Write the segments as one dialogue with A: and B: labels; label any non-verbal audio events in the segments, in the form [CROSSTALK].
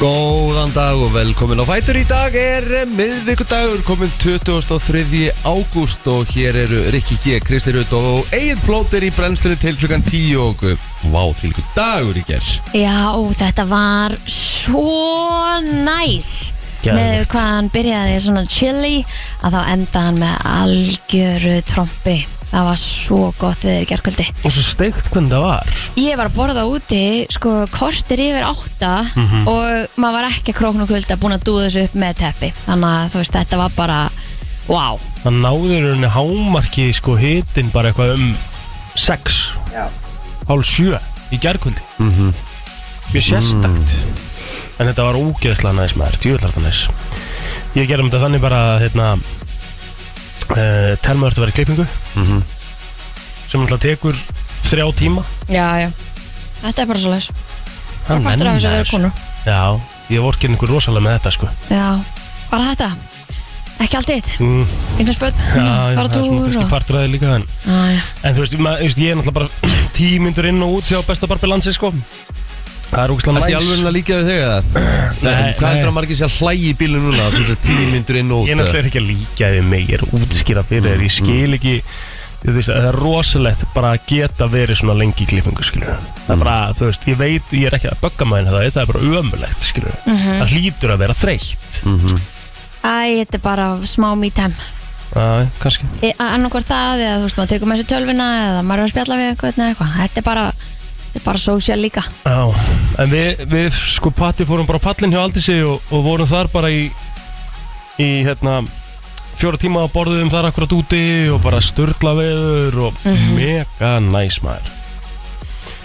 A: Góðan dag og velkomin á Fætur í dag er miðvikudagur komin 23. ágúst og hér eru Rikki G, Kristi Rutt og Egil Plóter í brennstunni til klukkan 10 og vá, til ykkur dagur í gerð
B: Já, þetta var svo næs
A: Geðveikt.
B: með hvað hann byrjaði svona chili að þá enda hann með algjöru trombi það var svo gott við þér gerkvöldi
C: Og svo steikt hvernig það var
B: ég var að borða úti sko kortir yfir átta
C: Mhm.
B: og maður var ekki krókn og kulda búin að dúða þessu upp með teppi þannig að þú veist þetta var bara wow
C: Það náður henni hámarki sko hitin bara eitthvað um 6 Hálf 7 í gærkvöldi
A: Mhm. Mm.
C: Mjög sérstakt En þetta var ógeðslega næs maður, djúvillar þetta næs Ég gerði um þetta þannig bara að, hérna uh, Telma þurfti að vera í klippingu
A: Mhm.
C: Sem alltaf tekur þrjá tíma
B: já, já, þetta er bara svo leis
C: Það
B: partur af þessu að vera konu.
C: Já, ég vorkin ykkur rosalega með þetta sko
B: já, bara þetta ekki allt eitt,
C: mm.
B: einhvers börn
C: Já, já,
B: fara
C: það er svona
B: túr
C: kannski
B: og
C: partur af því líka en,
B: Já,
C: en þú veist, mað, veist, ég er náttúrulega bara [CLEARS THROAT] tímyndur inn og út hjá besta barbi landsins sko Það er
A: Það
C: ógæslega
A: er
C: næs
A: því alveg að líka við
C: [CLEARS THROAT]
A: þegar
C: Nei,
A: Hvað
C: nei.
A: heldur að margir sé að hlægi í bílum núna þú veist að tíu myndur inn og
C: Ég er
A: út
C: náttúrulega ekki að líka við mig, ég er að útskýra fyrir þér, ég skil ekki Þú veist, það er rosalegt bara að geta verið svona lengi í klippingu, skilur Það er bara, þú veist, ég veit, ég er ekki að bögga maður hérna, það, það er bara ömulegt, skilur
B: Mhm.
C: Það hlýtur að vera þreytt
A: mm -hmm.
B: Æ, þetta er bara smá me time E,
C: kannski
B: Annarkvort það eða þú veist maður tekur með sér tölvuna eða maður er að spjalla við eitthvað eða eitthvað Þetta er bara, þetta er bara social líka
C: Já, en við, við sko patti fórum bara á pallin hjá Aldísi og, og vorum þar bara í, í hérna, fjóra tíma að borðum þar akkurat úti og bara sturla veður og mega næs maður.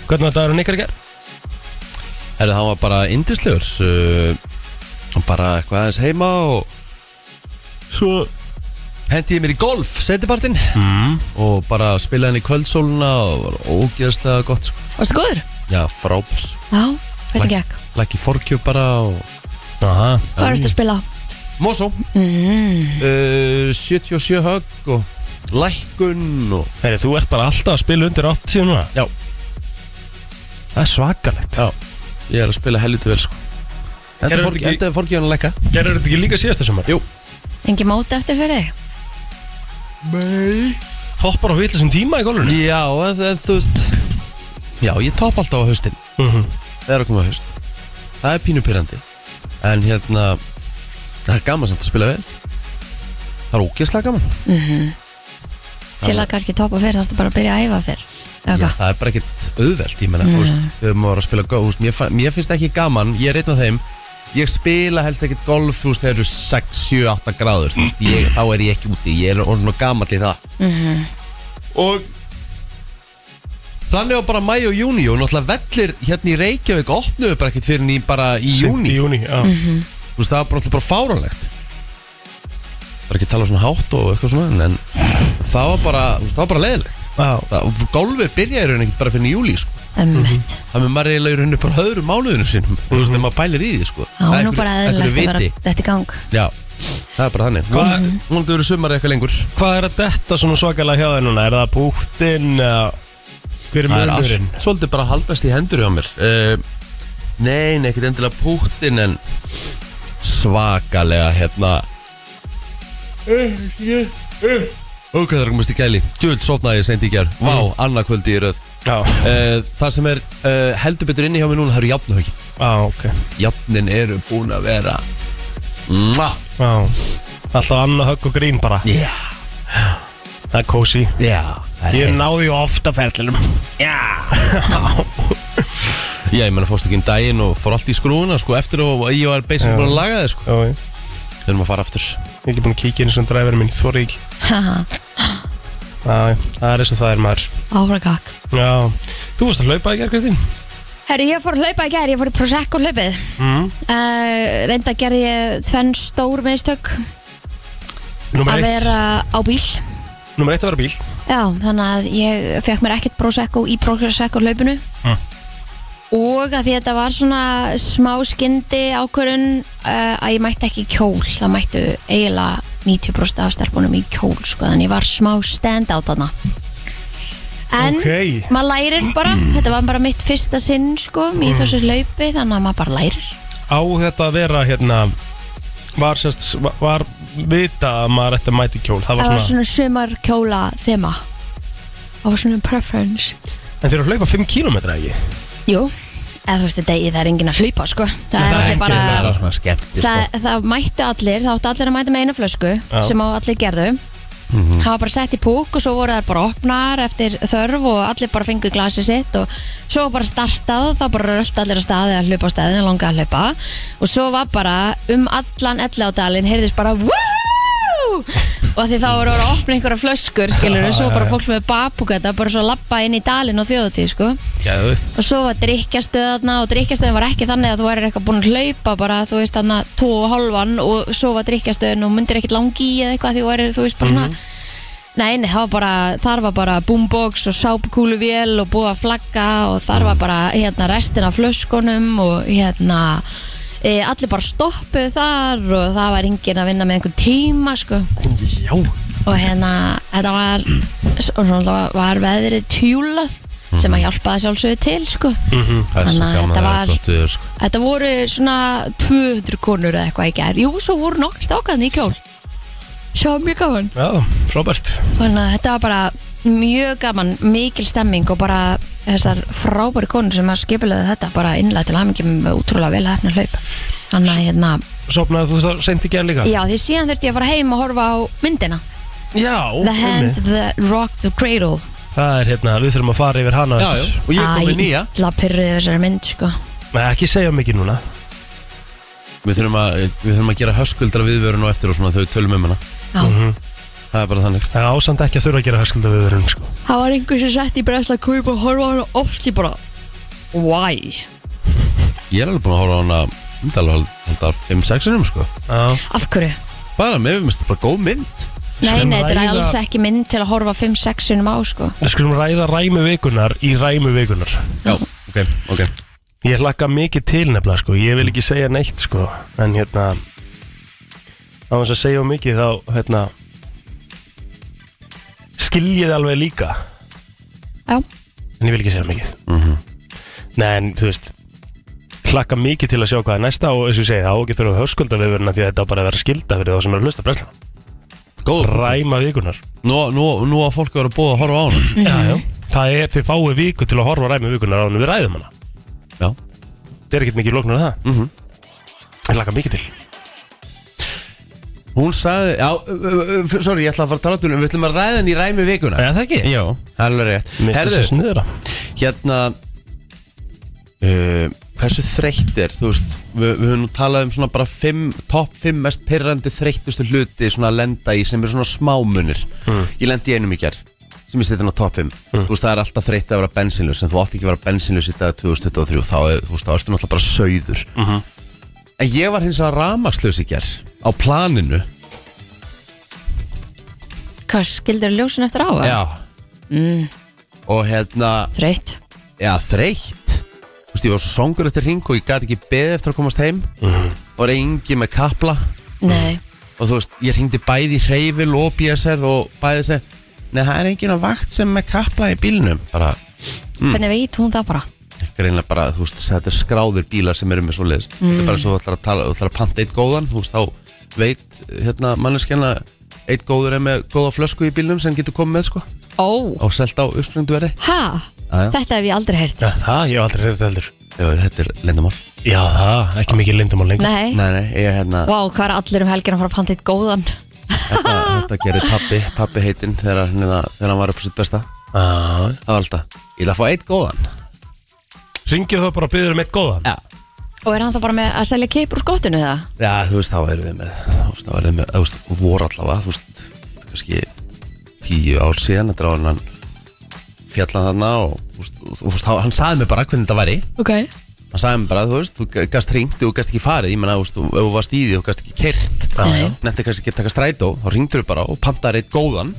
C: Hvernig var dagurinn ykkar í gerð?
A: Herru, hann var bara indislegur uh, Bara eitthvað aðeins heima og Svo hendi ég mér í golf setjapartinn
C: mm.
A: Og bara spilaði hann í kvöldsóluna Og var ógeðslega gott sko.
B: Varstu góður?
A: Já, frábær
B: Já, hvernig gekk?
A: Lækki forkjöp bara og
C: Aha.
B: Hvað ertu að spila á?
A: Mosó
B: Mm.
A: uh, 77 högg og lækkun og
C: Heri, þú ert bara alltaf að spila undir 80 núna.
A: Já,
C: Það er svakalegt.
A: já Ég er að spila helviti vel sko
C: Gerðu
A: Enda
C: þetta
A: fork-
C: ekki-
A: Enda forkjöpun að lækka
C: Gerður þetta ekki líka síðasta sumar?
A: Jú
B: Engi móti eftir fyrir þig?
A: Nei
C: Toppar á vitlisum tíma í golfinu?
A: Já, en, en þú veist Já, ég top alltaf á haustin
C: Mm -hmm.
A: Það er að koma á haust Það er pínupyrrandi En hérna Það er gaman samt að spila vel Það er ógeðslega gaman
B: Til að kannski topa fyrir þarfstu bara að byrja að æfa fyrir
A: Já,
B: Eitthvað
A: Það er bara ekkert auðvelt Ég menna, þú veist Þegar maður er að spila golf þú veist, mér, fa- mér finnst ekki gaman Ég er einn af þeim Ég spila helst ekkert golf Þú veist, þegar eru 6, 7, 8 gráður Þú veist, ég, þá er ég ekki úti Ég er orðin og gamall í það Og Þannig var bara mæ og júni og náttúrulega vellir hérna í Reykjavík opnuðu bara ekkert fyrir henni bara í júni
C: Í júni, já.
A: Þú veist, það var bara, alltaf bara fáránlegt Það er ekki að tala svona hátt og eitthvað svona En það var bara, þú veist, það var bara leiðilegt
C: Já.
A: það, Gólfið byrjaði í raun ekkert bara fyrir júli sko.
B: Ömmett
A: Það með maður eiginlega í rauninu bara höðrum mánuðinu sínum Þú veist, þegar maður pælir í því sko.
B: Já,
A: Það er
B: nú
A: einhverju-
B: bara
A: einhverju
B: eðlilegt að vera
A: viti.
B: þetta í gang
A: Já, það er bara þannig
C: Hvað-
A: Hvað? Núna þau eru sumar eitthvað lengur
C: Hvað er að detta svona svakalega hjá þér núna? Er það púktinn? eða Hver er
A: Það er
C: munurinn?
A: allt svolítið bara að haldast í hendur hjá mér uh, Nei, nei, ekkert endilega púttin En svakalega hérna Ok, það er komast í gæli Djöld sopnaði ég seint í gær Vá, mm. annarkvöldi í röð
C: Já.
A: uh, Það sem er uh, heldur betur inni hjá mér núna Það eru jafnuhögin
C: Já, ok
A: Jafnin eru búin að vera Mua
C: Já. Alltaf annað högg og grín bara
A: Já,
C: Það er kósi
A: já það er
C: Ég
A: heitt.
C: náði ju ofta ferðlunum
A: Já, ég meina fórst ekki um daginn og fór allt í skrúna Sko eftir og ég var basically
C: Já.
A: búin að laga það sko
C: Já, já.
A: Við erum að fara aftur
C: Ég er ekki búin að kíkja inn sem dræfari minn, þóri ekki
B: Haha,
C: Já, já. það er eins og það er maður
B: Áfragak
C: Já, þú varst að hlaupa í gerð, Kristín
B: Herri, ég fór að hlaupa í gær, ég fór í Prosecco hlaupið
C: mm.
B: uh, Reynda gerði ég tvenn stór meðstök
C: Númer
B: að
C: eitt,
B: vera á bíl
C: Númer eitt að vera bíl
B: Já, þannig að ég fekk mér ekkert Prosecco í Prosecco hlaupinu
C: Mm.
B: og að því að þetta var svona smá skyndi ákvörun uh, að ég mætti ekki í kjól það mættu eiginlega 90% af stelpunum í kjól sko, þannig að ég var smá stand-out þarna en
C: Ok. Mm.
B: maður lærir bara þetta var bara mitt fyrsta sinn sko, í þessu hlaupi þannig að maður bara lærir
C: á þetta að vera hérna var, sérst, var vita að maður ætti að mæti kjól það var
B: Það var
C: svona,
B: svona sumar kjóla þema Það var svona preference
C: en þeir eru að hlaupa 5 km ekki
B: Jú, eða þú veist þetta það er engin að hlaupa sko Það
C: það
B: er
C: er
B: allir
C: enginn
B: bara
C: að
A: Það er svona skemmti sko.
B: það, það mættu allir, það áttu allir að mæta með eina flösku
C: Já. Mhm.
B: sem á allir gerðu það var bara sett í púk og svo voru þær bara opnar eftir þörf og allir bara fengu glasi sitt og svo var bara startað og þá bara röllt allir að staði að hlaupa á staði að langa að hlaupa og svo var bara um allan elli á dalin heyrðist bara "Woo!" og því þá voru að opna einhverja flöskur skilur svo bara fólk með babúkata bara svo lappa inn í dalin og þjóðatíð sko
C: Geðvitt.
B: og svo var drikkjastöðna og drikkjastöðin var ekki þannig að þú erir eitthvað búin að hlaupa bara, þú veist, þannig að tó og hálfan og svo var drikkjastöðin og myndir ekkit langi í eða eitthvað því þú erir, þú veist, bara svona Nei, nei, það var bara, þar var bara boombox og sápukúluvél og búa flagga og þar var bara, hérna, restin af flöskunum og hérna e, allir bara stoppuð þar og það var enginn að vinna með einhvern tíma, sko
C: já,
B: og hérna þetta var, svona, var veðrið tjúlað sem að hjálpa að sjálfsögðu til sko.
A: Mhm. Það er svo
B: Þannig að
A: gaman
B: þetta
A: að
B: var-
A: vera gott viður sko.
B: þetta voru svona 200 konur eða eitthvað í gær jú, svo voru nokkur stákaðin í kjól svo mjög gaman
C: já, Robert
B: þannig að þetta var bara mjög gaman mikil stemming og bara þessar frábæri konur sem að skipilaðu þetta bara innlega til hamingi með útrúlega vel hefna hlaup þannig að hérna,
C: sopnaði þú það seint í gerð líka
B: já því síðan þurfti ég að fara heim og horfa á myndina
C: já
B: The Hand,
C: einmitt.
B: The Rock, The Cradle
C: það er hérna, við þurfum að fara yfir hana
A: Já, já,
C: eftir.
A: og ég er komið nýja
B: illa pyrruði þessari mynd sko
C: Nei, ekki segja mikið núna
A: Við þurfum að, við þurfum að gera höskuldra viðvörun og eftir og svona þau tölum um hana
B: Já.
A: Það er bara þannig
C: það ásand ekki að þurfa að gera höskulda við verðum sko.
B: Það var einhver sem sett í bresla kaup og horfa á hana ofst í bara Why?
A: Ég er alveg búin að horfa á hana umdala haldar 5-6 innum sko
C: Já.
B: Af hverju?
A: Bara, mér finnst þetta bara góð mynd
B: Nei,
C: Skulum
B: nei, þetta er
C: ræða-
B: alls ekki mynd til að horfa 5-6 sinum á sko
C: við skulum ræða ræmu vikunar í ræmu vikunar
A: Já, ok, ok
C: ég hlakka mikið til nefnilega sko. ég vil ekki segja neitt sko. en hérna á þess að segja of mikið þá hérna, skiljið alveg líka
B: Já,
C: en ég vil ekki segja mikið nei en þú veist hlakka mikið til að sjá hvað er næsta og eins og ég segi þá ekki þurfa að hörskulda við verðina því að þetta á bara að vera skilda fyrir þá sem eru að hlusta bresla
A: Góð
C: ræma vikunar
A: Nú, nú, nú að fólk eru að búa að horfa á hana
C: já, já. það er þið fáið viku til að horfa á ræma vikunar á hann við ræðum hana
A: Já,
C: það er ekkert mikið lóknur það mm
A: Mhm.
C: ég hlakka mikið til
A: hún sagði Já, uh, uh, uh, sorry, ég ætla að fara að tala um Við ætlum að ræða henni í ræmi vikuna
C: eða það ekki
A: Já, það er alveg rétt
C: Mista
A: Herðu,
C: sér sniðra
A: hérna uh, hversu þreytt er þú veist, við, við höfum nú talað um svona bara fimm, top 5 mest pyrrandi þreyttustu hluti svona að lenda í sem eru svona smámunir ég lendi í einum í ger sem ég setja á top 5 þú veist það er alltaf þreytt að vera bensinlaus en þú átt ekki að vera bensinlaus í dag 2023 þá, er- þú veist, þá erstu náttúrulega bara sögður en ég var hins að ramakslaus í ger á planinu
B: hvað skildur ljósin eftir á það?
A: já og hérna
B: Þreitt
A: Já, þreytt Þú veist, ég var svo songur eftir hring og ég gæti ekki beðið eftir að komast heim og var engi með kapla
B: Nei,
A: og þú veist, ég hringdi bæði í hreyfil og BSR og bæði sér Nei, það er engin á vakt sem er með kapla í bílnum bara, Mm.
B: hvernig veit hún það bara?
A: greinlega bara, þú veist, þetta er skráður bílar sem eru með svoleiðis Þetta er bara svo þú ætlar að tala, þú ætlar að panta eitt góðan þú veist, þá veit, hérna, manneskjana eitt góður er með góða flösku í bílnum sem getur komið með, sko,
B: Ó,
A: og selt á uppspringdu verði
B: ha?
A: Jæja.
B: Þetta hef ég aldrei heyrt
C: Já, það, ég hef aldrei reyðið heldur
A: Jú, þetta er lindamál
C: Já, það, ekki mikið lindum á lengur
B: Nei,
A: Nei, nei, ég, hérna,
B: vá, hvað er allir um helgina að fara að panta eitt góðan?
A: Þetta, þetta gerir pappi, pappi heitinn þegar, hérna- þegar hann var upp á sitt besta
C: ah.
A: Það var alltaf Ég ætla að fá eitt góðan
C: Ringir þá bara og byður um eitt góðan
A: Já,
B: Og er hann þá bara með að selja keip úr skottinu það?
A: Já þú veist, þá erum við með Þú veist, þá erum við með, þú veist, voru allavega Þú veist, þetta er kannski tíu ár síðan Þetta er á hann fjallan þarna og þú veist, og þú veist, hann sagði mér bara hvernig þetta væri
B: Ok
A: Hann sagði mér bara, þú veist, þú gast hringt Þú gast ekki farið, ég menna, þú veist, þú- ef þú varst í því Þú gast ekki kert
B: já.
A: Nefndi kannski ekki að taka strætó, þá ringdur þú bara og pantar eitt góðan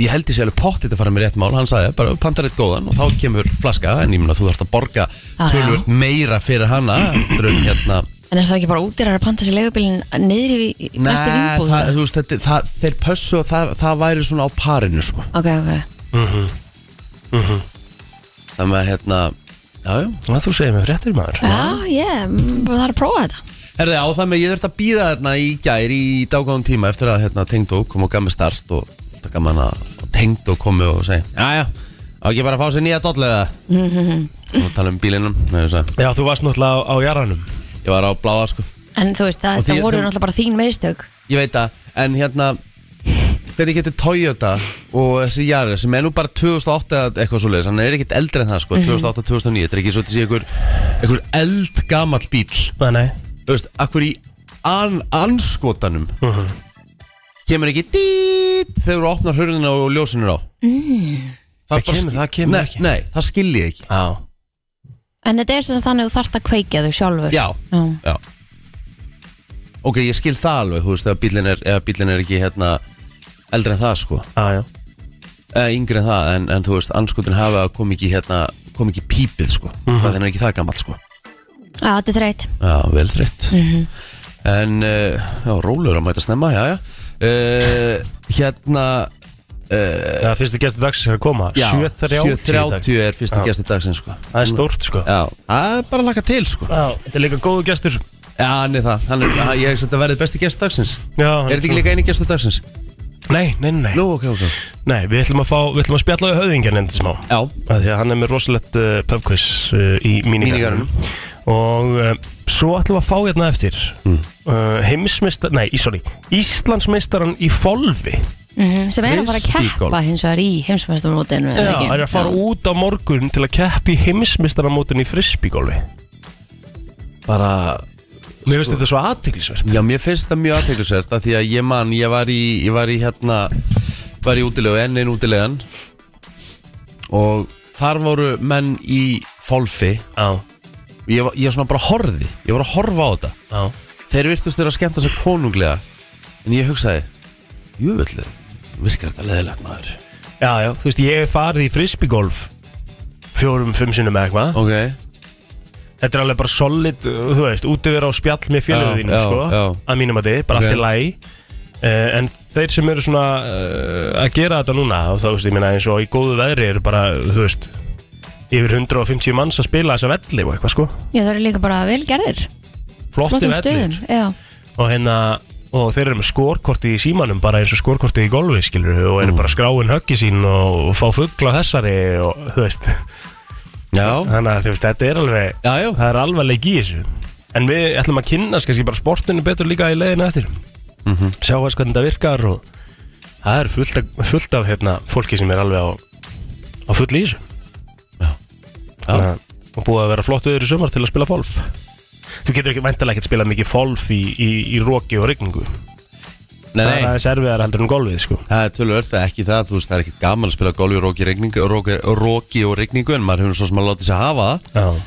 A: Ég held ég sé alveg pottið að fara með rétt mál Hann sagði bara, pantar eitt góðan og þá kemur flaska En ég menna, þú þarfst að borga
B: já.
A: tölvöld meira fyrir hana heldur en hérna,
B: En er það ekki bara útir að panta sér leigubílinn niður í í næstu
A: Nei,
B: vinnbúð?
A: það, þú veist, þetta, það, þeir pössu og það, það væri svona á parinu sko.
B: Ok, ok
A: Þannig að hérna, já, já.
C: Að þú segir mér fréttir maður
B: Já, ég, mm, bara það er að prófa þetta
A: Herði á það með ég þurfti að býða þarna í gær í dágáðum tíma eftir að hérna, tengdó kom og gaf mér start og þetta gaf manna og tengdó komu og segi Jæja, á ekki bara að fá sér nýja dollu eða og tala um bílinum með þess að
C: Já, þú varst náttúrulega á, á jaranum
A: ég var á bláa sko
B: En þú veist, það,
A: Og því-
B: það
A: þeim-
B: voru náttúrulega bara þín meðstök
A: Ég veit það, en hérna hvernig getur Toyota og þessi Yaris sem er nú bara 2008 eða eitthvað svoleiðis, hann er ekkert eldri en það sko 2008-2009, þetta er ekki svo til sé einhver einhver eldgamall bíl
C: Nei, nei
A: þú veist, akkur í an, anskotanum
C: Mhm.
A: kemur ekki dýt þegar þú opnar hörðina og ljósin er á mm. það,
C: Það
A: bara
C: kemur-
A: skil-
C: það kemur
A: nei,
C: ekki.
A: nei, það skil ég ekki
C: Já
B: En þetta er sem sagt þannig að þú þarft að kveikja þau sjálfur
A: já, já ok, ég skil það alveg, þú veist, ef bílinn er, ef bílinn er ekki hérna eldri en það sko,
C: Já, já
A: eða yngri en það en, en þú veist, anskotin hafa kom ekki hérna, kom ekki pípið sko
C: Mhm.
A: það er ekki það gammal sko
B: Já, þetta er þreitt
A: Já, vel þreytt En, uh, já, rólur að mæta snemma, já, já uh, Hérna, eh,
C: Það fyrsti gestur dagsins er að koma
A: já
C: 7.30 í dag.
A: 7.30 er fyrsti
C: Já.
A: gestur dagsins, sko
C: Það er stórt sko
A: Já, það er bara að laka til, sko
C: Já, þetta er líka góðu gestur
A: Já, hann er það, hann er, hann, ég hef sagt að verði besti gestur dagsins
C: Já,
A: Er þetta ekki líka eini gestur dagsins?
C: Nei, nei, nei
A: Nú, ok, ok
C: Nei, við ætlum að, fá, við ætlum að spjalla við höfðingjan endur smá
A: Já,
C: Af Því að hann er með rosalegt uh, pubquiz uh, í mínigarunum Og uh, svo ætlum við að fá hérna eftir
A: Hmm.
C: mm. uh, Heimismistar, nei, í- sorry Íslandsmeistaran í Folvi
B: Sem er að fara að
A: Frisbeegolf.
B: keppa hins vegar í heimsmestamótinu
C: Já, það er að fara út á morgun til að keppi heimismeistaramótin í frisbygólfi
A: bara
C: Mér finnst þetta svo aðtiklisvert
A: Já, mér finnst það mjög aðteglisvert að því að ég man, ég var í, ég var í hérna, var í útilegu, enn einn útilegan og þar voru menn í fólfi,
C: Já,
A: ég var, ég var svona bara horði, ég var að horfa á þetta
C: já
A: þeir virtust þeirra að skemmta sér konunglega en ég hugsaði, jöfnvöldu virkar þetta leðilegt maður
C: Já, já, þú veist, ég hef farið í frisbygolf fjórum, fimm sinnum eða eitthvað
A: Ok,
C: Þetta er alveg bara solid, uh, þú veist, útivera og spjall með
A: Já,
C: félagið þínum,
A: já,
C: sko
A: já.
C: að mínum að þið, bara
A: Ok.
C: allt í lagi uh, en þeir sem eru svona uh, að gera þetta núna, og þá veist, ég minna eins og í góðu veðri eru bara, þú veist yfir 150 manns að spila þessa velli og eitthvað, sko,
B: Já, það eru líka bara vel gerðir
C: flotti
B: Flottum
C: vellir
B: stöðum Já,
C: og hérna og þeir eru með skorkortið í símanum bara eins og skorkortið í golfi skilur og
A: Mm.
C: eru bara skráin höggi sín og, og fá fuggla þessari og þú veist
A: já,
C: þannig að þú veist þetta er alveg
A: já, já
C: það er alveg leik í þessu en við ætlum að kynna kannski bara sportinu betur líka í leiðinu eftir
A: Mhm.
C: sjá hans hvernig það virkar og það er fullt af, fullt af hérna, fólki sem er alveg á, á full í þessu
A: Já.
C: Þannig að- og búið að vera flott viður í sumar til að spila golf þú getur ekki væntalega ekkert spila mikið golf í, í, í roki og rigningu
A: Nei,
C: það er
A: nei,
C: aðeins erfiðar heldur en golfið sko.
A: það er tölvörð, það er ekki það, þú veist, það er ekki gaman að spila golfi og róki, í rigningu, róki, róki og rigningu en maður hefur svo sem að láta sér hafa það
C: já,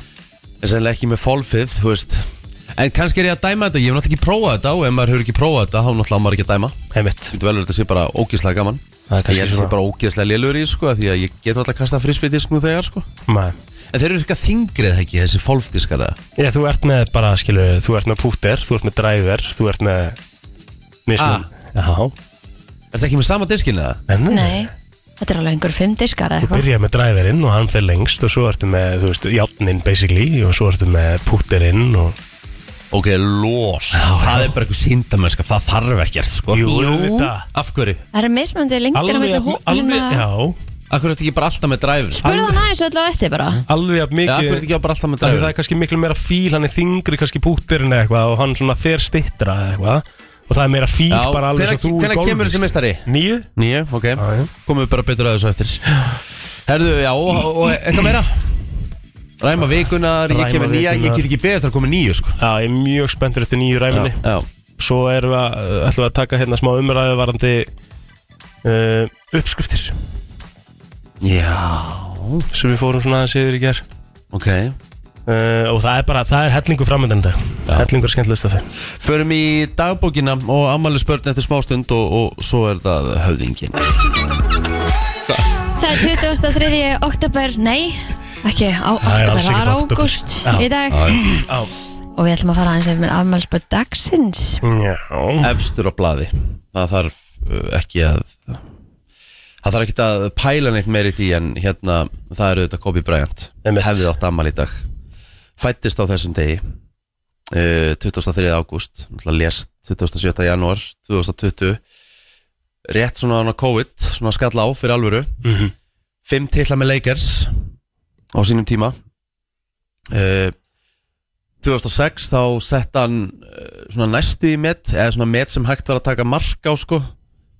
A: En sennilega ekki með fólfið, þú veist En kannski er ég að dæma þetta, ég hef náttúrulega ekki prófað þetta og ef maður hefur ekki prófað þetta, þá náttúrulega á maður ekki að dæma
C: heimitt
A: Þetta velur þetta sé bara ógeðslega gaman
C: Það er
A: Ég
C: kannski
A: held að sé
C: svona.
A: bara ógeðslega lélur í, því, sko, af því að ég get alltaf að kasta frisbydisknum þegar, sko En þeir eru eitthvað þingrið, eða ekki, þessi fólfdiskar eða?
C: Já, þú ert með bara, skilu, þú ert með púter, þú ert með driver, þú ert með mismun. Ah.
A: Er þetta ekki með sama diskin eða?
C: Já, en
B: nei Þetta er alveg einhver fimm diskar eða
C: Þú
B: eitthvað
C: byrjar með driverinn og hann fer lengst og svo ertu með, þú veist, játnin basically og svo ertu með púterinn og...
A: Ok, lól, það er bara eitthvað síndamennska, það þarf ekkert, sko
C: Jú,
B: Jú.
C: auðvitað.
A: Af hverju?
B: Það eru mismöndi lengtir á milli hó-
C: alveg,
B: hérna-
C: já,
A: Af hverju ertu ekki bara alltaf með driver?
B: Spurðu hann aðeins öll á eftir bara
C: alveg að
A: Ja, af
C: mikið...
A: hverju ertu ekki bara alltaf með
C: Af því Það
A: driver?
C: er kannski miklu meira fíl, hann er þingri kannski púterinn eða eitthvað og hann svona fer stittra eða eitthvað og það er meira fíl
A: Já,
C: bara alveg
A: hvenær
C: svo þú
A: hvenær kemur þessi mestari?
C: Nýju?
A: Nýju, ok
C: Já, já.
A: komum við bara betur að þessu eftir Herðu, já, og, og eitthvað meira Ræma vikunar, ég
C: Ræma
A: kem með nýja Ég
C: vikunar.
A: get ekki beðið eftir að koma nýju, sko
C: Já, ég er mjög spenntur eftir nýju ræminni.
A: Já,
C: svo erum við að, ætlum við að taka hérna smá umræðu varandi uh, uppskriftir
A: já
C: sem við fórum svona aðeins yfir í ger
A: ok
C: uh, og það er bara, það er hellingur framöndan dag
A: Já.
C: hellingur skemmtilegst af þeim
A: Förum í dagbókina og ammali spörn eftir smástund og, og svo er það höfðingin
B: Það er 23. oktober, nei ekki á
C: Það er
B: oktober,
C: alls
B: það
C: ekkert
B: er
C: október.
B: ágúst
C: Já.
B: í dag
C: Já,
B: og við ætlum að fara aðeins ef mér afmælspöld dagsins
C: já,
A: Efstur á blaði Það þarf uh, ekki að Það það þarf ekki að pæla neitt meir í því en hérna, það eru þetta Kobe Bryant
C: Einmitt.
A: hefði átt ammali í dag fættist á þessum degi uh, 23. ágúst lést 27. janúar 2020 rétt svona hann á COVID svona skalla á fyrir alvöru
C: Mhm.
A: fimm titla með Lakers á sínum tíma uh, 2006 þá sett hann uh, svona næstu í met eða svona met sem hægt var að taka mark á sko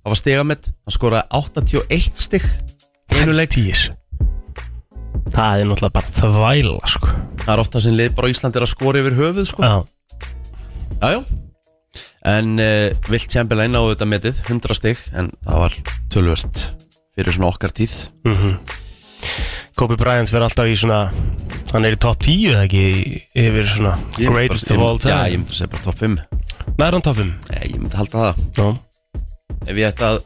A: það var stegamett, hann skoraði 81 stig í einu leik
C: Tíis Það er náttúrulega bara þvæla sko
A: það er ofta sem lið bara á Íslandi er að skora yfir höfuð sko
C: Já,
A: Jájá En uh, Vilt Chamberlain náðu þetta metið 100 stig En það var tölvört Fyrir svona okkar tíð
C: Mhm. Kobe Bryant verður alltaf í svona Hann er í top 10 eða ekki í- Yfir svona
A: Ég myndi
C: greatest
A: bara-
C: of all
A: Já, ég
C: time
A: myndi að segja bara top 5
C: Nær hann top 5
A: Nei, ég myndi halda það
C: Já,
A: Ef ég ætti að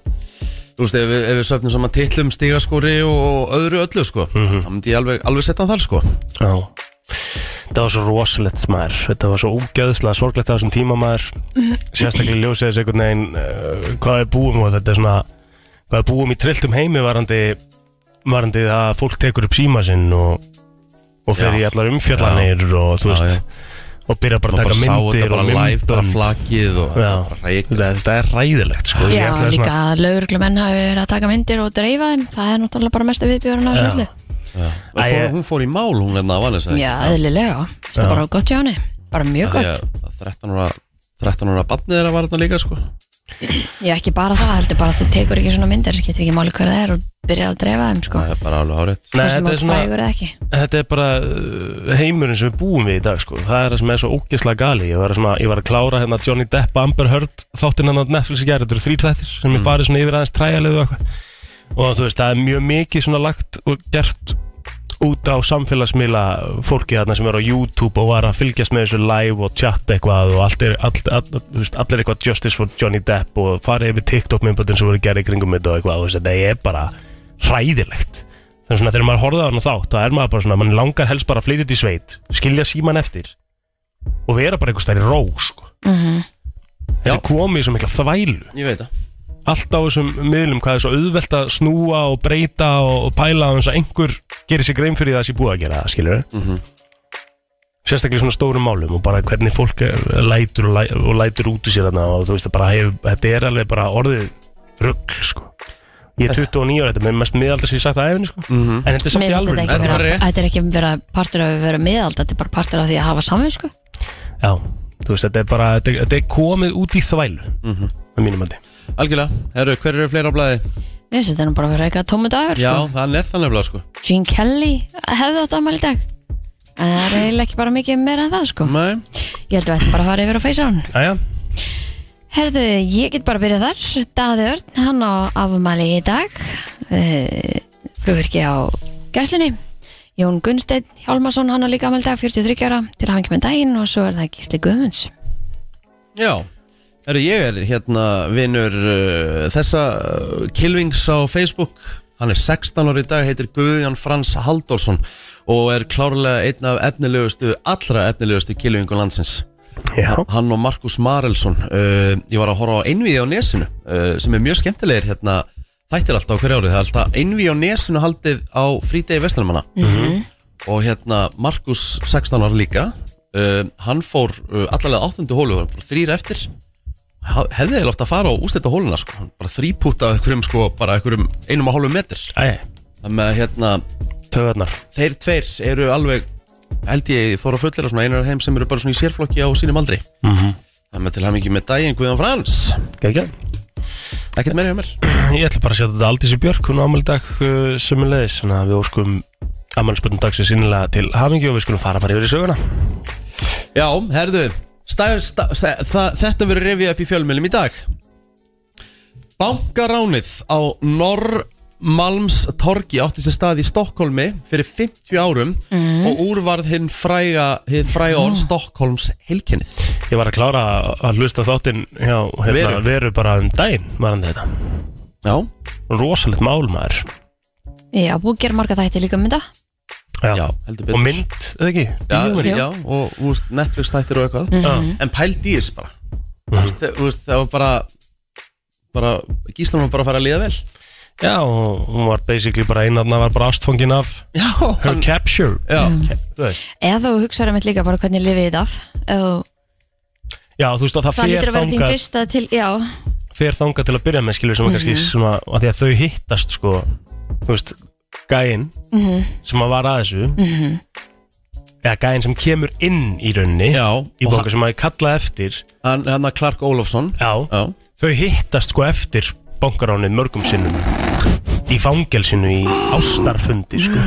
A: Þú veist, ef, við- ef við söfnum saman titlum, stigaskóri og, og öðru öllu sko
C: Mhm.
A: Þá myndi ég alveg, alveg setja hann þar sko
C: já Þetta var svo rosalegt maður Þetta var svo ógeðslega sorglegt á þessum tíma maður Sérstaklega í ljósið þessu einhvern veginn uh, Hvað er búum og þetta er svona Hvað er búum í trilltum heimi varandi Varandi það að fólk tekur upp síma sinn Og, og fer í
A: Já.
C: allar umfjallanir Og þú
A: Já,
C: veist
A: já.
C: Og byrja bara
A: Maður bara
C: að taka
A: sá
C: myndir
A: þetta bara
C: og
A: live, bara
C: myndbönd.
A: flakið og
C: Já.
A: bara reik
C: Þetta er- þetta er ræðilegt sko. Ég
B: Já,
C: ætlaði svona-
B: líka að lauruglumenn hafi verið að taka myndir og dreifa þeim, það er náttúrulega bara mesta viðbjörn á þessu
C: Já.
B: öllu.
A: Hún
C: Æ,
A: fór-
C: ég-
A: Hún fór í mál, hún hérna að vanna
B: Já, eðlilega, það
C: Já.
B: er bara gott hjá henni, bara mjög
A: Því
B: gott.
A: að 13 ára 13 ára barnið er að vara þarna líka sko
B: Já, ekki bara það, heldur bara að þú tekur ekki svona myndir, það skiptir ekki máli hverða það er og byrjar að dreifa þeim, sko.
A: Það er bara alveg hárétt
C: Nei,
B: Hversu
C: þetta, er
B: mál
C: svona,
B: frægur eða ekki.
C: þetta er bara uh, heimurinn sem við búum við í dag sko. Það er það sem er svo ógeðslega gali ég var, svona, ég var að klára hérna Johnny Depp Amber Heard þáttinn hann á Netflix í gerð Þetta eru þrýr þættir sem ég farið svona yfir aðeins træjalegu og, eitthvað. og þú veist, það er mjög mikið svona lagt og gert út á samfélagsmiðla fólki þarna sem er á YouTube og var að fylgjast með þessu live og chat eitthvað og allt er, all, all, all, þú veist, allir eitthvað justice for Johnny Depp og farið yfir TikTok myndböndin sem voru gerði kringum þetta og eitthvað og þessi, þetta er bara hræðilegt þannig svona þegar maður horfði á hann þá þá er maður bara svona, mann langar helst bara að flytja til sveit skilja síman eftir og vera bara einhvers þær í ró sko. þetta
A: Já.
C: er komið í svo mikla þvælu
A: Ég veit það
C: allt á þessum miðlum hvað er svo auðvelt að snúa og breyta og, og pæla þess að einhver gerir sér grein fyrir það sem ég búið að gera það, skilur við
A: Mhm.
C: sérstaklega í svona stórum málum og bara hvernig fólk er, lætur og, læ, og lætur út í sér þarna og þú veist að bara hef, þetta er alveg bara orðið rugg, sko ég er 29 ára, þetta er með mest miðaldar sem ég hef sagt að æfinni, sko en þetta er samt
B: Mér
C: í
B: finnst þetta
C: alveg
B: ekki
A: Mhm. Þetta er bara
B: vera,
A: rétt.
B: þetta er ekki vera partur af að vera miðald, þetta er bara partur af því að hafa sko. samvinsku.
C: já, þú veist, þetta er bara, þetta er, þetta er komið út í þvælu
A: Mhm.
C: að mínum andi
A: Algjörlega, herru, hver eru fleira á blæði?
B: Mér finnst þetta nú bara að vera eitthvað tómu dagur,
A: Já,
B: sko.
A: það er það nefnilega sko
B: Gene Kelly hefði átt afmæli í dag. En það er eiginlega ekki bara mikið meira en það, sko.
A: Nei
B: Ég held að þetta bara að fara yfir á feysa hún.
C: Æja,
B: Herðu, ég get bara að byrja þar. Daði Örn, hann á afmæli í dag. Uh, flugverki á gæslinni. Jón Gunnsteinn Hjálmarsson, hann á líka afmæli í dag, 43 ára, til að hafa með daginn og svo er það Gísli Guðmunds.
A: Já, herru, ég er hérna vinur uh, þessa uh, Kilvings á Facebook Hann er 16 ári í dag, heitir Guðján Frans Halldórsson og er klárlega einn af efnilegustu, allra efnilegustu Kilvingu landsins
C: já,
A: Hann og Markus Marelsson uh, Ég var að horfa á Einvíði á nesinu uh, sem er mjög skemmtilegir hérna þættir alltaf á hverju árið, það er alltaf Einvíði á nesinu haldið á frídegi Vestlumanna og hérna Markus 16 ára líka uh, hann fór uh, allalega áttundu hólu hann bara þrýr eftir Ha- hefði þeir ofta að fara á ústættu hóluna sko. Hann bara þrýpúta einhverjum sko, bara einhverjum einum og hálfu metr
C: æja,
A: þannig að hérna
C: töðarnar
A: þeir tveir eru alveg held ég þóra fullir að svona einar af þeim sem eru bara svona í sérflokki á sínum aldri mm þannig að til hamingi með daginn Guðan Frans
C: Gækja?
A: ekkert meira hjá mér
C: Ég ætla bara að sjá þetta Aldísi Björk, hún á afmæli í dag uh, sömulegis, þannig að við óskum afmælisbörnum dagsins innilega til hamingi og við skulum fara að fara yfir í söguna.
A: já, herðu, stær, stær, það, þetta verður revið upp í fjölmjölum í dag Bankaránið á Norrmalms torgi átti sér stað í Stokkólmi fyrir 50 árum og úrvarð hinn fræga, hinn fræga orð Stokkólms heilkennið
C: Ég var að klára að- að hlusta á þáttinn hjá hérna,
A: Veru.
C: veru. bara um daginn, varandi þetta.
A: já,
C: Rosalegt mál maður.
B: Já, búið að gera marga þætti líka um þetta.
A: já, heldur
C: Og
A: betur
C: mynd, eða ekki?
A: Já,
C: Jú,
A: já, og þú veist, Netflix þættir og eitthvað En pælt í þessu bara Mhm. Þú veist, þú veist, það var bara bara, Gíslan var bara að fara að liða vel
C: já. Já, og hún var basically bara einarna var bara ástfangin af
A: Já,
C: her
A: hann,
C: capture
A: já.
C: Ke- þú veist.
B: Eða þú hugsaður einmitt líka bara hvernig lifið þetta af Ef þú-
C: Já, þú veist að það,
B: Það
C: fer,
B: lítur að vera þín
C: þangað,
B: fyrsta til, já
C: fer þangað til að byrja með skilur sem mm kannski svona, að því að þau hittast sko, þú veist, gæinn sem að var að þessu eða gæinn sem kemur inn í rauninni
A: Já,
C: í
A: og
C: bóka sem að kalla eftir
A: hann, hann að Clark Ólofsson
C: Já,
A: Já,
C: þau hittast sko eftir bankaránið mörgum sinnum í fangelsinu í ástarfundi sko.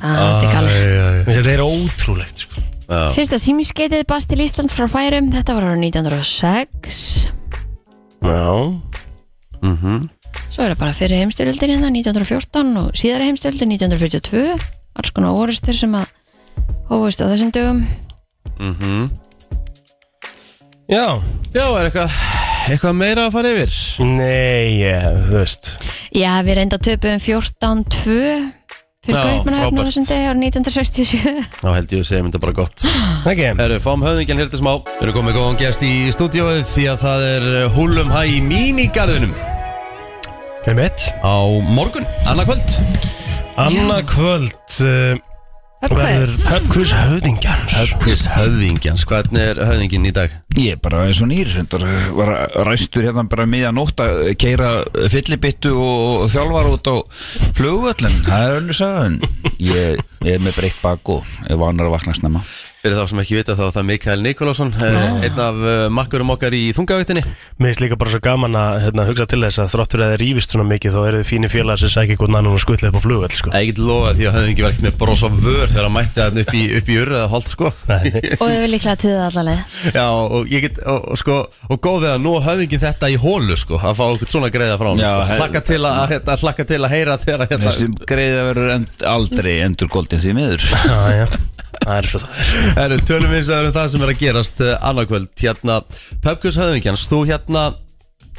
B: Á, Ah, Þetta er galið
C: þetta er ótrúlegt sko.
B: Fyrsta símiskeitið bast til Íslands frá færum Þetta var árið 1906
C: Já,
B: Svo er það bara fyrir heimstyrjöldin hérna 1914 og síðari heimstyrjöldin 1942 Alls konar orustur sem að hófust á þessum dögum
C: já,
A: já er eitthvað eitthvað meira að fara yfir
C: nei, ég, þú veist
B: Já, við reynda töpum 14-2 fyrir
A: Já,
B: Kaupmannahöfn á
A: frábært.
B: þessum degi árið 1967
A: Þá held ég að segja mér þetta bara gott
C: okay.
A: Herru, fáum höfðingjan hér til smá Við erum komið góðan gest í stúdíóið því að það er húlum hæ í mínigarðinum
C: Með mitt
A: á morgun, annarkvöld
C: Anna kvöld uh, verður
B: Öpkvæðist
C: Pöpkvís höfðingjans
A: Höfnis höfðingjans, hvernig er höfðingin í dag?
D: Ég er bara eins og nýr, reyndar, eh, var ræstur hérna bara miðan nótt að keira fyllibittu og, og þjálfar út á flugvöllin, það er önnur sagðan. Ég, ég er með breytt bak og er vanar að vakna snemma.
A: Fyrir þá sem ekki vita þá er það Mikael Nikolásson eh, einn af eh, makkurum okkar í þungavættinni
C: Mér finnst líka bara svo gaman að hérna, hugsa til þess að þráttur að það rífist svona mikið þá eru þið fínir félagar sem sækja hvernig annan og skutla upp á flugvöld sko.
A: Ég get lofa því að höfðingi var ekkert með bros á vör þegar hann mætti hann upp í, upp í urða holt sko [LAUGHS]
C: Nei.
B: Og við viljum líklega töða allaleg
A: Já, og ég get, og, og sko, og góð við að nú á höfðingin þetta í hólu sko, að fá okkur svona greiða frá hann
D: Já,
A: sko.
D: he-
A: Hlakka til að, hérna, hlakka til að heyra þegar að, hérna,
D: Þessum greiða verður end, aldrei endur goldin því miður.
C: Já, Ah, já. Það er svo það
A: Herru, tölum við eins og það um það sem er að gerast uh, annarkvöld Hérna, Pöpkus Höðingjans, þú hérna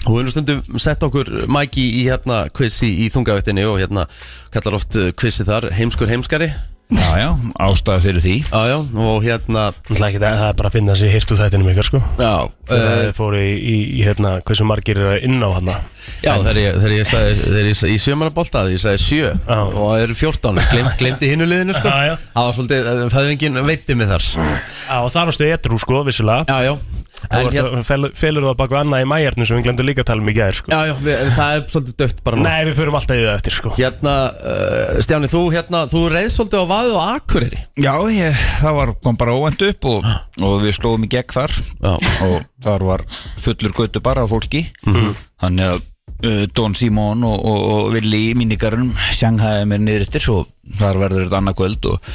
A: Þú hefur nú stundum sett okkur mæki í hérna quiz í, í þungavættinni og hérna kallar oft uh, quizið þar heimskur heimskari
D: Já, já, ástæða fyrir því.
A: Já, já, og hérna
C: Ekki, það, það er bara að finna sér hirtu þættinum ykkar sko.
A: Já,
C: Það
A: uh,
C: fóru í, í, í hérna, hversu margir er inn á hana
A: já þegar ég, þegar ég sagði, þegar ég sagði í sjömanabóltaði, ég sagði sjö
C: Já.
A: og það eru fjórtán, glemt, glemdi hinnu liðinu sko
C: Já, já.
A: Það var svolítið, uh, höfðingin veitti mig þar Já,
C: Já, og það varstu etru sko, vissulega
A: já,
C: Þú
A: en hérna
C: varstu- fel- felur það bak við annað í mæjarnu sem við glemdu líka að tala um í gæðir sko.
A: Já, já, við, eh, það er svolítið dött bara nú
C: Nei, við förum alltaf í það eftir sko.
A: Hérna, uh, Stjáni, þú hérna, þú reyð svolítið á vaðið og akureyri
D: Já, ég, það var, kom bara óvend upp og, og við slóðum í gegn þar
A: Já.
D: og þar var fullur götu bara af fólki
A: Mhm.
D: þannig að uh, Don Simon og, og, og Willi í mínigarunum sjanghæði mér niður eftir og þar verður þetta annað kvöld og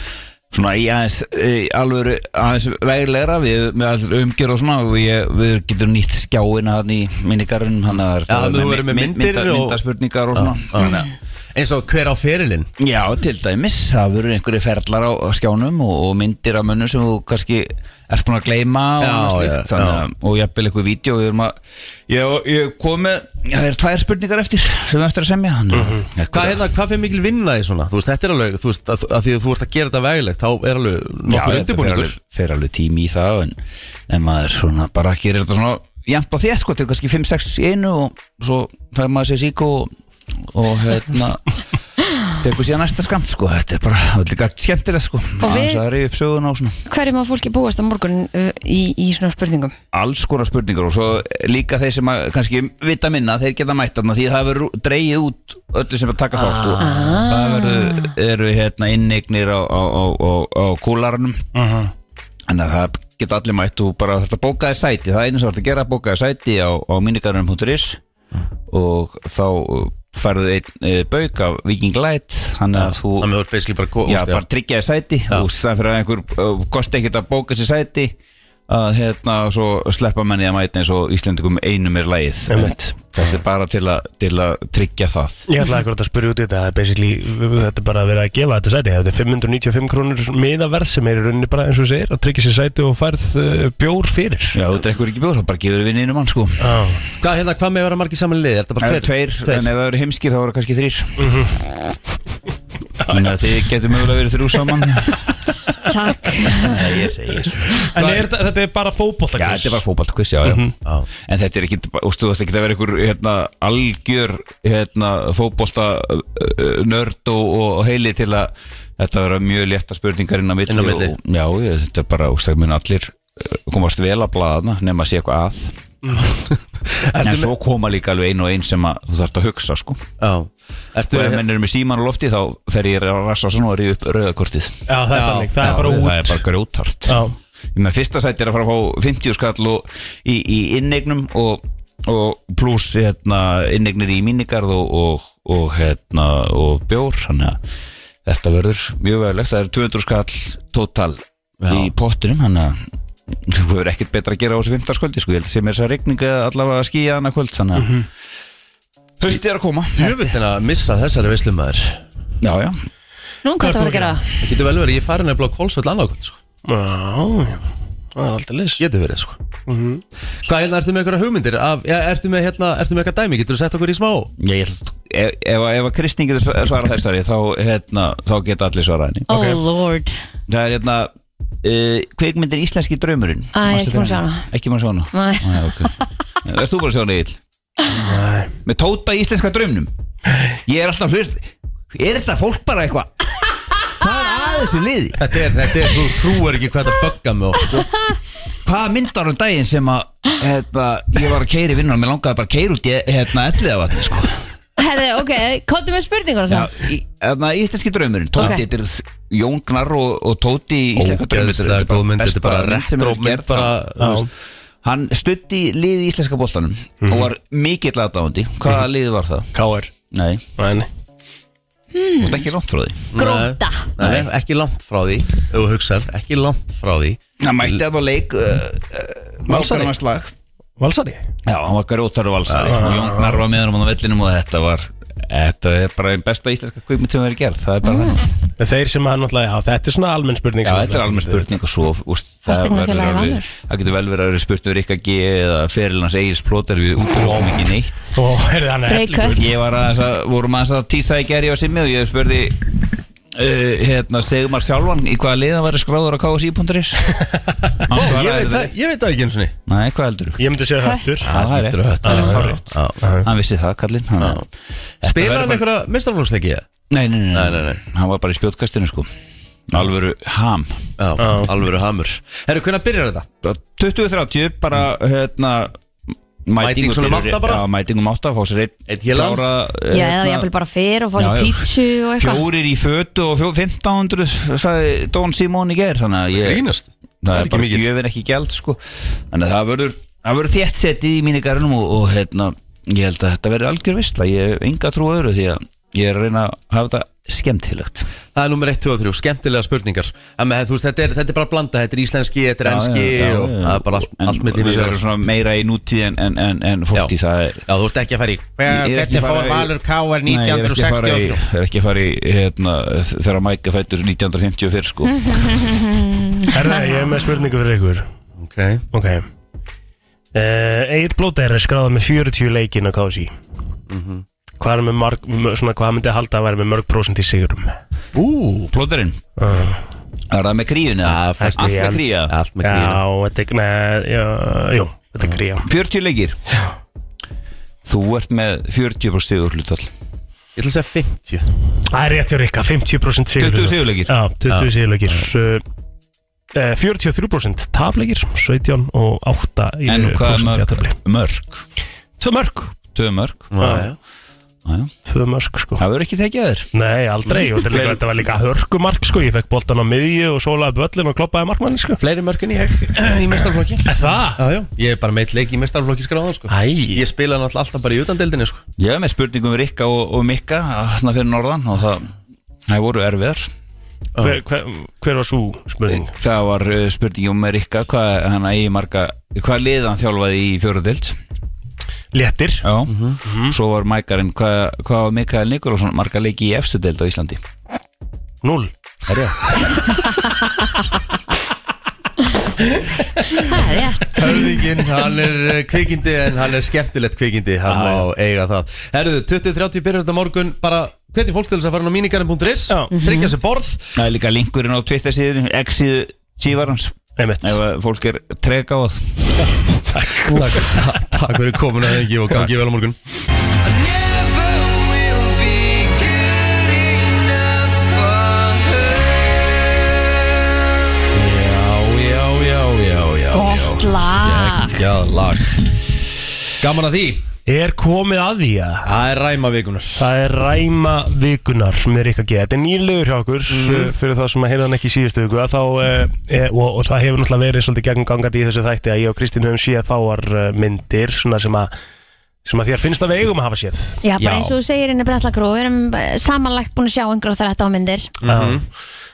D: svona í aðeins í alvöru aðeins veglegra við með all umgjör og svona og ég, við getum nýtt skjáina hann í mínigarunum þannig að
A: Já, þú verður með myndir
D: mynda,
A: og-
D: myndaspurningar og svona þannig að
A: eins og hver á ferilinn
D: Já, til dæmis, það verður einhverju ferlar á, á skjánum og, og myndir af mönnum sem þú kannski ert búin að gleyma og,
A: Já,
D: annað slíkt,
A: já,
D: þannig að- og jafnvel eitthvað vídeo við erum að, ég, ég kom með það er tvær spurningar eftir sem við eftir að semja mm -hmm.
A: Hvað, hérna, hvað fyrir mikil vinna í svona? Þú veist, þetta er alveg, þú veist, að, að því að þú ert að gera þetta veglegt þá er alveg nokkur undirbúningur
D: fer alveg tími í það en, en maður svona bara gerir þetta svona jæmt á þér sko, til kannski 5-6 í einu og svo fær maður sér síku og, og
A: [LAUGHS]
D: hérna tekur síðan næsta skamt sko, þetta er bara allir gætt skemmtilegt sko,
B: Og við-
D: aðeins að reyja upp söguna og svona
B: Hverju má fólki búast á morgun uh, í, í svona spurningum?
D: alls konar spurningar og svo líka þeir sem að, kannski vita minna þeir geta mætt þarna því að það verður dreigið út öllu sem að taka þátt og það verður, eru hérna innignir á, á, á, á, á kúlarunum en að það geta allir mætt og bara þetta bókaði sæti, það er einu sem þetta gera bókaði sæti á, á minigarunum.is og þá færðu einn e, bauk af Viking Light hann að þú
A: Þannig að þú ert basically bara góð
D: Já, bara tryggja þér sæti og það fyrir að einhver uh, kosti ekkert að bóka sér sæti að hérna svo sleppa manni að mæta eins og Íslandikum einum er lægið
C: Einmitt.
D: þetta er bara til að, til að tryggja það
C: Ég ætlaði akkurat að spyrja út í þetta það er basically, þetta er bara að vera að gefa þetta sæti þetta er 595 krónur miðaverð sem er í rauninni bara eins og þú segir að tryggja sér sæti og færð uh, bjór fyrir
D: Já, þú drekkur ekki bjór, þá bara gefur við einu mann sko
C: ah.
A: Hvað, hérna, hvað með vera margir saman liði? Er þetta
D: Ef
A: bara
D: tveir, en ef það eru heimskir þá eru Mhm. kannski þrýr Þannig að þið getur mögulega verið þrjú saman
B: Takk
D: [LAUGHS] Nei, ég segi
C: En er, þetta- þetta er bara fótbolta
D: Já, þetta er bara fótballkviss, já, já [LAUGHS]
A: Já.
D: En þetta er ekki, ústu, þú ætti ekki að vera einhver hérna, algjör hérna, fótbolta uh, uh, nörd og, og heili til að þetta vera mjög létta spurningar inn á milli,
A: Inn á milli.
D: Og, Já, ég, þetta er bara, ústu, mun allir uh, komast vel að blaðna nema að sé eitthvað að
A: Ertu
D: En svo koma líka alveg ein og ein sem að þú þarft að hugsa, sko
A: Já Ertu
D: Og ef menn eru með síman á lofti þá fer ég að rassa svona og ríða upp rauðakortið
C: Já, það er
A: Já,
C: þannig, það
A: já,
C: er bara
D: Það er
C: út
D: bara grjótart
C: Já.
D: Ég meina fyrsta sæti er að fara að fá 50 skall og, í, í innegnum og, og pluss hérna, innegnir í mínigarð og, og, og, hérna, og bjór þannig að þetta verður mjög veðurlegt það er 200 skall tótal
A: Já.
D: í pottinum þannig að þú verður ekkert betra að gera á þessu fimmtarskvöldi sko. ég held að sé mér þess að regninga allavega að skýja hana kvöld þannig að mm er að koma
A: Jöfullin að missa þessari veislumæður
D: já, já.
B: [LAUGHS] Nú, hvað það var
C: Hvað ert
B: að
C: þú
B: gera?
C: að
A: Það getur vel verið, ég fari nefnilega á Kólsvöld annarkvöld sko.
C: Já, já, það er aldrei lis
A: Getur verið, sko Hvað hérna, ertu með einhverja hugmyndir? Af, ja, ertu með hérna, ertu með eitthvað dæmi? Getur þú sett okkur í smá?
D: Ég, ég, ætla að- ef, ef, ef að Kristning getur svarað þessari þá, hérna, þá geta allir svarað henni
B: Oh lord
D: Það er hérna uh, Kveikmyndin Íslenski draumurinn
B: Æ,
D: Manstu
B: ekki búin að
D: eftir
B: sjá
D: henni?
B: hana.
D: Ekki maður sjá hana
B: Nei.
D: Æ, okay. Verst þú bara að sjá hana Egil? Með tóta íslenska draumnum Ég er alltaf hlust Er þetta fólk bara eitthvað? Hvað er að þessu liði?
A: Þetta er, þetta er, þú trúar ekki hvað þetta bögga mig og, sko.
D: Hvað myndar um daginn sem að hérna, ég var að keiri vinnan Mér langaði bara að keiri út í hérna, ellið af allir sko.
B: Herði, ok, komdu með spurninguna
D: Já,
B: samt
D: í, hérna, Íslenski draumurinn Tóti,
B: Ok.
D: þetta er Jón Gnar og, og Tóti í Íslenska draumurinn
A: Ógeðslega góð mynd, þetta er
D: besta
A: bara
D: mynd sem
A: retro
D: hefur
A: mynd
D: gerð
A: bara,
D: þá.
A: þú veist.
D: Hann stutti lið í Íslenska boltanum og var mikill aðdáðandi Hvaða lið var það?
C: K.R.
D: Mhm. Nei,
C: Nei, nei.
D: þú veist ekki langt frá því
B: Grótta.
A: Nei, nei, ekki langt frá því Ef þú hugsar, ekki langt frá því
D: Hann mætti að það leik uh, uh,
C: Valsari.
D: Valsari slag
C: Valsari
D: Já, hann var grótar og Valsari og Jón Gnar var með hann á vellinum og þetta var Þetta er bara einn besta íslenska kvikmynd sem verið gerð Það er bara þannig
C: En Þeir sem hann náttúrulega, já, þetta er svona almenn spurning
D: Já, þetta
C: sem
D: er
C: flestir-
D: alveg spurning og svo úst,
B: Fasteignafélagið Valur.
D: það getur vel verið að vera spurning um Rikka G eða ferilans Egil Splóter við útráum ekki neitt
C: Ó, heyrðu, hann er
B: Break up.
D: Ég var aðeins að, vorum aðeins að tísa í gerði á simmi og ég spurði uh, hérna, segum maður sjálfan í hvaða liða væri skráður á
A: [LAUGHS]
D: KSI.is Hann
A: Ég
D: svaraði
A: veit það,
D: þetta
A: ég veit það ekki eins og niður
D: Nei, hvað heldur þú?
C: Ég myndi segja höttur
B: [LAUGHS]
D: Það er
A: Þetta er
D: rétt.
A: þetta
D: Það er rétt. Hann vissi það, kallinn hann- Þetta
A: Spila
D: verður
A: hann
D: bara-
A: einhverja mistarflókstæki ég?
D: Nei, nei, nei,
A: Nei, nei, nei.
D: Hann var bara í spjótkastinu sko Alvöru ham
A: Já, alvöru hamur Herru, hvernig byrjar þetta?
D: 20-30 bara hérna
A: Mæting svona um átta bara?
D: Já, mætingum átta, fá sér einn
A: Einn hélan?
D: klára,
B: Já,
D: hérna,
B: eða jafnvel bara fyrr og fá
D: Já,
B: sér
D: já.
B: pítsu og eitthvað
D: Fjórir í fötu og fjó, 1500 sagði Don Simón í ger þannig að ég
A: Grínast?
D: það
A: er
D: er
A: ekki
D: bara
A: mikið.
D: gjöfin ekki gjald sko þannig að það verður það verður þétt setið í mínu garnum og, og hérna ég held að þetta verður algjör vistla ég hef enga trú á öðru því að ég er að reyna að hafa þetta skemmtilegt
A: Það er nummer 1, 2 og 3, skemmtilega spurningar En með, þú veist, þetta er, þetta er bara blanda, þetta er íslenski, þetta er enski og það er bara allt,
D: En
A: allt með tíma
D: við verðum svona meira í nútíð en, en, en, en fórtíð það er
A: Já, þú ert ekki að fara í
D: Ég er ekki að fara í- Nei, ég er ekki að fara í- Ég er ekki að fara í hérna, þegar Mike er fættur 1954 sko.
B: Mhm.
C: Herðu, ég er með spurningu fyrir ykkur
A: Ok
C: Ok uh, Egil Blóter er skráð með 40 leikin á KSI Hvað er með marg m- Svona hvað myndi að halda að vera með mörg prósent í sigurum
A: Ú,
D: Plóterinn,
C: uh,
D: er það með kríun eða?
A: Já, fæst
D: Allt
C: í
D: með
C: hann.
D: kríja
A: allt með grína
C: Já, þetta er neð, já, Jú, þetta er gríja
D: 40 leikir Þú ert með 40 bara sigur hlutall
A: Ég ætla að segja 50
C: Það er rétt hjá Rikka, 50% sigur
D: 20 sigurleikir.
C: Já, 20 sigurleikir uh, eh, 43% tapleikir 17 og 8 í
D: En
C: eh,
D: hvað
C: prósent í
D: er
C: jafntefli.
D: mörg? Mörg,
C: Tvö mörg
D: tvö mörg
A: Já, já.
D: Já, já.
C: Tvö mörg sko
D: Það verður ekki tekið þér
C: Nei, aldrei, og þetta er líka- þetta var líka hörkumark sko, ég fekk boltan á miðju og sólaði völlin og kloppaði markmanni sko
A: Fleiri mörg en ég [CLEARS THROAT] í mestarflokki
C: Er það?
A: Já, já, ég er bara meitt leik í mestarflokki skráðan sko.
C: Æ,
A: Ég spila náttúrulega alltaf bara í utandeldinni sko.
D: Ég er með spurningum um Rikka og, og Mikka Þannig fyrir norðan og það, það voru erfiðar
C: hver, hver, hver var svo spurning?
D: Það var uh, spurningum með Rikka Hvað hann eigi marga Hvað liðan þjálfaði í fjóruðild?
C: Léttir
D: Já,
C: Mhm,
D: svo var mækarinn hvað hva var Mikael Nikolásson marga leiki í efstu deild á Íslandi?
C: Null
D: Er ég?
B: Það er rétt
A: Höfðingin, hann er eh, kvikindi en hann er skemmtilegt kvikindi, hann má eiga það Herðu, 20.30 byrjar þetta á morgun bara hvernig fólk til þess að fara inn á minigarinn.is
C: Já.
A: tryggja
B: Mhm.
A: sér borð
D: Það er líka linkurinn á Twitter síðan X-síðu tívarans
C: Einmitt.
D: Ef að fólk er treg á það
A: Takk, takk [LAUGHS] fyrir komin að þengi og gangi vel á morgun Já, já, já, já, já
B: Gott
A: já.
B: lag.
A: Geggjað lag Gaman að því
C: Er komið að því að
A: Það er ræma vikunar
C: Það er ræma vikunar með Rikka G. Þetta er nýlegur hjá okkur mm. fyrir það sem að heyrðan ekki í síðustu viku að þá, e, og, og það hefur náttúrulega verið svolítið gegn gangandi í þessu þætti að ég og Kristín höfum séð fáar eh, myndir svona sem að, sem að þér finnst að við eigum að hafa séð
B: Já,
A: Já.
B: bara eins og þú segir inn í Brenslakrú Við erum eh, samanlagt búin að sjá einhverja þetta á myndir
C: Já.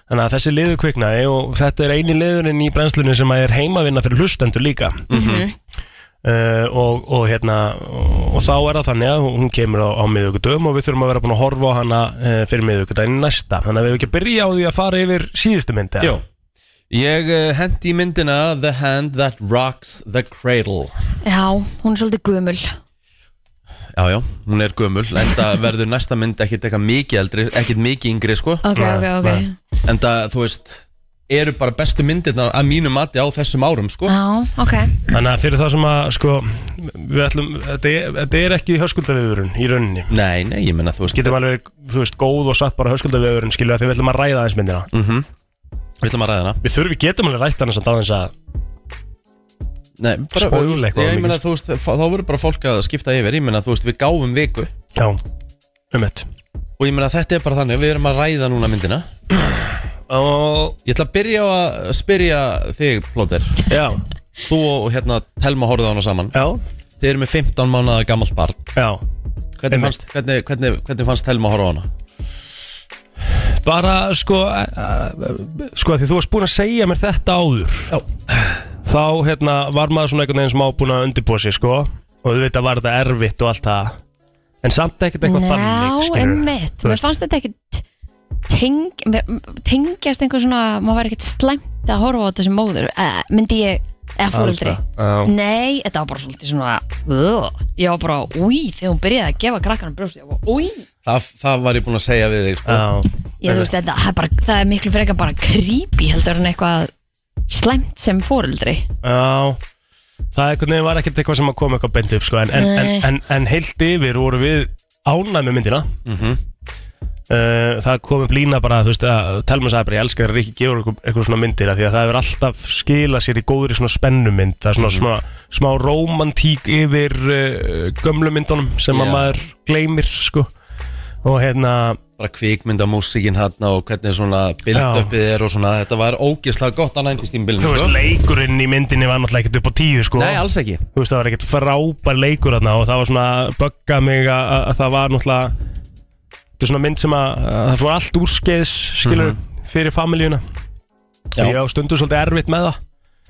C: Þannig að þessi liður kviknaði og þetta er eini liðurinn í brennslunni sem að er heimavinna fyrir hlustendur líka uh, og, og hérna og, og þá er það þannig að hún kemur á, á miðugudöfum og við þurfum að vera búin að horfa á hana uh, fyrir miðugudaginn næsta þannig að við hefum ekki að byrja á því að fara yfir síðustu myndi
A: Jó Ég uh, hendi í myndina The Hand That Rocks The Cradle
B: Já, hún er svolítið gumul
A: Já, já, hún er gömul [LAUGHS] Enda verður næsta mynd ekkit eitthvað mikið eldri Ekkit mikið yngri, sko
B: Ok,
C: Nei,
B: ok, ok
C: nei.
A: Enda, þú veist Eru bara bestu myndirnar að mínu mati á þessum árum, sko
B: Já, ok
C: Þannig að fyrir það sem að sko, við ætlum, þetta er, þetta er ekki höskuldaviðurinn í rauninni
A: Nei, nei, ég menna, þú veist
C: getum alveg, þú veist, góð og satt bara höskuldaviðurinn skilur að því við ætlum að ræða aðeins myndina
A: mhm. Við ætlum að ræða hana
C: Við þurfum, við getum alveg rætt hana samt aðeins að
A: Nei, bara,
C: Spoil
A: þú veist,
C: eitthvað
A: Ég
C: mikið,
A: menna, þú veist, þá þá voru bara fólk að skipta yfir Ég menna, þú veist, við gáfum viku
C: Já, um eitt
A: Og ég menna, þetta er bara þannig, við erum að ræða núna myndina
C: Og,
A: Ég ætla að byrja á að spyrja þig, Plóter
C: já,
A: Þú og hérna, Telma horfðu á hana saman
C: já,
A: Þið eru með 15 mánaða gamalt barn
C: já
A: Hvernig
C: Einmitt.
A: fannst, hvernig, hvernig, hvernig fannst Telma að horfa á hana?
C: Bara, sko, eh, eh, sko, því þú varst búin að segja mér þetta áður
A: Já.
C: Þá, hérna, var maður svona einhvern veginn smá búin að undirbúa sig, sko Og þú veit að var þetta erfitt og allt það En samt ekkert eitthvað þannig,
B: Já,
C: skilur
B: emmitt
C: Þú
B: Mér
C: veist.
B: fannst þetta ekkit teng, mér- tengjast einhver svona maður var ekkit slæmt að horfa á þetta sem móður eh, myndi ég, eða fóreldri
C: Já,
B: Nei, þetta var bara svolítið svona uh, Ég var bara, úi, þegar hún byrjaði að gefa krakkanum brjóst, ég var bara, úi
A: Það, það var ég búinn að segja við þig sko.
C: já
B: Ég þú veist, þetta, það, er bara, það er miklu frekar bara creepy heldur en eitthvað slæmt sem fóreldri
C: Já Það einhvern veginn var ekkert eitthvað sem að koma eitthvað beint upp sko. en, en, en,
B: Nei.
C: en, en heilt yfir voru við ánæð með myndina
A: Mhm.
C: uh, Það kom upp lína bara þú veist, að, Telma sagði bara ég elska þér ekki gefur eitthvað, eitthvað svona myndir af Því að það hefur alltaf skilað sér í góðri svona spennumynd Það er
A: Mhm.
C: svona smá, smá romantík yfir uh, gömlu myndunum sem að
A: Já.
C: maður gleymir sko. Og hérna
A: bara kvikmynda músíkin hérna og hvernig svona bildöppið er og svona þetta var ógeðslega gott að næntist í
C: Þú
A: bildinu
C: veist,
A: sko.
C: leikurinn í myndinni var náttúrulega ekkert upp á tíu sko.
A: Nei, alls ekki
C: þú veist það var ekkert frábær leikur þarna og það var svona böggað mig að, að- að það var náttúrulega þetta er svona mynd sem að, að það fór allt úrskeiðs skilur fyrir familíuna
A: Já.
C: ég á stundu svolítið erfitt með það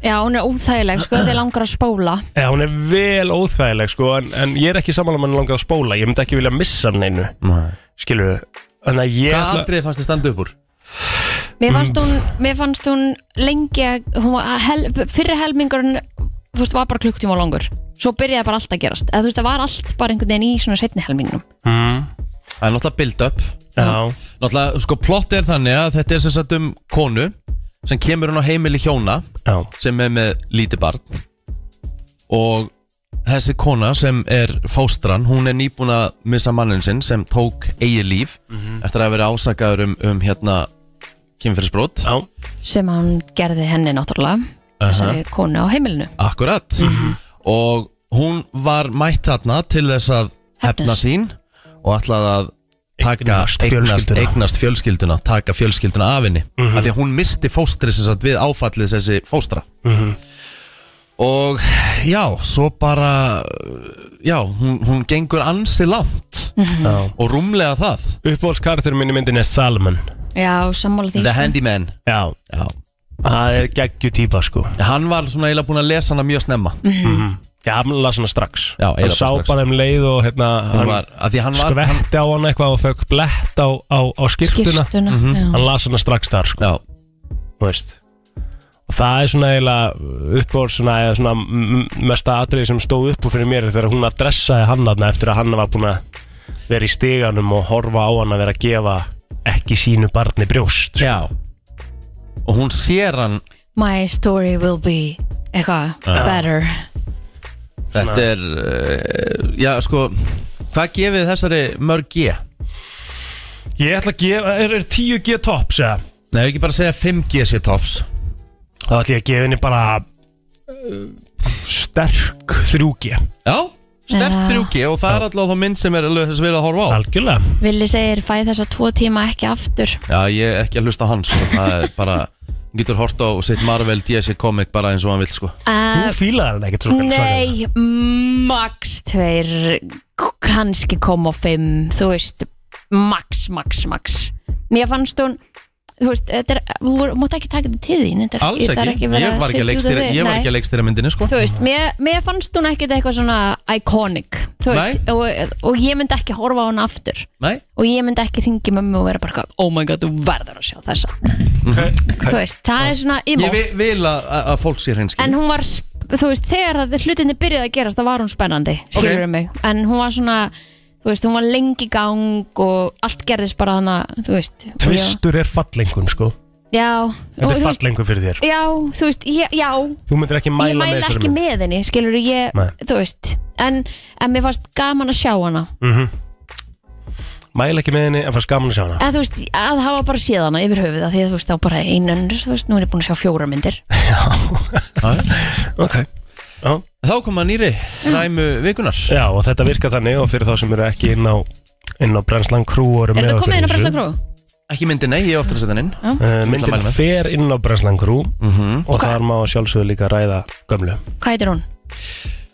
B: Já, hún er óþægileg, sko, þið langar að spóla
C: eða hún er vel óþægileg sko en, en ég er ekki sammála um að hann langað að spóla ég myndi ekki vilja missa hann einu skilur þannig að ég
A: Hvað atrið fannst þið standa upp úr?
B: Mér fannst hún, mér fannst hún lengi að, hún var að hel, fyrri helmingurinn, þú veist, var bara klukktíma langur Svo byrjaði bara allt að gerast Eða þú veist, það var allt bara einhvern veginn í svona setni helmingnum
C: mm,
A: Það er náttúrulega bildöpp
C: já,
A: Náttúrulega, sko, plott er þannig að þetta er sem sagt um konu sem kemur hún á heimili hjóna
C: já,
A: sem er með lítið barn og þessi kona sem er fóstran, hún er nýbúin að missa mannin sinn sem tók eigi líf eftir að hafa verið ásakaður um, um hérna kynfyrirsbrot
C: [LAUGHS] já,
B: sem hann gerði henni náttúrulega þessari konu á heimilinu
A: Akkurat Og hún var mætt þarna til þess að hefna
B: Hefna.
A: sín og ætlaði að taka, eignast,
C: Eignast fjölskylduna. Mhm.
A: eignast fjölskylduna taka fjölskylduna af henni af því að hún misti fóstri sem sagt við áfallið þessi fóstra
C: Mhm.
A: og já, svo bara já, hún, hún gengur ansi langt
C: já.
A: og rúmlega það
C: uppvólskartur minn í myndinni er Salman
B: Já, sammála því
A: The Handyman
C: já,
A: já.
C: það er geggju típa sko
A: hann var svona eiginlega búin að lesa hana mjög snemma
C: já, hann las hana strax
A: Já, eiginlega
C: hann sá
A: bara strax.
C: bara um leið og hérna
A: hann
C: hann-
A: var, að því
C: Sko
A: hann var hann,
C: skvetti á hann eitthvað og fekk blett á, á, á skýrtuna
B: skýrtuna
C: hann
B: já.
C: las hana strax þar sko,
A: já,
C: þú veist og það er svona eiginlega uppbór svona, eða svona m- m- mesta atriði sem stóð upp úr fyrir mér er þegar hún adressaði hann aðna eftir að hann var búin að vera í stiganum og horfa á hann að vera að gefa ekki sínu barni brjóst sko.
A: Já Og hún sér hann
B: My story will be eitthvað, better
A: Þetta er uh, Já sko Hvað gefið þessari mörg G?
C: Ég ætla að gefa, er, er 10G tops eða?
A: Nei, ekki bara að segja 5G sé tops
C: Þá ætla ég að gefa henni bara uh, sterk 3G
A: Já Sterk
B: Já.
A: 3G og það er alltaf þá mynd sem er alveg þess að við erum að horfa á
C: Algjörlega
B: Vili segir fæ þessa tvo tíma ekki aftur
A: Já, ég er ekki að hlusta á hans sko. Það er bara Hún getur hort á sitt Marvel DC comic bara eins og hann vil sko
B: uh,
C: Þú fílaði hann ekki trúkar
B: Nei,
A: hérna.
B: max tveir k- kannski koma á fimm þú veist, max, max, max Mér fannst hún þú veist, þetta er, þú voru- mátt ekki taka þetta til þín þetta er-
A: Alls
B: það
A: ekki,
B: er verið
A: ég var ekki að
B: setja út á
A: leikstýra,
B: þig.
A: ég var
B: Nei.
A: ekki að leikstýra myndinni sko
B: Þú veist, mér, mér fannst hún ekkit eitthvað svona iconic, þú veist og, og ég myndi ekki horfa á hún aftur
A: Nei,
B: og ég myndi ekki ringi mömmu og vera bara eitthvað, oh my god, þú verður að sjá þessa Mhm. þú veist, það er svona emo,
A: ég vil, vil að, að- að fólk sér henski
B: en hún var sp- þú veist, þegar að hlutinni byrjaði að gerast það var hún spennandi, skilur okay. mig en hún var svona, þú veist, hún var lengi í gang og allt gerðist bara þannig að, þú veist, og ég-
C: Tvistur er fallengun sko
B: já og,
C: Þetta er
B: þú veist,
C: fallengun fyrir þér
B: já, þú veist, ég, já
C: Þú myndir ekki
B: ég
C: mæla með
B: mæla
C: þessari
B: ekki
C: mynd
B: með henni, skilur ég
C: Nei.
B: þú veist, en, en mér fannst gaman að sjá hana,
C: Mhm. Mæla ekki með henni en fannst gaman að sjá hana
B: en þú veist, að hafa bara séð hana yfir höfuð af því að þú veist, þá bara einan þú veist, nú er ég búin að sjá fjóra myndir
C: Ok Já.
A: Þá koma nýri, ræmu vikunar
C: Já og þetta virkar þannig og fyrir þá sem eru ekki inn á inn á Brensland Crew og eru
B: Er
C: með
B: þetta
C: okkur
B: komið inn á
C: í þessu.
B: Bresta Kró?
A: Ekki myndinni, ég ofta að setja hann inn
C: Uh,
A: ætla að
C: myndin
A: mæla með.
C: fer inn á Brensland Crew
A: Mhm.
C: og
B: Hvað-
C: þar má að sjálfsögðu líka ræða gömlu
B: Hvað heitir hún?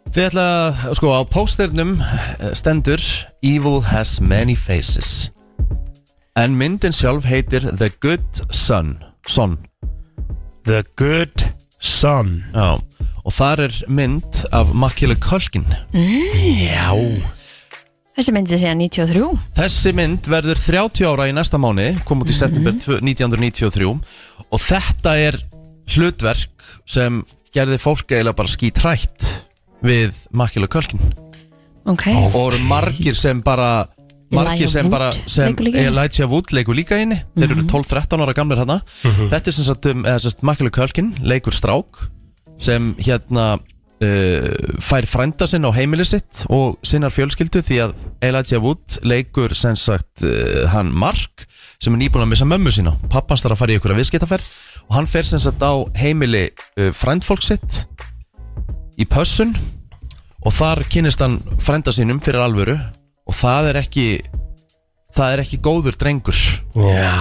A: Þið ætla að, sko, á pósternum eh, stendur Evil has many faces En myndin sjálf heitir The Good Son Son
C: The Good Son
A: Já Og þar er mynd af Makkile Kölkin
C: Já
B: Þessi myndi sé 93
A: Þessi mynd verður 30 ára í næsta mánu Kom út í september 2 1993 Og þetta er hlutverk sem gerði fólk eiginlega bara skítrætt Við Makkile Kölkin
B: Ok,
A: og eru margir sem bara margir
B: Elijah
A: sem
B: Wood
A: bara sem
B: leikur líka hérna? Mhm. inni.
A: Elijah Wood leikur líka inni þeir eru 12-13 ára gamlir hérna þetta er sem sagt, um, eða sem sagt Michael Kölkin leikur strák sem hérna uh, fær frænda sinn á heimili sitt og sinnar fjölskyldu því að Elijah Wood leikur sem sagt uh, hann Mark sem er nýbúin að missa mömmu sína pappans þarf að fara í ykkur að viðskiptaferð og hann fer sem sagt á heimili uh, frændfólk sitt í pössun og þar kynist hann frænda sínum fyrir alvöru og það er ekki það er ekki góður drengur
C: Já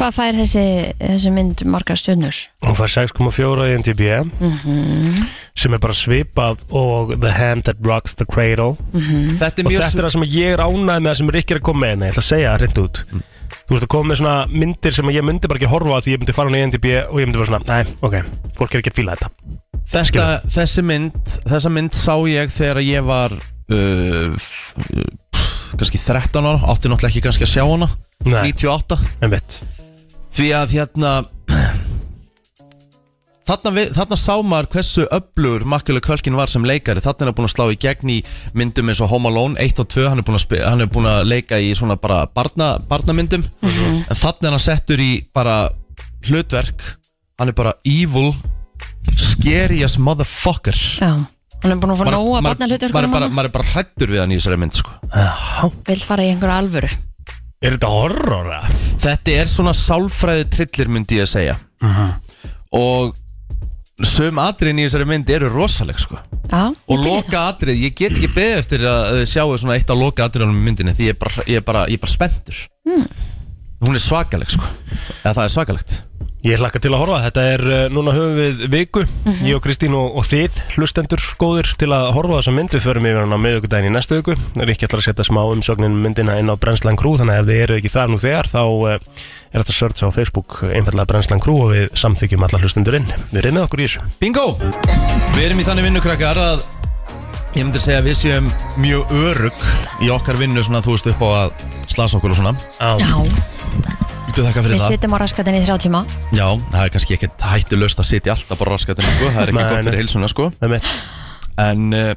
B: hvað fær þessi, þessi mynd margar stjörnur?
C: Hún fær 6,4 í MTB
A: Mhm.
C: sem er bara svipað og The Hand That Rocks the Cradle
A: þetta er
C: Mhm. og
A: mjög
C: þetta er það sem ég er ánægð með það sem Rikki er að koma með, nei, ég ætla að segja það hreint út
A: Mm.
C: Þú veist að koma með svona myndir sem ég myndi bara ekki horfa á því ég myndi fara hún í NDB og ég myndi fara svona, nei, ok, fólk er ekki að fíla þetta
A: þetta,
C: skilur.
A: þessi mynd þessa mynd sá ég þegar ég var uh, f- uh, pff, kannski 13 ára, átti náttúrulega ekki kannski að sjá hana
C: Nei,
A: 98
C: en veit,
A: því að hérna [CLEARS THROAT] Þarna, við, þarna sá maður hversu öflugur Makkjölu Kölkin var sem leikari Þarna er hann búin að slá í gegn í myndum eins og Home Alone 1 og 2 Hann er búin að, spi, hann er búin að leika í svona bara barna, barnamyndum En þarna er hann settur í bara hlutverk Hann er bara evil Scary as motherfucker
B: Já, hún er búin að fá nóg að batna hlutur
A: maður, er bara- maður er bara hrættur við hann í þessari mynd sko.
B: Vill fara í einhverju alvöru
C: er þetta horror eða?
A: Þetta er svona sálfræði trillir myndi ég að segja Og Sum atriðin í þessari mynd eru rosaleg sko
B: Já,
A: Og
B: ég til í það.
A: loka atrið, ég get ekki beðið eftir að þið sjáu svona eitt á loka atriðanum í myndinni Því ég er bara, ég er bara, ég er bara spenntur Hún er svakaleg sko Eða það er svakalegt
C: Ég hlakka til að horfa, þetta er uh, núna höfum við viku, ég og Kristín og, og þið hlustendur góðir til að horfa á þessa mynd við förum yfir hann á miðugudaginn í næstu viku Ríkki ætlar að setja smá umsögnin um myndina inn á Brenslan Crew, þannig að ef þið eru ekki þar nú þegar þá uh, er þetta search á Facebook einfallega Brenslan Crew og við samþykjum alla hlustendur inn, við erum með okkur í þessu
A: Bingo! Við erum í þannig vinnukrakkar að Ég myndi segja að við séum mjög örugg Í okkar vinnu svona þú veist upp á að slasa okkur og svona
C: Já,
B: Já,
A: Viltu þakka fyrir
B: við
A: það?
B: sitjum á raskatinni í þrjá tíma
A: Já, það er kannski ekkert hættulöst að sitja alltaf bara raskatinn sko. Það er ekki
C: Nei,
A: gott
C: nei.
A: fyrir heilsuna sko
C: það er mitt
A: En uh,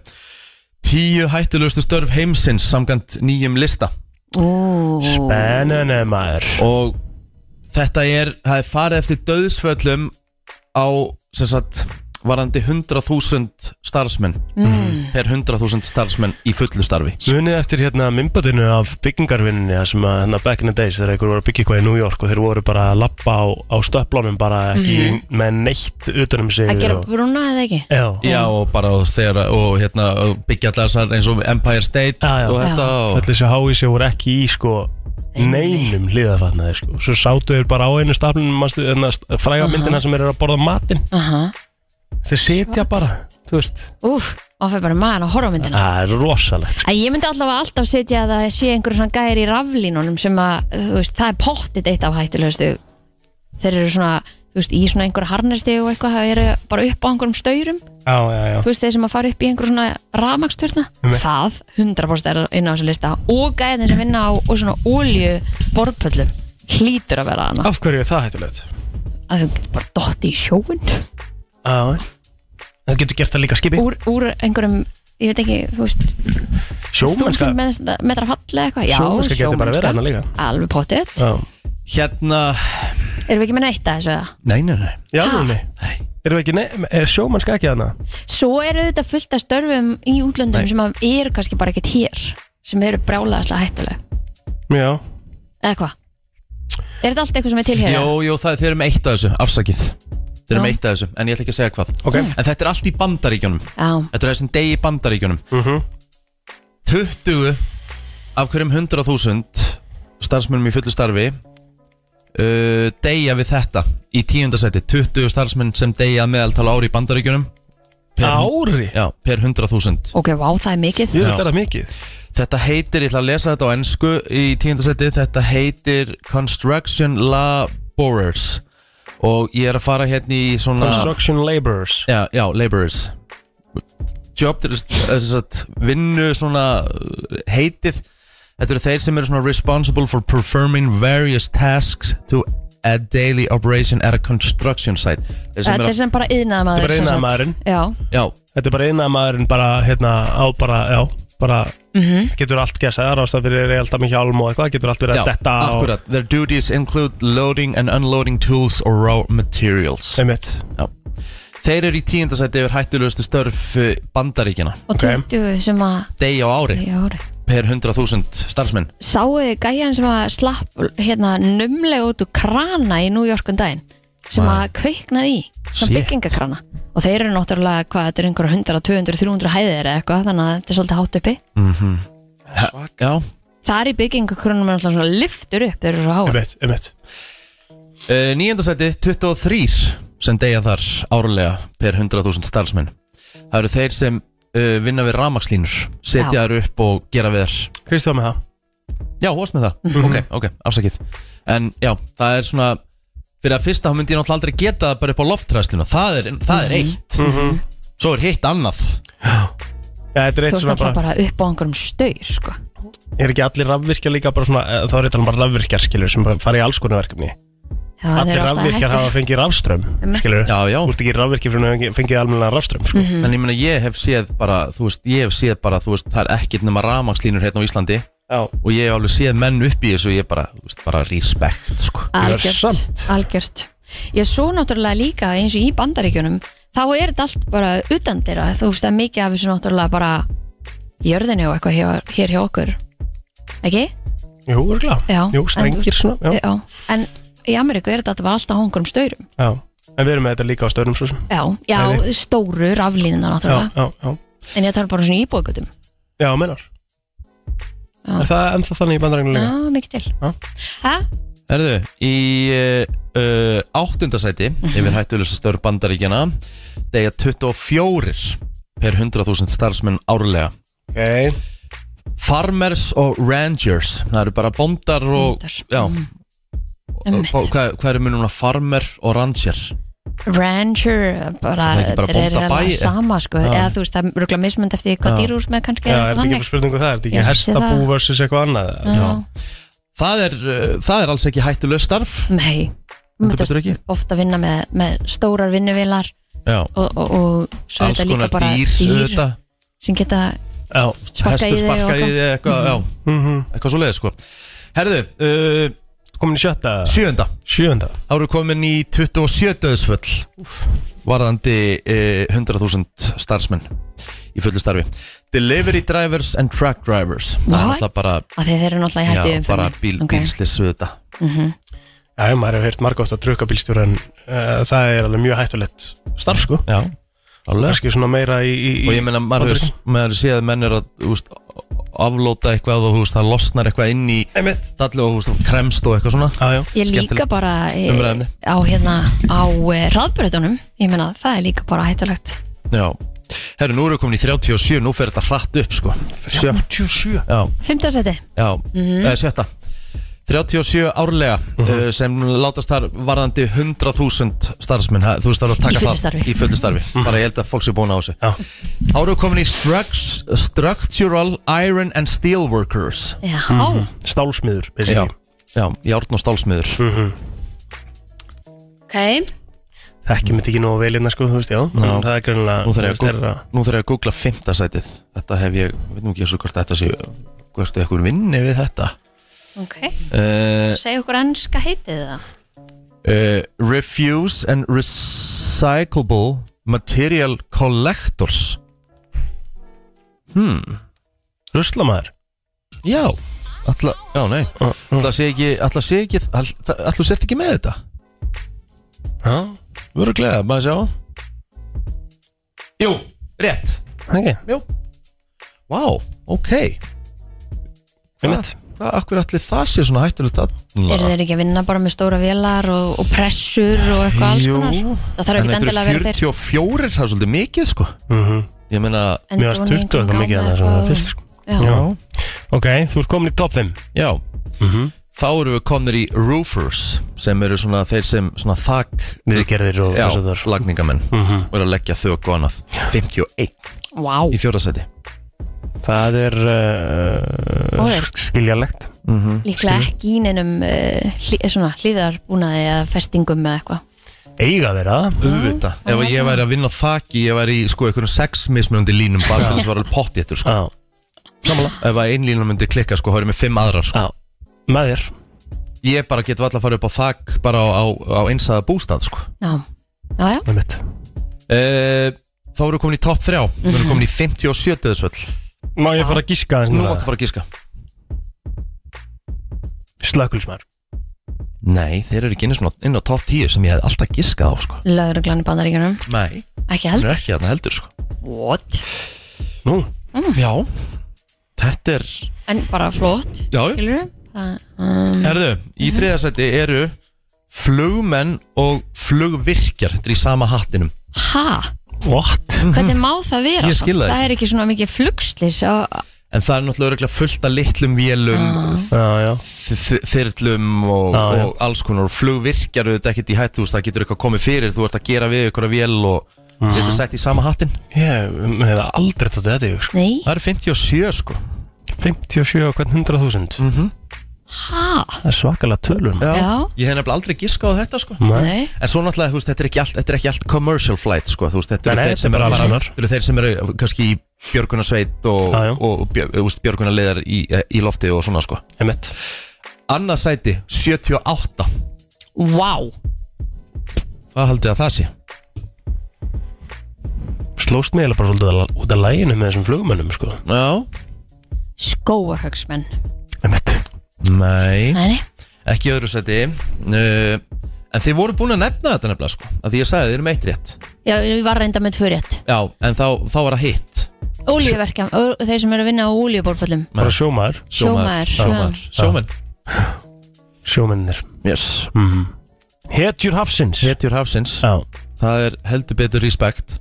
A: Tíu hættulegustu störf heimsins samkant nýjum lista
C: Spennene maður
A: Og þetta er, það er farið eftir döðsföllum á, sem sagt, varandi 100.000 starfsmenn
C: Mm.
A: Per 100.000 starfsmenn í fullu starfi
C: Munið eftir hérna myndböndinu af byggingarvinninni það sem að hérna back in the days þegar einhver voru að byggja eitthvað í New York og þeir voru bara að lappa á, á stöplunum bara ekki með neitt utanum sig
B: Mhm. Að gera
C: og,
B: brúna eða ekki
C: Já,
A: Já, og bara þegar, og hérna, og byggja allar þessar eins og Empire State
C: Já, já.
A: og þetta
C: öll
A: og
C: þessi háið sér voru ekki í sko neinum hlýðafatnaði sko Svo sátu þeir bara á einu staflunum manstu, hérna, st- fræga myndina sem þeir eru að borða matinn
B: Aha.
C: Þeir sitja bara, þú veist
B: Úf, maður fyrir bara maður að horfa á myndina
C: Það er rosalegt
A: Ah.
C: sko.
B: Æ, ég myndi allavega alltaf setja að það sé einhverjum svona gæri í raflínunum sem að, þú veist, það er pottit eitt af hættulegustu þeir eru svona, þú veist, í svona einhverja harnesti og eitthvað, það eru bara upp á einhverjum staurum
C: Já, já, já
B: þú veist, þeir sem að fara upp í einhverjum svona rafmaksturna, það 100% er inn á þessu lista og gæðin sem vinna á og svona ólju borpöllum hlýtur að vera hana
C: Af hverju er það hættulegt?
B: að þú getur bara dotti í sjóun
C: Já Það getur gert það líka skipi
B: úr, úr einhverjum, ég veit ekki, þú veist
C: Sjómennska
B: þúsund metra- metra falli eða eitthvað Já,
C: Sjómennska getur bara verið þarna líka.
B: Alveg potið
C: Já,
A: hérna
B: Erum við ekki með neitt að þessu eða?
A: Nei, nei, nei,
C: já, núni
A: nei
C: Erum við ekki, nei, er sjómennska ekki hana?
B: Svo eru þetta fullt af störfum í útlöndum
A: Nei.
B: sem að eru kannski bara ekkert hér sem eru brjálaðislega hættuleg
C: Já,
B: eða hvað? Er þetta allt eitthvað sem er til hér?
A: Jó, jó, það er, þeir eru með eitt af þessu, afsakið Þeir eru
B: Já.
A: með eitt af þessu, en ég ætla ekki að segja hvað
C: Ok.
A: En þetta er allt í bandaríkjunum
B: Já,
A: Þetta er þessum degi í bandaríkjunum 20 af hverjum 100.000 starfsmennum í fullu starfi uh, deyja við þetta í tíundasetti 20 starfsmenn sem deyja að meðaltala ári í bandaríkjunum per,
C: Hérna. ári
A: já, per 100.000
B: ok, vá, það er mikið
C: Ég
A: Já.
C: vil það mikið
A: Þetta heitir, ég ætla að lesa þetta á ennsku í tíundasetti Þetta heitir Construction Laborers Og ég er að fara hérna í svona
C: Construction laborers
A: Já, já, laborers Job, þess að vinnu svona uh, heitið Þetta eru þeir sem eru svona responsible for performing various tasks to a daily operation at a construction site Þeir sem
B: Þetta er
A: eru að,
B: sem bara yðnaða maður
C: Þetta er bara iðnaðarmaðurinn.
B: Já,
A: já,
C: Þetta er bara innamaðurinn bara, hérna, á bara, já, bara
B: Mhm.
C: Getur allt gæsa, það er ástæð fyrir alltaf mikið alm og eitthvað Getur allt verið
A: já,
C: að detta á
A: akkurat Their duties include loading and unloading tools or raw materials
C: Einmitt
A: já. Þeir eru í tíundasæti yfir hættulegustu störf uh, bandaríkina
B: og 20 sem að
A: Degi á ári
B: Já, ári
A: per 100.000 starfsmenn
B: Sáu þið gæjan sem að slapp hérna numlega út úr krana í New York um daginn sem að kveiknaði í, svona
A: Shit.
B: byggingakrana og þeir eru náttúrulega, hvað, þetta er einhverja 100, 200, 300 hæðir eða eitthvað þannig að þetta er svolítið hátt uppi
A: Já,
B: þar í byggingakranum er náttúrulega svona liftur upp þeir eru svo hátt
C: Einmitt, einmitt
A: Uh, Nýjöndasæti 23 sem deyja þar árlega per 100.000 starfsmenn Það eru þeir sem uh, vinna við ramagslínur setja
B: Já.
A: þær upp og gera við þær
C: Kristján með það
A: Já, hóst með það, ok, ok, afsakið En já, það er svona fyrir að fyrsta þá myndi ég náttúrulega aldrei geta það bara upp á loftræslinu það er, það er eitt Svo er hitt annað
C: Já,
B: þú
C: þetta er eitt
B: ert
C: svona
B: alltaf
C: bara,
B: bara upp á einhverjum staur sko.
C: er ekki allir rafvirkjar líka bara svona, eh, þá er þetta bara rafvirkjar skilur sem bara fara í alls konar verkefni
B: Já, þeir
C: Allir
B: eru alltaf að
C: rafvirkjar
B: hækka.
C: hafa fengið rafström skilur,
A: Já, já,
C: þú ert ekki rafvirkjar fyrir að hafa fengið almenna rafström
B: Mhm.
C: sko.
A: en ég meina ég hef séð bara, þú veist, ég hef séð bara, þú veist, það er ekkert nema ramagslínur hérna á Íslandi
C: Já,
A: og ég hef alveg séð menn upp í þessu og ég bara, þú veist, bara respect, sko
B: Algjört,
C: samt.
B: algjört Ég svo náttúrulega líka eins og í bandaríkjunum þá er þetta allt bara utan þeirra þú veist að mikið af þessu náttúrulega bara jörðinni og eitthvað hér, hér hjá okkur ekki?
C: jú, örgla
B: Já,
C: Jú, strengir svona
B: Já.
C: já,
B: En í Ameríku er þetta bara alltaf hongurum staurum
C: já. En við erum með þetta líka á stöðnum svo sem
B: Já, já,
C: Nei.
B: stóru raflínina
C: Já,
B: náttúrulega
C: já, já,
B: En ég tala bara um svona íbúðgutum
C: já, mennar Er það ennþá þannig í bandarægnu
B: Já,
C: líka?
B: mikið til
C: Já.
B: Hæ?
A: Herðu, í uh, uh, áttundasæti
B: Mhm.
A: yfir hættulegustastöru bandaríkjana degja 24 per 100.000 starfsmenn árlega
C: Ok,
A: Farmers og Rangers það eru bara bóndar og
B: Bóndar. Mhm.
A: já,
B: Einmitt.
A: og, hvað, hvað eru munum farmer og ranger
B: Rancher bara,
A: Það er ekki bara
B: þetta
A: bóndabæ,
B: eiginlega
A: eh?
B: sama sko
A: Já.
B: eða þú veist, það er mismund eftir hvað dýr úr með kannski
C: já,
B: eða
C: er þetta ekki
B: þannig.
C: bara spurningu það? Er þetta
B: Ég
C: ekki
B: sé það.
C: hestabú versus eitthvað annað?
B: Já.
A: það er, uh, það er alls ekki hættulegust starf
B: Nei,
A: Heldur betur ekki?
B: ofta vinna með, með stórar vinnuvilar
A: já,
B: og, og, og svo er
A: alls
B: þetta líka
A: konar
B: bara
A: dýr,
B: dýr
A: auðvitað.
B: sem geta
C: Já,
B: Sparka
A: Hestur
B: í þig og
A: sparka í
B: eitthvað.
A: þig eitthvað, já, eitthvað svo leiðis sko Herðu, uh,
C: Mhm. komin í sjötta
A: sjöunda
C: Sjönda
A: Þá eru komin í 27 döðsföll Varðandi uh, 100.000 starfsmenn Í fullu starfi Delivery drivers and truck drivers Það er
B: What?
A: alltaf bara,
B: Af því þeir eru náttúrulega í Mhm. hættu
A: já, bara bíl, okay. bílslis við þetta
C: Já, ég, maður hefur heyrt margótt að trukka bílstjóra en uh, það er alveg mjög hættulegt starf sko
A: Já, alveg
C: Kanski svona meira í, í
A: Og ég meina, maður hefur- maður sé að menn er að úst, aflóta eitthvað og úst, það losnar eitthvað inn í
C: Einmitt
A: dallu og úst, kremst og eitthvað svona
C: Já, já
B: Ég líka
A: Skemmtilegt.
B: bara eh,
A: Umræðandi.
B: á hérna á hraðbröðunum Ég meina það er líka bara hættulegt
A: Já Herru, nú erum við komin í 37, nú fer þetta hratt upp sko 37
C: 37
A: Já,
B: Fymtasetti
A: já, mm
B: Mhm.
A: sjötta 37 árlega uh, sem látast þar varðandi 100.000 starfsmenn, ha- þú veist það er að taka
B: Í fullu
A: það
B: starfi. Mhm.
A: í fullu starfi, bara ég held að fólk sé búin á þessu
C: Já.
A: Þá erum við komin í structs, Structural Iron and Steel Workers
B: Já,
A: Mhm.
C: Stálsmiður
A: Já,
C: basically. Mhm.
A: já, járn og stálsmiður
B: ok
C: Þekkjum þetta ekki nógu vel hérna sko, þú veist, já
A: Já.
C: Það er greinlega
A: Nú þarf ég að,
C: þeirra
A: gú- nú þarf ég að googla fymta sætið Þetta hef ég, veit nú ekki þessu hvort þetta sé Hvort eitthvað vinni við þetta
B: Ok,
A: uh,
B: Eh, segja okkur ennska heitið það
A: uh, Refuse and Recyclable Material Collectors
C: Ruslamæður
A: Já Mm. Alla, já, nei Alla sé ekki, alla sé ekki Alla sért ekki með þetta
C: Já,
A: Vöru gleða, maður sjá Jú, rétt
C: ok
A: Jú Vá, ok Hvað,
C: Einmitt.
A: hvað, akkur allir það sé svona hættulegt að
B: Eru þeir ekki að vinna bara með stóra vélar og, og pressur og eitthvað alls
A: Jú.
B: konar Það þarf ekki
A: En þetta
B: endilega að
A: eru
B: vera þeir
A: 44, það er svolítið mikið sko
C: Mhm.
A: Ég meina,
C: Mér varst 20 eitthvað mikið að það sem það fyrst sko.
B: Já,
A: já,
C: Ok, þú ert komin í top 5
A: já
C: Mhm.
A: Þá eru við komnir í roofers sem eru svona þeir sem svona þak
C: Viðgerðir og Mhm.
A: Já,
C: þess að það
A: lagningamenn mm -hmm. og eru að leggja þök og annað 51
B: vá
A: í fjórðasæti
C: Það er uh,
B: Óður.
C: skiljalegt
A: Mhm.
B: Líklega ekki í neinum uh, hlí, svona hlýðarbúnaði eða festingum eða eitthvað
C: Eiga þeirra
A: Auðvitað, ef að ég væri að vinna á þaki ég væri í sko einhverjum sex mismunandi línum bara til þess að vera pottjéttur sko
C: Já,
A: Ef að ein lína myndi klikka sko, þá er ég með fimm aðrar sko
C: já Með þér
A: Ég bara get alltaf að fara upp á þak bara á, á, á einsaða bústað sko
B: Já, já, já,
C: Með mitt
A: Uh, þá erum við komin í topp 3 Við erum komin í 57 döðsvöll
C: Má ég fara að gíska aðeins
A: Nú
C: meira?
A: máttu fara að gíska
C: Slökkulsmaður
A: Nei, þeir eru ekki inn, inn á topp 10 sem ég hef alltaf gískað á sko.
B: lögreglan í bandaríkjunum
A: Nei,
B: Ekki
A: þeir eru
B: heldur,
A: ekki þarna heldur sko.
B: what?
C: Nú,
B: Mm.
A: Já, þetta er
B: En bara flott, um,
A: Já,
B: skilur við? Mhm.
A: herðu, í þriðasæti eru flugmenn og flugvirkjar Þetta er í sama hattinum
B: Ha?
A: What?
B: Hvernig má það vera?
A: Mhm. Ég skil það
B: samt? Það er ekki svona mikið flugslis á,
A: En það er náttúrulega örugglega fullt af litlum
B: Ah.
A: vélum
C: já, já
A: þ- þ- þyrlum og,
C: Já, já.
A: og alls konar og flugvirkjar auðvitað ekkert í hættu þú veist, það getur eitthvað komið fyrir, þú ert að gera við ykkur að vél og þetta er sett í sama hattin
C: Ég hef aldrei tótt þetta í hug, sko.
B: Nei,
A: það eru 57 sko
C: 57 og hvern 100.000
B: ha?
C: Það er svakalega tölur maður.
B: Já.
A: Mhm. ég hef nefnilega aldrei giskað á þetta sko
C: Nei.
B: Nei,
A: en svo náttúrulega, þú veist, þetta er ekki allt, þetta er ekki allt commercial flight sko, þú veist, þetta
C: Nei,
A: eru
C: nei,
A: þeir sem
C: þetta
A: eru
C: er
A: að
C: alls
A: fara
C: konar.
A: þetta eru þeir sem eru kannski í björgunarsveit og,
C: Já, já.
A: og björ, eh, þú veist, björgunarleðar í, eh, í lofti og svona sko
C: Einmitt.
A: annað sæti, 78
B: vá
A: hvað haldið að það sé?
C: Slóst mig eiginlega bara svolítið al- út af læginu með þessum flugmönnum sko.
A: Já,
B: Skóarhaugsmenn
C: Einmitt.
A: nei
B: Nei, nei,
A: ekki í öðru seti uh, en þið voru búin að nefna þetta nefnilega sko að því ég sagði þið eru meitt rétt
B: já, ég var reynda með tvö rétt
A: já, en þá, þá var það hitt
B: Ólíuverkja, ó- þeir sem eru að vinna á ólíubórföllum
C: Bara sjómaður,
B: Sjómaður,
A: sjómaður,
C: já.
A: sjómenn
C: sjómennir
A: yes.
C: Mhm. Hetjur hafsins
A: hetjur hafsins,
C: Já,
A: það er heldur betur respekt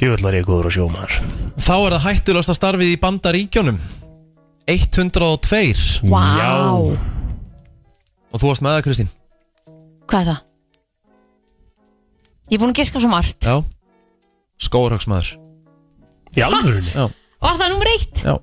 C: djúvill var ég góður á sjómaður
A: þá er það hættulegsta starfið í bandaríkjónum 102
B: Vá,
C: Já.
A: og þú varst með það Kristín
B: hvað er það? Ég er búin að geska svo margt
A: já, skóarhagsmaður
C: Í alvörunni?
B: Var það nummer eitt?
A: já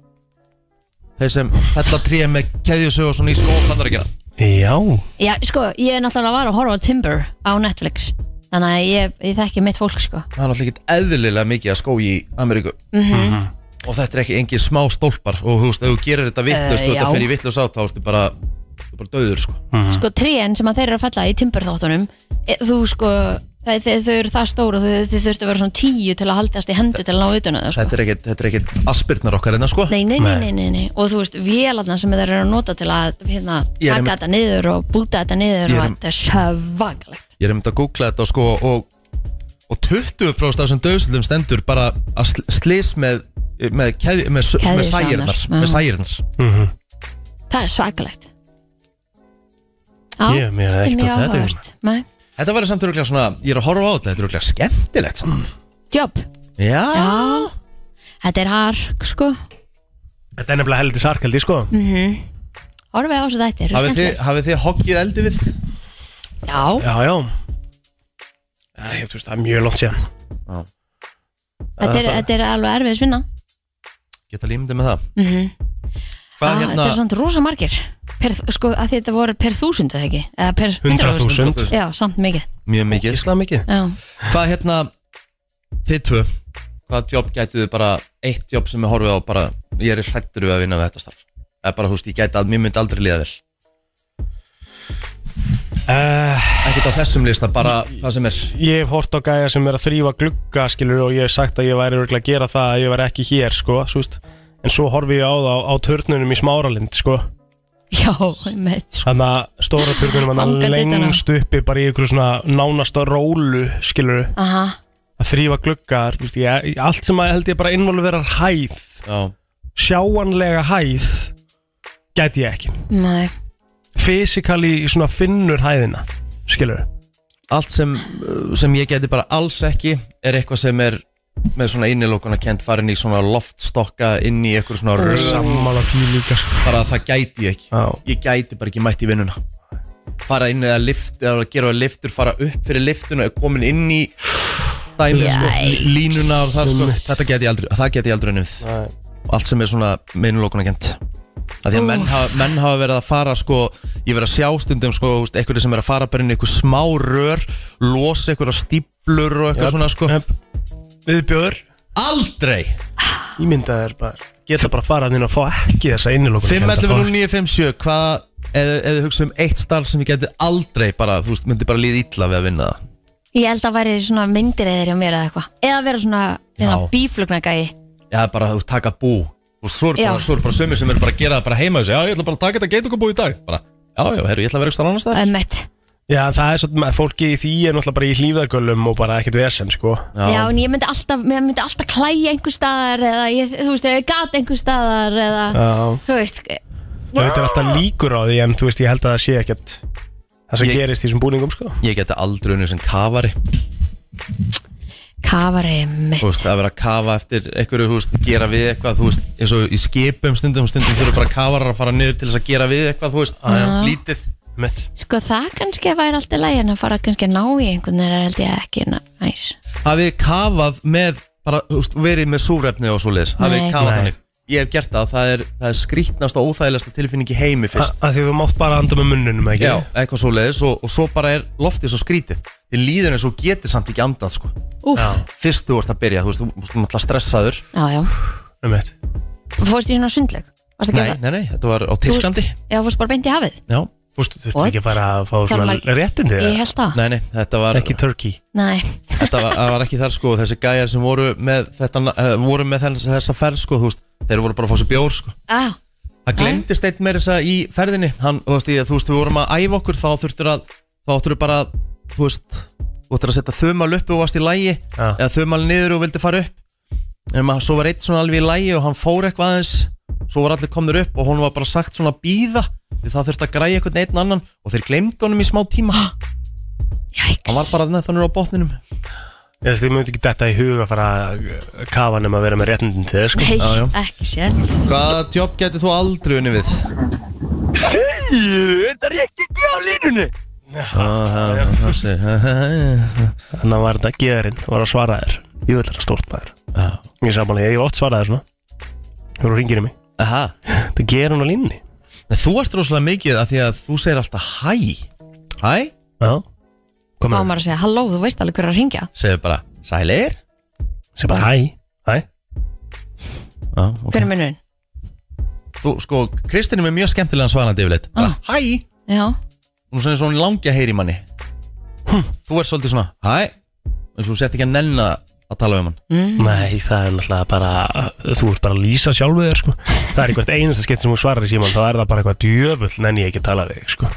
A: þeir sem fella tríð með keðjusög og svona í skóbandaríkjana
C: Já
B: Já, sko, ég er náttúrulega var að horfa á Timber á Netflix Þannig að ég, ég þekki mitt fólk, sko
A: það er náttúrulega ekkert eðlilega mikið að skó í Ameríku
B: mm
A: og þetta er ekki engin smá stólpar og þú veist, ef þú gerir þetta vittlust og
B: Eh,
A: þetta
B: já.
A: fer í vittlust átt þá ertu bara, þú ert bara döður sko.
B: sko trén sem að þeir eru að falla í timburþáttunum e, þú sko það, þau, þau eru það stóru og þau, þau þurftu að vera svona tíu til að haldast í hendu til að ná vituna þau sko.
A: þetta er ekkit, þetta er ekkit aspirnar okkar hérna sko.
B: nei, nei, nei, nei, nei, nei og þú veist, vélarna sem þeir eru að nota til að hérna,
A: Ég er
B: taka
A: einmitt-
B: þetta niður og búta þetta niður
A: Ég er
B: og
A: einmitt-
B: þetta er svakalegt
A: ég er einmitt að googla þetta sko, og, og 20% af þessum döðsildum stendur bara að sl- slys með með, keð, með, s- með
B: Keðjusjánar,
A: særirnar
B: já.
A: með særirnar
B: það er svakalegt
C: Ég- mér er ekkert á þetta,
B: þetta
A: þetta var samt öruglega svona, ég er að horfa á þetta þetta er öruglega skemmtilegt samt.
B: Mm. jobb,
A: já,
B: já þetta er hark sko
C: Þetta er nefnilega heldur sarkaldi, sko
B: Orfið á þessu þætti, eru
A: hafið þið,
B: skemmtileg
A: hafið þið hoggið eldi við
B: Já,
C: Já, já Æ, ég, þú veist, það er mjög langt síðan
B: þetta er,
C: það-
B: þetta er alveg erfið svinna
A: geta límyndið með það
B: ah,
A: hvað
B: Þetta
A: hérna
B: er samt rosa margir per, sko, að þetta voru per þúsund eða ekki eða per
C: 100.000.
B: hundraðþúsund. Já, samt mikið
A: mjög mikið
C: Gísla mikið
B: Já,
A: hvað hérna þið tvö hvað jobb gætið þið bara eitt jobb sem ég horfið á bara ég er hrættur við að vinna við þetta starf eða bara húst ég gæti að mér myndi aldrei liða vel
C: uh,
A: ekkert á þessum lista bara hvað sem er
C: Ég hef hort á gæja sem er að þrýfa glugga skilur og ég hef sagt að ég væri örugglega að gera það að ég væri ekki hér sko, svo veist en svo horfi ég á það á, á törnunum í smáralind sko,
B: já, sko. með
C: þannig að stóra törnunum hann
B: Hangandi utan á.
C: lengst uppi bara í ykkur svona nánasta rólu skilur
B: Aha,
C: að þrýfa gluggar þú veist, ég, allt sem að held ég bara involverar hæð
A: já
C: sjáanlega hæð gæti ég ekki
B: nei
C: fysikali svona finnur hæðina skilur
A: allt sem, uh, sem ég geti bara alls ekki er eitthvað sem er með svona innilokuna kent farin í svona loftstokka inn í eitthvað svona röð
C: sammála því líka sko.
A: bara það gæti ég ekki
C: Já.
A: ég gæti bara ekki mætt í vinnuna fara inn eða lift eða gera liftur, fara upp fyrir liftuna og komin inn í dæmi sko,
B: Yikes.
A: línuna og það sko. þetta geti ég aldrei, það geti ég aldrei nefnd allt sem er svona með innilokuna kent að því að menn hafa, menn hafa verið að fara sko, ég verið að sjá stundum sko, þú veist, einhverju sem er að fara bara inn í einhver smá rör losa einhverja stíplur og eitthvað svona sko.
C: viðbjör
A: Aldrei
C: ímyndaðir bara geta bara að fara þinn að fá ekki þessa innilokun
A: 5.11.09.57 Hvað, eða eð hugsa um eitt starf sem ég geti aldrei bara, þú veist, myndi bara líða illa við að vinna það
B: Ég held að væri svona myndir eða hjá mér eða eitthvað Eða vera svona, svona
A: Já.
B: bíflugnagæi
A: Já, bara, þú veist, taka bú Og svo er bara,
B: Já.
A: svo er bara sömur sem eru bara að gera það bara heima þessu Já, ég ætla bara að taka þetta geitungabú í dag bara, Já, já, herru, ég ætla að vera eitthvað annars þar
B: um, mitt.
C: já það er svona fólki í því er náttúrulega bara í hlýfðagölum og bara ekkert vesen sko
B: Já. en ég myndi alltaf, ég myndi alltaf klæja einhver staðar Eða, ég, þú veist, ég gat einhver staðar Eða,
C: Já.
B: þú veist
C: þetta er alltaf líkur á því en þú veist ég held að það sé ekkert það sem
A: Ég-
C: gerist í þessum búningum sko
A: Ég geti aldrei unnið sem kafari
B: Kafari mitt
A: Þú veist, að vera að kafa eftir einhverju, þú veist, gera við eitthvað Þú veist, eins og í skipum stundum Stundum þurfa bara kafarar að fara niður til þess að gera við eitthvað Þú veist, lítið
C: mitt
B: Sko það kannski væri alltaf læg en að fara kannski að ná í einhvern er held ég ekki næ- næs.
A: hafið þið kafað með bara, úst, verið með súrefni og svoleiðis hafið þið
B: Nei.
A: kafað
C: Nei.
A: þannig ég hef gert það, það er, það er skrítnast og óþægilegasta tilfinning í heimi
C: að
A: fyrst
C: að því þú mátt bara anda með munnunum ekki
A: Já, eitthvað svoleiðis og, og svo bara er loftið svo skrítið þið líður eins og þú getur samt ekki andað sko.
B: Úf,
A: fyrst þú ert að byrja, þú veist, þú veist, þú ert alltaf stressaður
B: já, já.
C: einmitt.
B: Fórst í svona sundleg? Varstu að
A: nei,
B: gera það?
A: nei, nei, þetta var á Tyrklandi
B: Já, fórst bara beint í hafið?
A: Já,
C: þú veist þú veist
B: What?
C: ekki bara að fá svona
B: maður-
C: réttindi
B: Ég held það.
A: nei, nei, þetta var
C: ekki turkey
B: Nei.
A: þetta var, það var ekki þar sko, þessi gæjar sem voru með, þetta, uh, voru með þess, þessa ferð sko, þú veist, þeir voru bara að fá sér bjór sko.
B: Ah,
A: Það glemdist einn meira þess að í ferðinni Hann, þú veist, ég, þú veist, við vorum að æfa okkur Þá þurftur að, þá þurftur bara Þú veist, þú ættir að setja þumal upp og varst í lægi
C: Já.
A: Eða þumal niður og vildi fara upp En maður, svo var einn svona alveg í lægi Og hann fór eitthvað aðeins Svo var allir komnir upp og hún var bara sagt svona að býða Því það þurfti að græja eitthvað einn annan Og þeir glemdu honum í smá tíma Hann
B: jæks.
A: var bara þannig þannig á botninum
C: Ég veist, ég myndi ekki detta í huga að fara að kafa nema að vera með réttindin til þess, sko.
B: Nei,
A: Já, já.
B: ekki sér.
A: Hvaða jobb getið þú aldrei unni við? Þetta er ekki á línunni
C: Þannig að var þetta gerinn, var að svara þér. Ég vil þetta stórt maður. Ég samanlega, ég hef oft svarað þér svona. Þú ringir í mig.
A: Aha,
C: Það gerir hún á línni.
A: En þú ert rosalega mikið að því að þú segir alltaf hæ Hæ?
C: Já.
B: Þá
C: Komum við.
B: maður að segja, halló, þú veist alveg hver er að ringja.
A: Segir bara, sælir?
C: Sér bara, hæ. Hæ.
A: Já, ok.
B: Hver er munurinn?
A: Þú, sko, Kristinn er með mjög skemmtilegan svarandi yfirleitt Bara, hæ,
B: Já,
A: hún er svona- svona langja heyri manni Þú ert svolítið svona, hæ En svo sért ekki að nenna að tala um hann
C: Nei, það er náttúrulega bara Þú ert bara að lýsa sjálfu þér sko Það er eitthvað einasta skeitt sem hún svarar í síman Þá er það bara eitthvað djöfull nenni ég ekki að tala við þig sko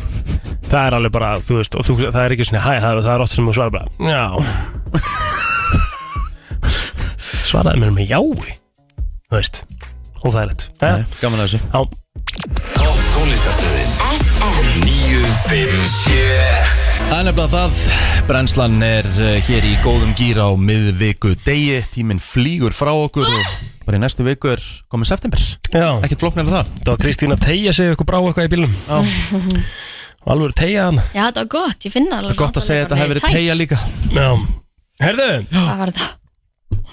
C: Það er alveg bara, þú veist og þú, Það er ekki svona, hæ, það, það er ofta sem hún svarar bara Já Svaraði mér með jái Þú veist, óþægilegt ja,
A: Nei, Gaman að þessu
C: Já,
E: Topp tónlistarstöðin FM 957
A: Það er nefnilega það, brennslan er eh, hér í góðum gýr á miðviku degi Tíminn flýgur frá okkur og bara í næstu viku er komið september
C: já
A: Ekkert flóknar en það
C: Það var Kristín að tegja sig eitthvað brá eitthvað í bílum
A: Já.
C: Alveg tegja hann
B: já þetta var gott, ég finna alveg
A: Gott að segja að þetta hefur verið tegja líka
C: Já Herðu,
B: Hvað var þetta?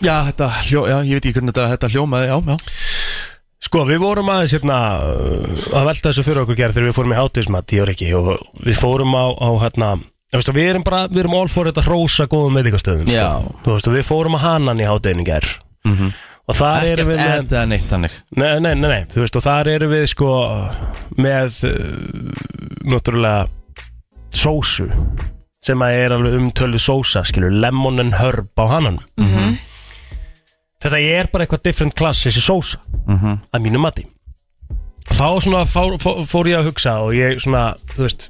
A: Já, þetta hljó, já, ég veit ekki hvernig þetta, þetta hljómaði, já, já
C: Sko, við vorum aðeins hérna uh, að velta þessu fyrir okkur gerð þegar við fórum í hátíðismat, ég er ekki, og við fórum á, á hérna, þú veist, við erum bara, við erum all for þetta hrósa góðum veitingastöðum, sko.
A: Já. Mhm.
C: Þú veist, og við fórum á hanan í hátíðinu gerð. -hmm. Og þar erum
A: Ekkert
C: við með,
A: eða neitt hannig
C: nei, nei, nei, nei, þú veist, og þar erum við, sko, með, uh, náttúrulega, sósu, sem að er alveg umtölu sósa, skilur, lemon and herb á hanan. Mm Þetta er bara eitthvað different class, þessi sósa að mínu mati þá svona fór, fór, fór ég að hugsa og ég svona, þú veist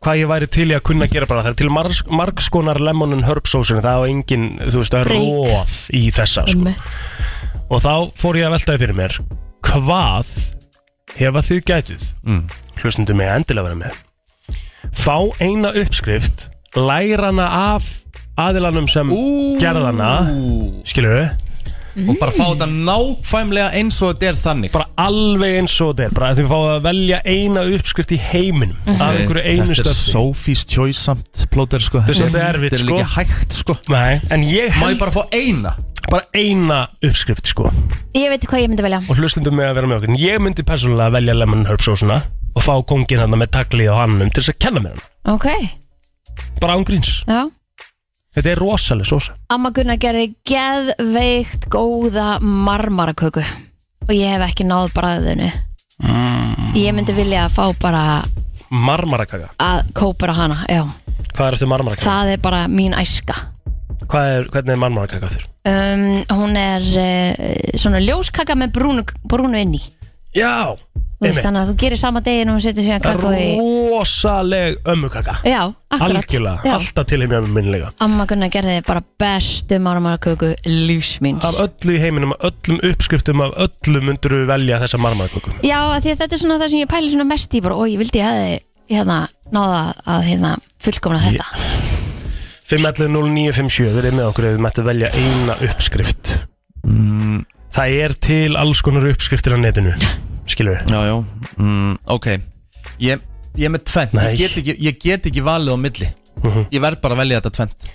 C: hvað ég væri til í að kunna gera bara það er til margs, margskonar lemon and herb sósun það á engin, þú veist,
B: Break.
C: róð í þessa, sko.
B: Einmitt.
C: og þá fór ég að veltaði fyrir mér hvað hefa þið gætið mm. hlustundum mig endilega vera með fá eina uppskrift læra hana af aðilanum sem gerðana skilur við
A: Og bara fá þetta nákvæmlega eins og þetta er þannig
C: bara alveg eins og þetta er bara að þið fáið að velja eina uppskrift í heiminum af einhverju einu
A: Mhm. Þetta er
C: stöfni
A: Sophie's Choice samt plóter sko
C: er svolítið erfitt,
A: Þetta er
C: sko.
A: líka hægt sko
C: Nei, en ég
A: Má
C: held
A: ég bara fá eina?
C: bara eina uppskrift sko og
B: Ég veit hvað ég myndi velja
C: hlustundum með að vera með okkur En ég myndi persónulega velja lemon herb sósuna og fá kongin hann með tagli á hannum til þess að kenna mér hann
B: Ok,
C: bara án gríns
B: já
C: þetta er rosalega sósa
B: Amma Gunnar gerði geðveikt góða marmaraköku og ég hef ekki náð bræðinu Ég myndi vilja að fá bara
C: marmarakaka
B: að kópera hana, já
C: hvað er eftir marmarakaka?
B: Það er bara mín æska
C: Hvað er, hvernig er marmarakaka þér?
B: um, Hún er uh, svona ljóskaka með brúnu, brúnu inn í
C: já
B: Þú veist, Þannig að þú gerir sama degin og hún setur síðan kakó í
C: rosaleg ömmukaka
B: Já, akkurat
C: algjörlega,
B: já.
C: alltaf til heim í ömmu minnilega
B: Amma Gunnar gerði bara bestu marmaraköku lífsmins
C: af öllu í heiminum, af öllum uppskriftum af öllu myndur við velja þessa marmaðköku
B: Já, af því að þetta er svona það sem ég pæli svona mest í bara, og ég vildi ég hefði hérna, náða að hérna, fullkomna þetta
C: 512957, verið með okkur ef við mættu velja eina uppskrift
A: Mm.
C: það er til alls konar uppskriftir á netinu skilur við
A: Já, já mm, Ok Ég, ég er með tvent
C: Nei.
A: ég get, ekki, ég get ekki valið á milli
C: Mhm.
A: Ég verð bara að velja þetta tvent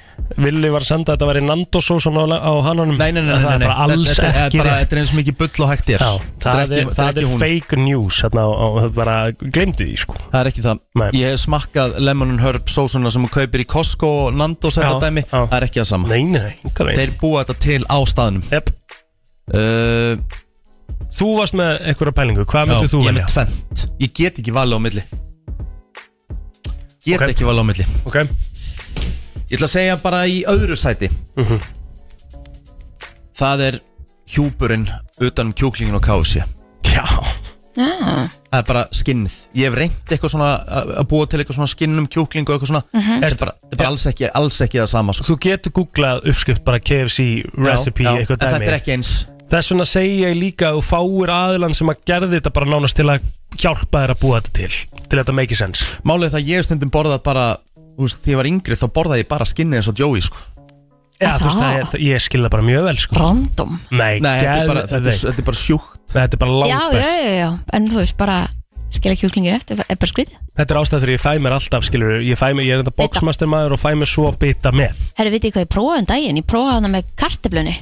C: Villi var að senda að þetta væri Nandosós á, á hannanum
A: Nei, nei, nei, nei,
C: Mhm. það
A: nei,
C: er
A: nei.
C: bara alls
A: þetta, þetta er,
C: ekki
A: bara,
C: rétt
A: Þetta er eins og mikið bull og hægt er
C: Já,
A: Þetta
C: það er,
A: ekki,
C: það er,
A: ekki hún
C: fake news hérna, og, og það bara glemdu því sko
A: Það er ekki það
C: Nei.
A: Ég hef smakkað lemon and herb sósuna sem hún kaupir í Costco og Nandos þetta
C: Já,
A: dæmi
C: já.
A: Það er ekki það sama
C: Nei, nei, nei, enga veginn
A: Þeir búa þetta til á staðnum
C: yep.
A: uh,
C: Þú varst með einhverja pælingu,
A: Já,
C: hvað myndið þú
A: ég er
C: velja?
A: með tvent Ég get ekki valið á milli Get
C: Ok.
A: ekki valið á milli
C: Ok,
A: Ég ætla að segja bara í öðru sæti
C: Mhm.
A: Það er hjúpurinn utan um kjúklingin og kási
C: já,
B: Já,
A: Það er bara skinnið Ég hef reynt eitthvað svona að að búa til eitthvað svona skinn um kjúkling og eitthvað svona
C: Mhm.
A: Þetta er bara, þetta er bara alls, ekki, alls ekki það sama sko.
C: þú getur googlað uppskrift bara KFC recipe,
A: Já, já,
C: eitthvað
A: En
C: dæmi
A: þetta er ekki eins
C: Þess vegna segi ég líka að þú fáir aðilan sem að gerði þetta bara nánast til að hjálpa þér að búa þetta til til að þetta make sense
A: Málið er það að ég hef stundum borðað bara þú veist, Þegar ég var yngri þá borðaði ég bara skinnið eins og Joey sko.
C: Já, þú veist, það er, ég skil það bara mjög vel sko.
B: random
C: Nei,
A: Nei, þetta er, bara,
C: geðveikt.
A: þetta, er, þetta er bara sjúkt
C: Nei, þetta er bara
B: já,
C: langt
B: já,
C: best
B: já, já, en þú veist bara skilja kjúklingir eftir, er bara skrítið
C: Þetta er ástæð fyrir ég fæ mér alltaf, skilur Ég, fæ mér, ég er þetta
B: Bita.
C: boxmaster maður og fæ mér svo bita með
B: Herru, vitið þið hvað ég prófaði um daginn? Ég prófaði hana með karteblunni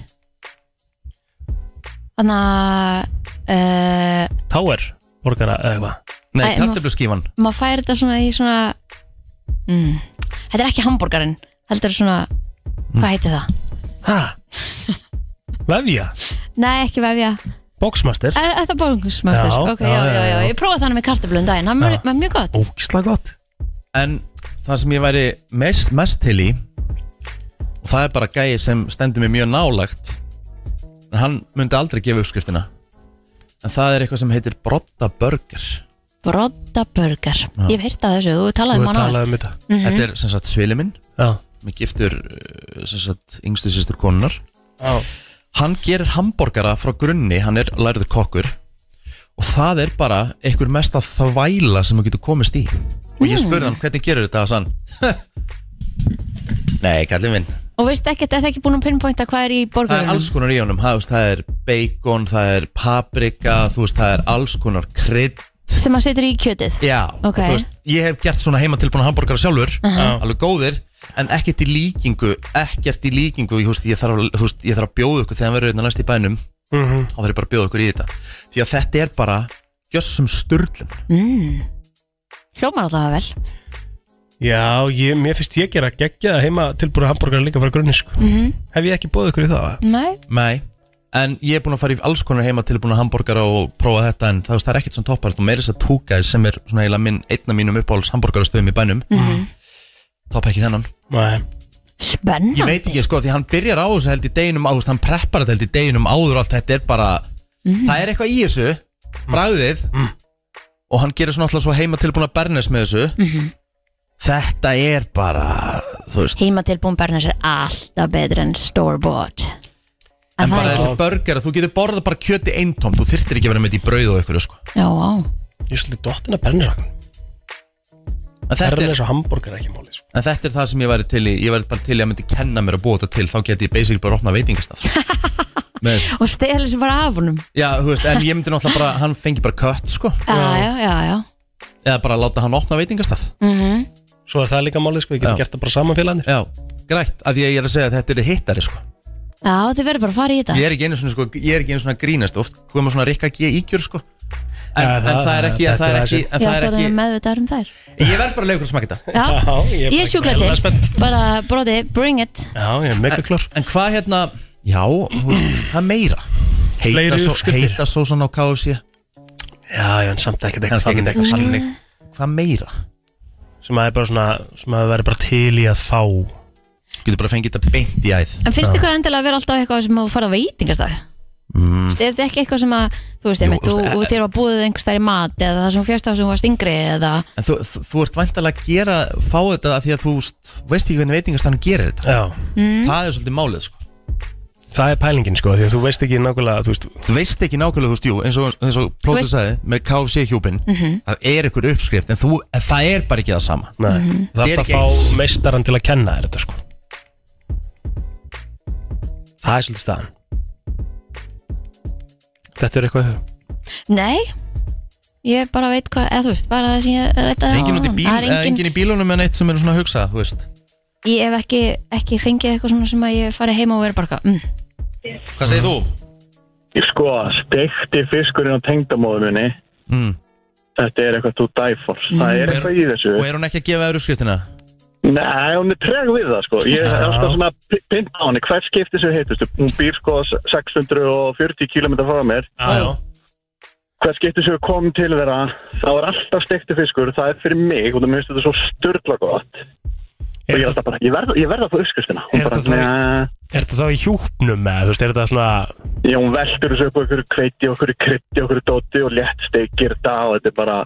B: Þannig að uh,
C: Táer, borgara, eða eitthvað
A: Nei,
B: Æ, nú-
A: kartöfluskífan
B: maður fær þetta svona í svona mm, Þetta er ekki hambúrgarinn [LAUGHS] heldur svona, hvað heitir það?
C: Ha? Vefja?
B: Nei, ekki vefja
C: Boxmaster
B: Er, er það bólungsmaster?
C: Já,
B: Ok, já, já, já, Ég prófaði þannig með kartöflun daginn Það var
C: Já.
B: var mjög gott
C: Ógislega gott
A: En það sem ég væri mest, mest til í og það er bara gæi sem stendur mér mjög nálagt en hann myndi aldrei gefa uppskriftina en það er eitthvað sem heitir Brodda Burger
B: Brodda burger Ég hef heyrt að þessu, þú talaði
C: Þú
B: um hann áður
C: talaði um þetta
A: Þetta er sem sagt svili minn
C: Já
A: mér giftur uh, sem sagt yngstu sýstur konunar
C: Já
A: hann gerir hambúrgara frá grunni hann er lærður kokkur og það er bara einhver mesta þvæla sem þú getur komist í og ég spurði hann hvernig gerir þetta og sann Nei, kallið minn
B: Og veist ekkert, er það ekki búin að pinpointa hvað er í
A: Það er
B: borgarunum?
A: alls konar í honum, það, þú veist, það er bacon, það er paprika, þú veist, það er alls konar krydd
B: Sem að setur í kjötið
A: Já,
B: Ok.
A: þú veist, ég hef gert svona heima tilbúna hambúrgar sjálfur, alveg góðir En ekkert í líkingu, ekkert í líkingu, ég, þú veist, ég, þarf, að- þú veist, ég þarf að bjóða ykkur þegar hann verður hérna næst í bænum
C: Mhm.
A: Þá þarf ég bara að bjóða ykkur í þetta Því að þetta er bara gjössum sturlun
B: Mm. Hljómar allavega vel
C: Já, ég, mér finnst ég gera geggja heima tilbúinu hambúrgar líka frá grunni sko.
B: Mhm.
C: Hef ég ekki bóðið ykkur í það?
B: Nei,
A: Nei, en ég er búin að fara í alls konar heima tilbúna hambúrgara og prófa þetta en það, það er ekkert sem toppar og meira þess að túka sem er svona eiginlega minn, einn af mínum uppáhalds hambúrgarastöðum í bænum mm toppa ekki þennan
C: Nei
B: spennandi
A: ég veit ekki sko því hann byrjar á þessu held í deginum áður hann preppar þetta held í deginum áður og allt þetta er bara það er eitthvað í þessu bragðið og hann gerir svona alltaf svo heima tilbúna bernes með þessu þetta er bara þú veist
B: Heimatilbúin bernes er alltaf betur en store-bought
A: en
B: það
A: bara
B: er-
A: þessi burger þú getur borðað bara kjöti eintomt þú þyrftir ekki að vera með þetta í brauð og ykkur sko
B: Já, á
C: Ég svolítið dottina bernisakn
A: en þetta, er,
C: Bernis og hambúrgar er ekki máli sko.
A: en þetta er það sem ég væri til í ég væri bara til í að myndi kenna mér að búa þetta til þá geti ég basically bara opnað veitingastaf með þessu
B: Og stelur sem bara af honum
A: já, þú veist, en ég myndi náttúrulega bara hann fengi bara kött sko
B: Já, já, já, já
A: eða bara láta hann opna veitingastaf
C: Svo er það líka máli sko, ég get
A: Já.
C: gert það bara saman félagarnir
A: já, grætt, af því að ég er að segja að þetta er hittari sko
B: Já, þið verður bara að fara í þetta
A: ég er ekki einu svona, sko, ég er ekki einu svona grínast oft koma svona rikka ekki ígjur sko en,
C: Já,
A: en
C: það-
A: það er ekki,
C: þetta
A: það er
C: er
A: ekki, en
B: Ég
A: það
B: ætti
A: er
B: að
A: ekki
B: vera meðvitaður um
A: [LAUGHS]
B: þær
A: ég verð bara að leikur að smaka þetta
B: Já,
C: ég er
B: ég
C: bara
B: er sjúkla
C: greinilega
B: til
C: spennt.
B: Bara broti, bring it
C: Já, ég er mega klár
A: en hvað hérna, já, þú veist, það er meira
C: Fleiri
A: heita, svo,
C: uppskriftir.
A: heita sósan á KFC
C: Já, já, en samt ekkert eitthvað
A: kannski ekki
C: þannig
A: eitthvað sannig hvað meira?
C: sem að er bara svona, sem að vera bara til í að fá
A: getur bara að fengið þetta beint í æð
B: En finnst ykkur endilega að vera alltaf eitthvað sem þú farið á veitingastæð? Mm. Er þetta ekki eitthvað sem að þú veist, einmitt,
A: þú
B: þú,
A: veist, eh,
B: þú þér var búið einhvers þær í mat eða það sem þú fjast á sem þú varst yngri eða
A: en þú, þú, þú ert vantalega að gera fá þetta af því að þú veist, veist ekki hvernig veitingastann gerir þetta
C: Já,
B: Mm.
A: það er svolítið málið sko
C: það er pælingin sko, því að þú veist ekki nákvæmlega, þú veist
A: þú veist ekki nákvæmlega, þú veist, jú, eins og, eins og Plóter
B: veist- Mhm.
A: sagði, með KFC hjúpin það er ykkur uppskrift, en þú, en það er bara ekki það sama
C: Nei, það
A: Þetta er
C: Mhm. er
A: ekki
C: bara að
A: eins.
C: fá meistaran til að kenna þér þetta sko Það er svolítið staðan Þetta er eitthvað
B: Nei, ég bara veit hvað eða þú veist, bara það sem ég
A: Það
B: rætta
A: er engin út í bíl,
B: það er
A: engin...
B: engin,
A: engin í bílunum en eitt sem er svona að hugsa, þú veist
B: Ég hef ekki, ekki fengið eitthvað svona sem að ég fari heima og vera bara eitthvað, mm.
A: hvað segir þú?
F: Sko, steikti fiskurinn á tengdamóðuminni
A: Mm.
F: Þetta er eitthvað to die for Það er eitthvað í
C: Mm.
F: þessu
A: og er hún ekki að gefa þér uppskriftina?
F: Nei, hún er treg við það sko Ég er alltaf svona pi- pinn á henni Hvert skipti sem heitust Hún býr sko 640 km frá mér
C: Já, já
F: Hvert skipti sem við komum til þeirra þá er alltaf steikti fiskur Það er fyrir mig og það minnst þetta svo styrla gott Og ég er alltaf bara Ég verð, ég verð að fá uppskustina Hún
C: Er
F: bara,
C: þetta
F: "Nei."
C: Er þetta þá í hjúpnum eða þú veist, er þetta svona
F: Já, hún veldur þessu upp á einhverju kveiti, og einhverju krytti, og einhverju dóti og létt steikir þetta og þetta er bara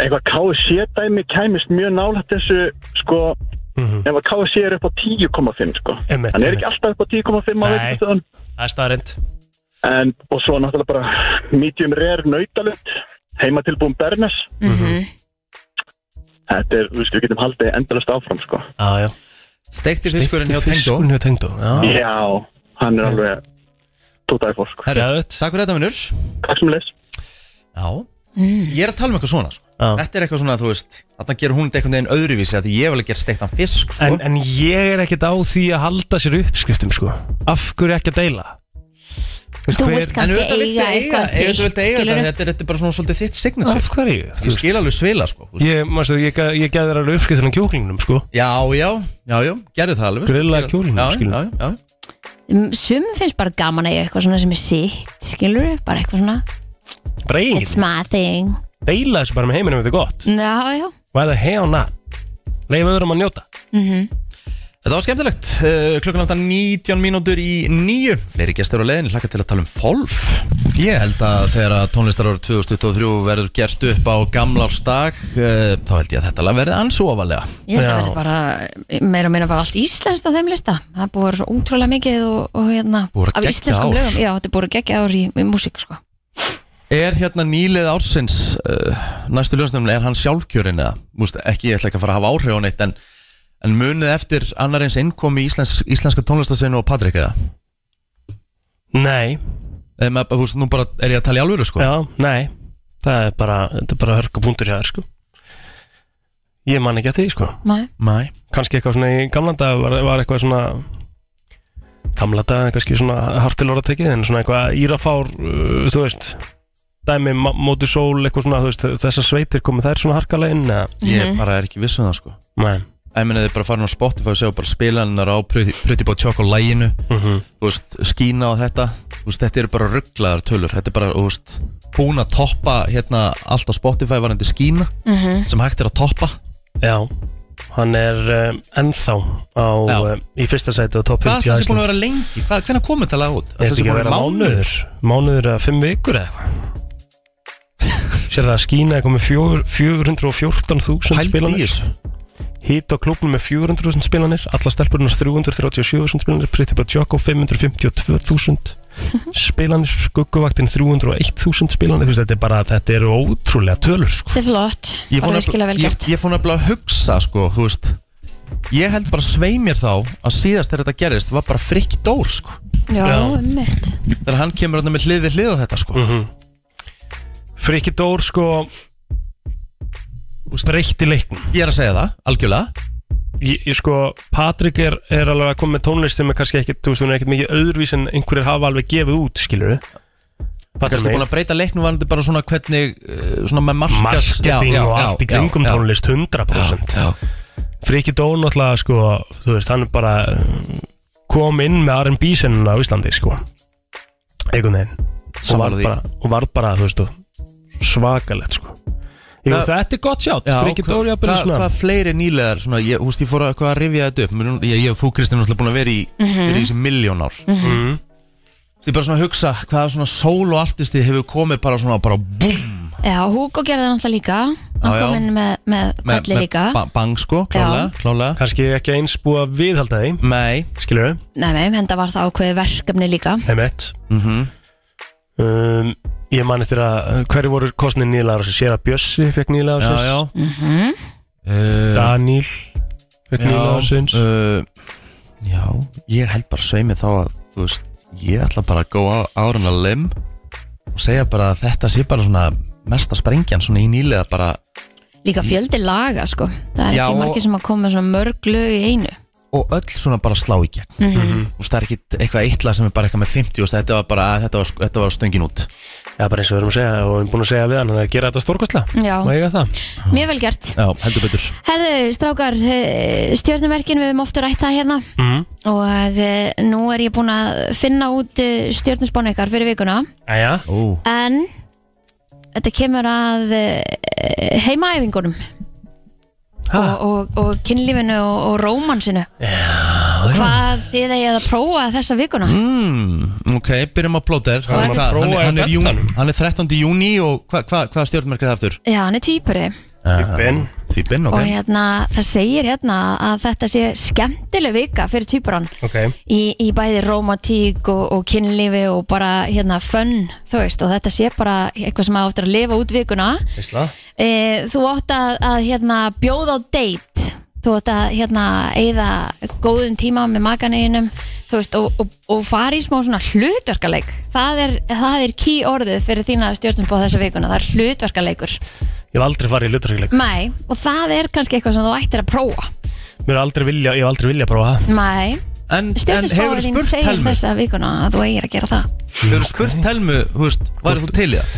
F: eitthvað KFC-dæmi kæmist mjög nálægt þessu sko,
C: Mhm.
F: ef að KFC er upp á 10,5 sko,
C: Einmitt,
F: hann er
C: einmitt.
F: ekki alltaf upp á 10,5 á
C: Nei.
F: veitingastöðum.
C: Það er staðarind
F: en, og svo náttúrulega bara medium rare nautalund heimatilbúin Bernes
A: Mhm.
B: mhm.
F: þetta er, þú veist, við getum haldið endalast áfram sko,
C: Já, já
A: steikti fiskurinn hjá Tengdó
C: Fiskurinn hjá Tengdó Já,
F: já hann er alveg tótaði fór sko,
A: Herru,
C: Geðveikt.
A: takk fyrir þetta minnur
F: takk sem leys
A: já,
B: Mm.
A: ég er að tala um eitthvað svona sko.
C: Já.
A: þetta er eitthvað svona, þú veist, að það gerur hún þetta einhvern veginn öðruvísi, að því ég vil að gera steiktan fisk sko.
C: En, en ég er ekkert á því að halda sér uppskriftum sko Af hverju ekki að deila? veist,
B: Þú
C: hver-
B: vilt
A: en
B: kannski
A: auðvitað viltu
B: eiga
A: eiga,
B: eitthvað
A: auðvitað viltu eiga
B: skilurðu?
A: þetta, þetta er- þetta er bara svona svolítið þitt signature
C: Af hverju? Þú
A: ég
C: veist,
A: skil alveg svila, sko þú veist.
C: Ég, mástu, ég, gaf- ég gæði þér alveg uppskriftin á kjúklingnum sko
A: Já, já, já, já, gerðu það alveg
C: Grillaða
A: Gerðu-
C: kjúlinn,
A: já,
C: skilur.
A: já, já,
B: Sum Mm, finnst bara gaman að ég eitthvað svona sem er sitt, skilur við, bara eitthvað svona
C: Bara
B: It's
C: eigin,
B: my thing
C: deila þessu bara með heiminum ef þetta er gott
B: Já, já,
C: Why the hell not? Leif öðrum að njóta
A: Þetta var skemmtilegt, uh, klukkan áttan 19 mínútur í nýju Fleiri gestur á leiðin, hlakka til að tala um Folf Ég held að þegar að tónlistarar 2023 verður gert upp á gamlársdag uh, Þá held ég að þetta lag verði ansofalega
B: ég held að
C: Já.
B: verði bara meira og meina bara allt íslenskt á þeim lista það er búið að vera svo útrúlega mikið og, og hérna
A: Búið að
B: af
A: gegja
B: íslenskum
A: ár.
B: lögum, já, þetta er búið að gegja ár í, í músík, sko
A: Er hérna nýlið ársins, uh, næstu ljósnefnum, er hann sjálfkjörinn eða? Múst, ekki, ég ætla ekki að fara að hafa áhrif á neitt En, en munið eftir annar eins innkomi í íslens, íslenska tónlistarsveinu og Patrik eða?
C: Nei,
A: Eða, með- þú veist, nú bara er ég að tala í alvöru sko
C: já, nei Það er bara, þetta er bara hörku punktur hjá þér sko Ég man ekki að því sko
B: Nei.
A: Mæ,
C: kannski eitthvað svona í gamla dag var, var eitthvað svona gamla dag, kannski svona hart til orða tekið en svona eitthvað írafár uh, þú veist, dæmi ma- móti sól eitthvað svona, þú veist, þessar sveitir komið þær svona harkalega inn eða,
A: ég
B: Mhm.
A: bara er ekki viss um það sko
C: nei,
A: Ég meina þið bara farin á Spotify og sjá bara spilaninnar á Pretty Pretty Boy Choco læginu Þú veist, skína á þetta Þú veist, þetta eru bara rugglaðar tölur Þetta er bara, þú veist, búin að toppa hérna allt á Spotify varandi skína
B: Mhm.
A: sem hægt er að toppa
C: já hann er um, ennþá á,
A: Já.
C: um, í fyrsta sæti og top
A: Hvað
C: 50
A: ætla þessi búin að
C: Iceland.
A: vera lengi? Hvað, hvenær komið talað út?
C: Er
A: Ætli
C: þetta
A: sé
C: ekki
A: búin
C: að vera mánuður mánuður að fimm vikur eða eitthvað
A: [LAUGHS]
C: sér það að skína er komið fjögur- 414.000
A: Pældi í
C: spilanir
A: þessu
C: Hít á klubnum með 400.000 spilanir, alla stelpurinnar 337.000 spilanir, Pretty Boy Choco 552.000 spilanir, Gugguvaktin 301.000 spilanir, þú veist, þetta er bara, þetta eru ótrúlega tölur, sko.
B: Þetta er flott,
A: Ég fór
B: bara virkilega
A: nefnilega-
B: vel
A: ég-
B: gert
A: ég fór nefnilega að hugsa, sko, þú veist Ég held bara svei mér þá að síðast þegar þetta gerist var bara frikk dór, sko
B: Já,
C: Já.
B: ummitt
A: Þegar hann kemur hann með hlið við hlið á þetta, sko
C: Friki Dór, sko, breytti leiknum.
A: Ég er að segja það, algjörlega
C: Ég, ég sko, Patrik er, er alveg að koma með tónlist sem er kannski ekkit, þú veist, hún er ekkit mikið öðruvís en einhverjir hafa alveg gefið út, skilur við.
A: kannski búin að breyta leiknum varandi bara svona hvernig uh, svona með markas,
C: Marketing
A: já, já,
C: og
A: já,
C: allt í
A: já,
C: kringum
A: já,
C: tónlist 100%.
A: já,
C: Friki Dón náttúrulega sko, þú veist, hann er bara uh, kom inn með R&B sennuna á Íslandi sko einhvern veginn og var,
A: Sammála því.
C: bara, og var bara, þú veist, og svakalett sko Jú,
A: Hvað-
C: þetta er gott sjátt,
A: já,
C: Friki Dór
A: hva,
C: jafnvel
A: hva,
C: svona
A: hvað fleiri nýlegar svona, ég, húst, ég fór að, hvað að rifja þetta upp Mér- ég, ég og þú Kristinn er búin að vera í vera í þessi miljón ár mm
C: Mhm.
A: ég bara svona að hugsa hvaða svona sól og artisti hefur komið bara svona bara búm
B: Já, Hugo gerði það náttúrulega líka Hann
A: Já, já.
B: kom inn með, með kolli líka
A: ba bang sko, klálega, klálega.
C: kannski ekki eins búið að viðhalda þeim
A: Nei,
C: skilur við,
B: Nei, nei, henda var það ákveðið verkefni líka
C: heimitt
A: mhm,
C: um, ég man eftir að hverju voru kostnir nýlaður sér að Bjössi fekk nýlaður
A: já, já uh,
C: Daníl fekk nýlaður sinns
A: uh, Já, ég held bara sveimi þá að þú veist, ég ætla bara að góa árun að lim og segja bara að þetta sé bara svona mesta sprengjan svona í nýlega bara
B: Líka fjöldi laga, sko Það er
A: Já,
B: ekki
A: og-
B: margir sem að koma með svona mörg lög í einu
A: og öll svona bara slá í gegn mm -hmm. og það er ekki eitthvað eitla sem er bara eitthvað með 50 og þetta var bara, þetta var, þetta var stöngin út
C: Já, bara eins og við erum að segja og við erum búin að segja við hann hann er að gera þetta stórkostlega
B: Já.
C: og eiga það
B: Mjög vel gert
A: Já, heldur betur
B: Herðu, strákar, eh, stjörnumerkin við höfum ofta rætt það hérna
C: Mhm.
B: og eh, nú er ég búin að finna út eh, stjörnuspána ykkar fyrir vikuna
C: Æja,
A: Ó,
B: en þetta kemur að eh, heimaæfingunum og, og, og kynlífinu og, og rómansinu hvað þið eigið að prófa þessa vikuna
A: mm, ok, byrjum að plóta þér
C: Hvað er að
A: hann,
C: prófa
A: er- hann, er
C: í
A: jún,
C: beddanum?
A: hann er 13. júni og hvað hva, hva stjórnmerkir það aftur?
B: Já, hann er týpuri
C: Finn
A: Því binn, ok
B: og hérna, það segir hérna að þetta sé skemmtileg vika fyrir týpuran
C: Ok,
B: í, í bæði romantík og, og kynlífi og bara hérna fönn, þú veist, og þetta sé bara eitthvað sem áttur að lifa út vikuna
C: veistla
B: e, þú átt að, að hérna bjóða á date þú átt að hérna eigða góðum tíma með makaneginum þú veist, og, og, og fara í smá svona hlutverkaleik það er, það er key orðið fyrir þína stjórnum bóð þessa vikuna, það er hlutverkaleikur
C: Ég hef aldrei farið í lutarregleik
B: mæ, og það er kannski eitthvað sem þú ættir að prófa
C: Mér hef aldrei vilja, ég hef aldrei vilja að prófa það
B: mæ,
A: En, en hefur
B: stjórnum þín
A: spurt
B: segir
A: Telmu
B: þessa vikuna að þú eigir að gera það
A: Hefur spurt Telmu, þú veist, værið þú til í það?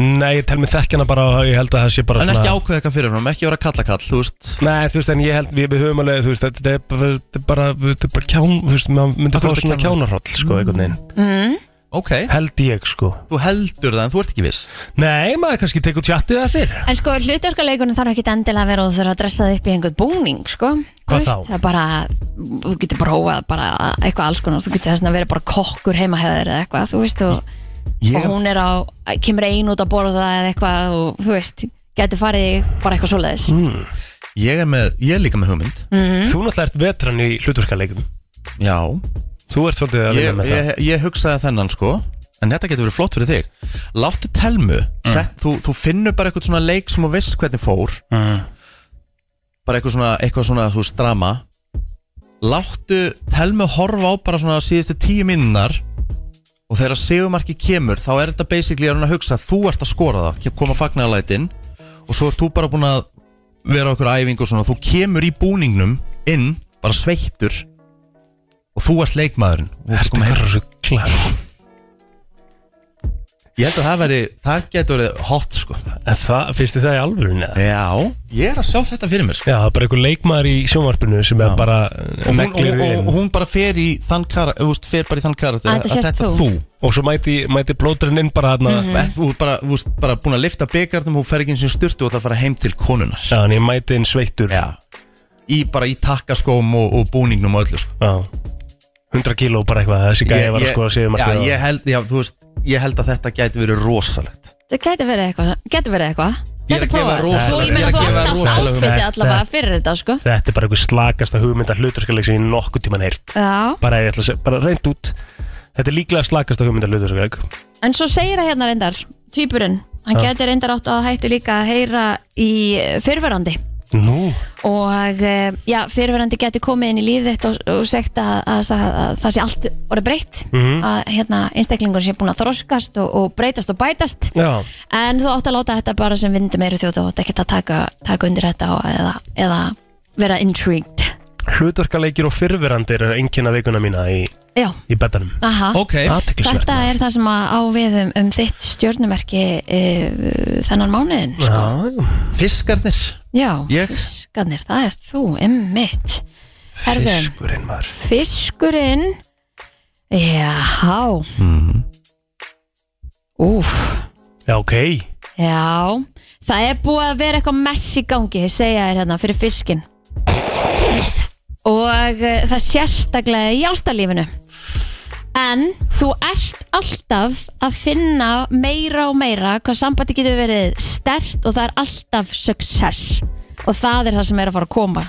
C: Nei, ég tel mig þekkjana bara og ég held að það sé bara
A: En ekki ákveða eitthvað fyrirfram, ekki vera kalla kall, þú veist
C: Nei, þú veist, en ég held, við, við höfum alveg, þú veist, þetta er bara, þetta er bara, þetta er bara kján, þú veist, maður myndi
A: Akkur
C: fá
A: þetta
C: svona
A: kjánar?
C: kjánarhroll, sko, einhvern veginn.
A: Ok,
C: Held ég, sko.
A: þú heldur það en þú ert ekki viss
C: Nei, maður kannski tekur tjattið það fyrr.
B: En sko, hlutverkuleikunum þarf ekki endilega að vera og þú þurfa að dressa þig upp í einhvern búning, sko. Þú
C: Hvað
B: veist,
C: þá?
B: Það er bara, þú getur prófað bara eitthvað alls konar, þú getur þess að vera bara kokkur heimahæður eða eitthvað, þú veist, og, og hún er á, kemur ein út að borða eða eitthvað og þú veist, getur farið í bara eitthvað svoleiðis.
A: Mm. Ég er, með, ég er líka með hugmynd
C: Þú náttúrulega ert vetran í hlutverkaleikum.
A: Já,
C: Þú ert svolítið að
A: ég,
C: vinna með það.
A: ég, ég hugsaði þennan sko En þetta getur verið flott fyrir þig Láttu telmu,
C: Mm.
A: sett, þú, þú finnur bara eitthvað svona leik sem þú veist hvernig fór
C: Mm.
A: Bara eitthvað svona, eitthvað svona, þú veist, drama Láttu telmu horfa á bara svona síðustu tíu minnar Og þegar segumarki kemur, þá er þetta basically að reyna að hugsa að Þú ert að skora það, kem- koma fagnarlætin Og svo ert þú bara búin að vera á okkur æfingu og svona Þú kemur í búningnum inn, bara sveittur Og þú ert leikmaðurinn Og þú ert
C: Ertu
A: kominn heim.
C: bara ruggla?
A: Ég held að það veri, það getur verið hot sko
C: En það, finnst þið það í alvörunni? eða?
A: Já Ég er að sjá þetta fyrir mér sko
C: Já, það er bara einhver leikmaður í sjónvarpinu sem er bara eh,
A: Og hún,
C: neglir
A: og, og,
C: inn.
A: og hún bara fer í þann kar, úst, fer bara í þann karakter
B: Að þetta sért þú. Mm.
C: Og svo mæti, mæti blóturinn inn bara hérna,
A: þú Þú er bara, úst, bara búin að lifta byggarnum Hún fer ekki eins og styrtu og ætlar að fara heim til konunar
C: já, en ég mæti inn sveittur.
A: Já. Í bara í takkaskóm og, og búningnum og öllu sko
C: Já. 100 kíló bara eitthvað, þessi gæði var að sko að séu
A: já,
C: markið. á-
A: ég held, já, þú veist Ég held að þetta gæti verið rosalegt
B: Það getur verið eitthvað, getur verið eitthvað.
A: Ég er að
B: Getur
A: gefa
B: prófað.
A: rosalega-
B: Svo
A: ég er
B: ég meina
A: að
B: þú
A: gefa
B: átt alltaf
A: rosalega-
B: átfitið allavega
C: Þetta-
B: fyrir þetta, sko.
C: Þetta er bara einhver slakasta hugmynda hlutverkuleik sem ég nokkuð tíman heilt
B: Já.
C: bara, ég ætla að segja, bara reynd út Þetta er líklega slakasta hugmynda hlutverkuleik
B: En svo segir það hérna reyndar, týpurinn, hann
C: Já.
B: getur reyndar átt að hættu líka að heyra í fyrverandi
C: Nú,
B: og eh, já, fyrverandi getur komið inn í lífið þitt og, og segt að, að, að, að það sé allt orðið breytt, að hérna, einstaklingur sé búin að þroskast og, og breytast og bætast
C: já,
B: en þú átt að láta þetta bara sem vindu meiri þjóð og ekki að taka, taka undir þetta og, eða, eða vera intrigued
C: hlutverkuleikir og fyrrverandir er einkenna vikuna mína í,
B: Já,
C: í betanum
B: aha
A: Ok
C: Athyglisvert
B: Þetta er það sem að á við um, um þitt stjörnumerki e, þennan mánuðin sko.
C: Já,
A: Fiskarnir
B: Já,
A: Ég?
B: fiskarnir, það er þú, emmitt
C: já,
B: Herðum,
C: fiskurinn maður
B: fiskurinn Jáhá mm. Úf,
C: Já, ok,
B: já Það er búið að vera eitthvað mess í gangi ég segja þér hérna fyrir fiskin og eh, það sérstaklega í ástalífinu en þú ert alltaf að finna meira og meira hvað sambandi getur verið stert og það er alltaf success og það er það sem er að fara að koma